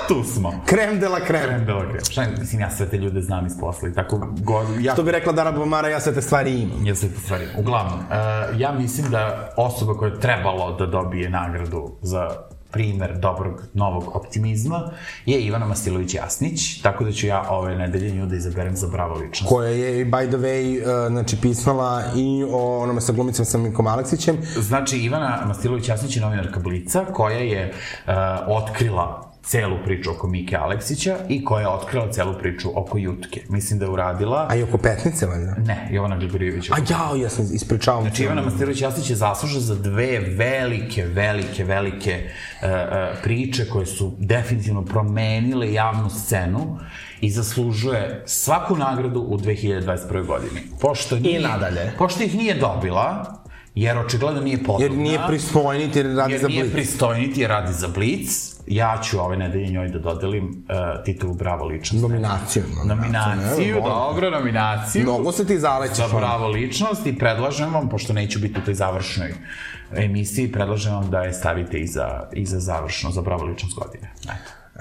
Tu smo. krem de la krem. Krem Belograd. Šta je, mislim, ja sve te ljude znam iz posla i tako god, ja Što bi rekla Dara Bomara, ja sve te stvari imam. Ja se te stvari. Uglavnom, uh, ja mislim da osoba koja je trebalo da dobije nagradu za primer dobrog novog optimizma je Ivana Masilović Jasnić, tako da ću ja ove nedelje nju da izaberem za bravo ličnost. koja je, by the way, e, znači, pisala i o onome sa glumicom sa Minkom Aleksićem. Znači, Ivana Masilović Jasnić je novinarka Blica koja je uh, otkrila celu priču oko Mike Aleksića i koja je otkrila celu priču oko Jutke. Mislim da je uradila... A i oko petnice, valjda? Ne, Jovana Gligorijevića. A jao, ja sam ispričavam. Znači, Ivana Masterović Jasić je zaslužena za dve velike, velike, velike uh, uh, priče koje su definitivno promenile javnu scenu i zaslužuje svaku nagradu u 2021. godini. Pošto nije, nadalje. Pošto ih nije dobila, jer očigledno nije podobna. Jer nije pristojniti, jer radi Pa jer za nije blik. pristojniti, jer radi za Blic. Ja ću ove nedelje njoj da dodelim uh, titulu Bravo ličnost. Nominaciju. Nominaciju, dobro, nominaciju Mnogo se ti zalećeš. za ono. bravo ličnost i predlažem vam, pošto neću biti u toj završnoj emisiji, predlažem vam da je stavite i za, i za završno, za bravo ličnost godine. Eto.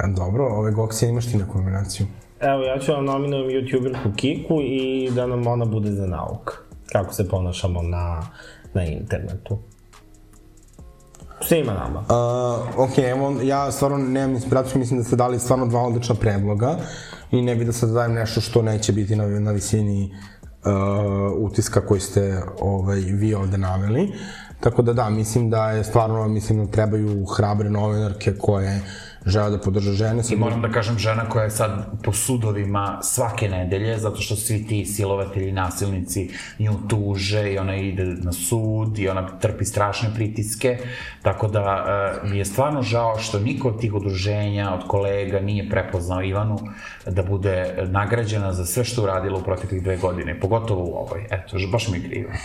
E, Dobro, ove goksije imaš ti neku nominaciju. Evo, ja ću vam nominujem youtuberku Kiku i da nam ona bude za nauk. Kako se ponašamo na, na internetu. Svima nama. Uh, ok, evo, ja stvarno nemam inspiraciju, mislim da ste dali stvarno dva odlična predloga i ne bi da sad dajem nešto što neće biti na, na visini uh, utiska koji ste ovaj, vi ovde naveli. Tako da da, mislim da je stvarno, mislim da trebaju hrabre novinarke koje žele da podrže žene. Sad, Moram da kažem žena koja je sad po sudovima svake nedelje, zato što svi ti silovatelji, nasilnici nju tuže i ona ide na sud i ona trpi strašne pritiske, tako da e, mi je stvarno žao što niko od tih udruženja, od kolega nije prepoznao Ivanu da bude nagrađena za sve što je uradila u proteklih dve godine, pogotovo u ovoj. Eto, ž- baš mi je krivo. da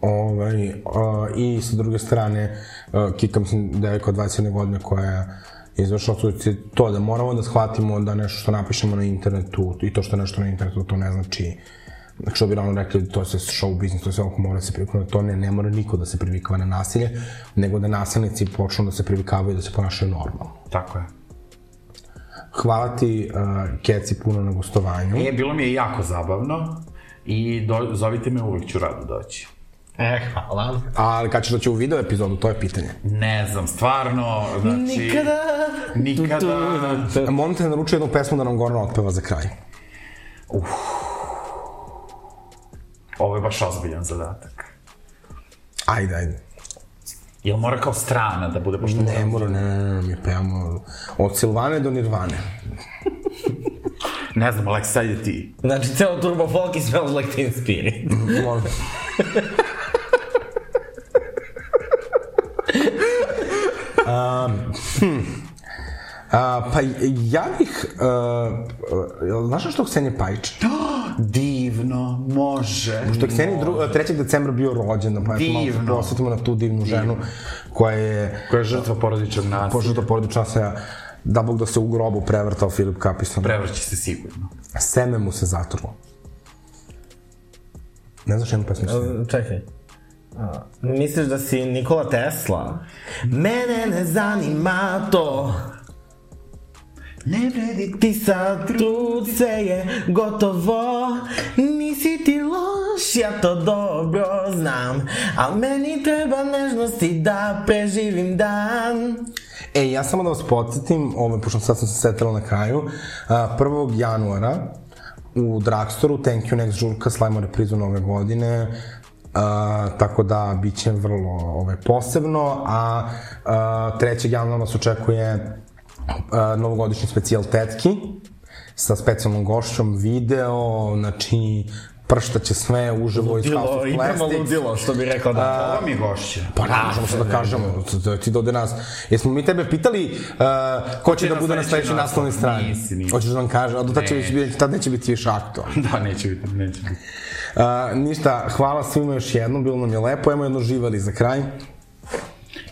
Ovaj, a, I sa druge strane, a, Kika, mislim, devojka od 21 godine koja izvršno suicid, to da moramo da shvatimo da nešto što napišemo na internetu i to što je nešto na internetu, to ne znači što bi ravno rekli, to je sve show biznis, to je sve oko mora da se privikava na to, ne, ne mora niko da se privikava na nasilje, nego da nasilnici počnu da se privikavaju i da se ponašaju normalno. Tako je. Hvala ti, uh, Keci, puno na gostovanju. E, bilo mi je jako zabavno i do, zovite me, uvek ću rado doći. E, hvala. A kad ćeš doći u video epizodu, to je pitanje. Ne znam, stvarno, znači... Nikada. Da, Nikada. Momte je naručio jednu pesmu da nam Goran otpeva za kraj. Ovo je baš ozbiljan zadatak. Ajde, ajde. Jel mora kao strana da bude, pošto Ne mora, ne, ne, ne, mi pevamo od Silvane do Nirvane. Ne znam, Alex, sad je ti. Znači, ceo Turbo Folk i Smells Like Teen Spirit. Molim. A, pa ja bih, uh, znaš što je Ksenija Pajić? Da. Divno, može. Što je Ksenija dru, 3. decembra bio rođen, pa eto malo se Divno. prosvetimo na tu divnu ženu koja je Koja je žrtva porodičnog nasilja. požuta porodična se da Bog da se u grobu prevrtao Filip Kapisan. Prevrći se sigurno. Seme mu se zatrlo. Ne znaš jednu E, pesmu? Seme? Čekaj. A, misliš da si Nikola Tesla? Mene ne zanima to. Ne vredi Ti sad tu se je gotovo Nisi ti loš, ja to dobro znam A meni treba nežnosti da preživim dan E, ja samo da vas podsjetim, ove, pošto sad sam se setila na kraju, a, 1. januara u Dragstoru, Thank You Next Žurka, slavimo reprizu nove godine, a, tako da bit će vrlo ove, posebno, a, a 3. januara nas očekuje a, novogodišnji specijal Tetki, sa specijalnom gošćom, video, znači pršta će sve uživo iz House of Plastics. ludilo, što bi rekao da Ovo mi je gošće. Pa ne, možemo sad da kažemo, to- to je ti dode nas. Jesmo mi tebe pitali uh, ko će da na bude na sledećoj sledećoj naslovnoj naslovnoj? strani? Nisi, nisi. Hoćeš da nam kaže, a do tad, će Ne. već biti, tad neće biti više aktualno. Da, neće biti, neće biti. Uh, ništa, hvala svima još jednom, bilo nam je lepo, imamo jedno živali za kraj.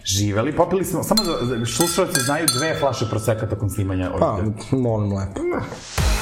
Živeli, popili smo, samo da, da slušalci znaju dve flaše prosekata tokom snimanja ovih Pa, molim lepo.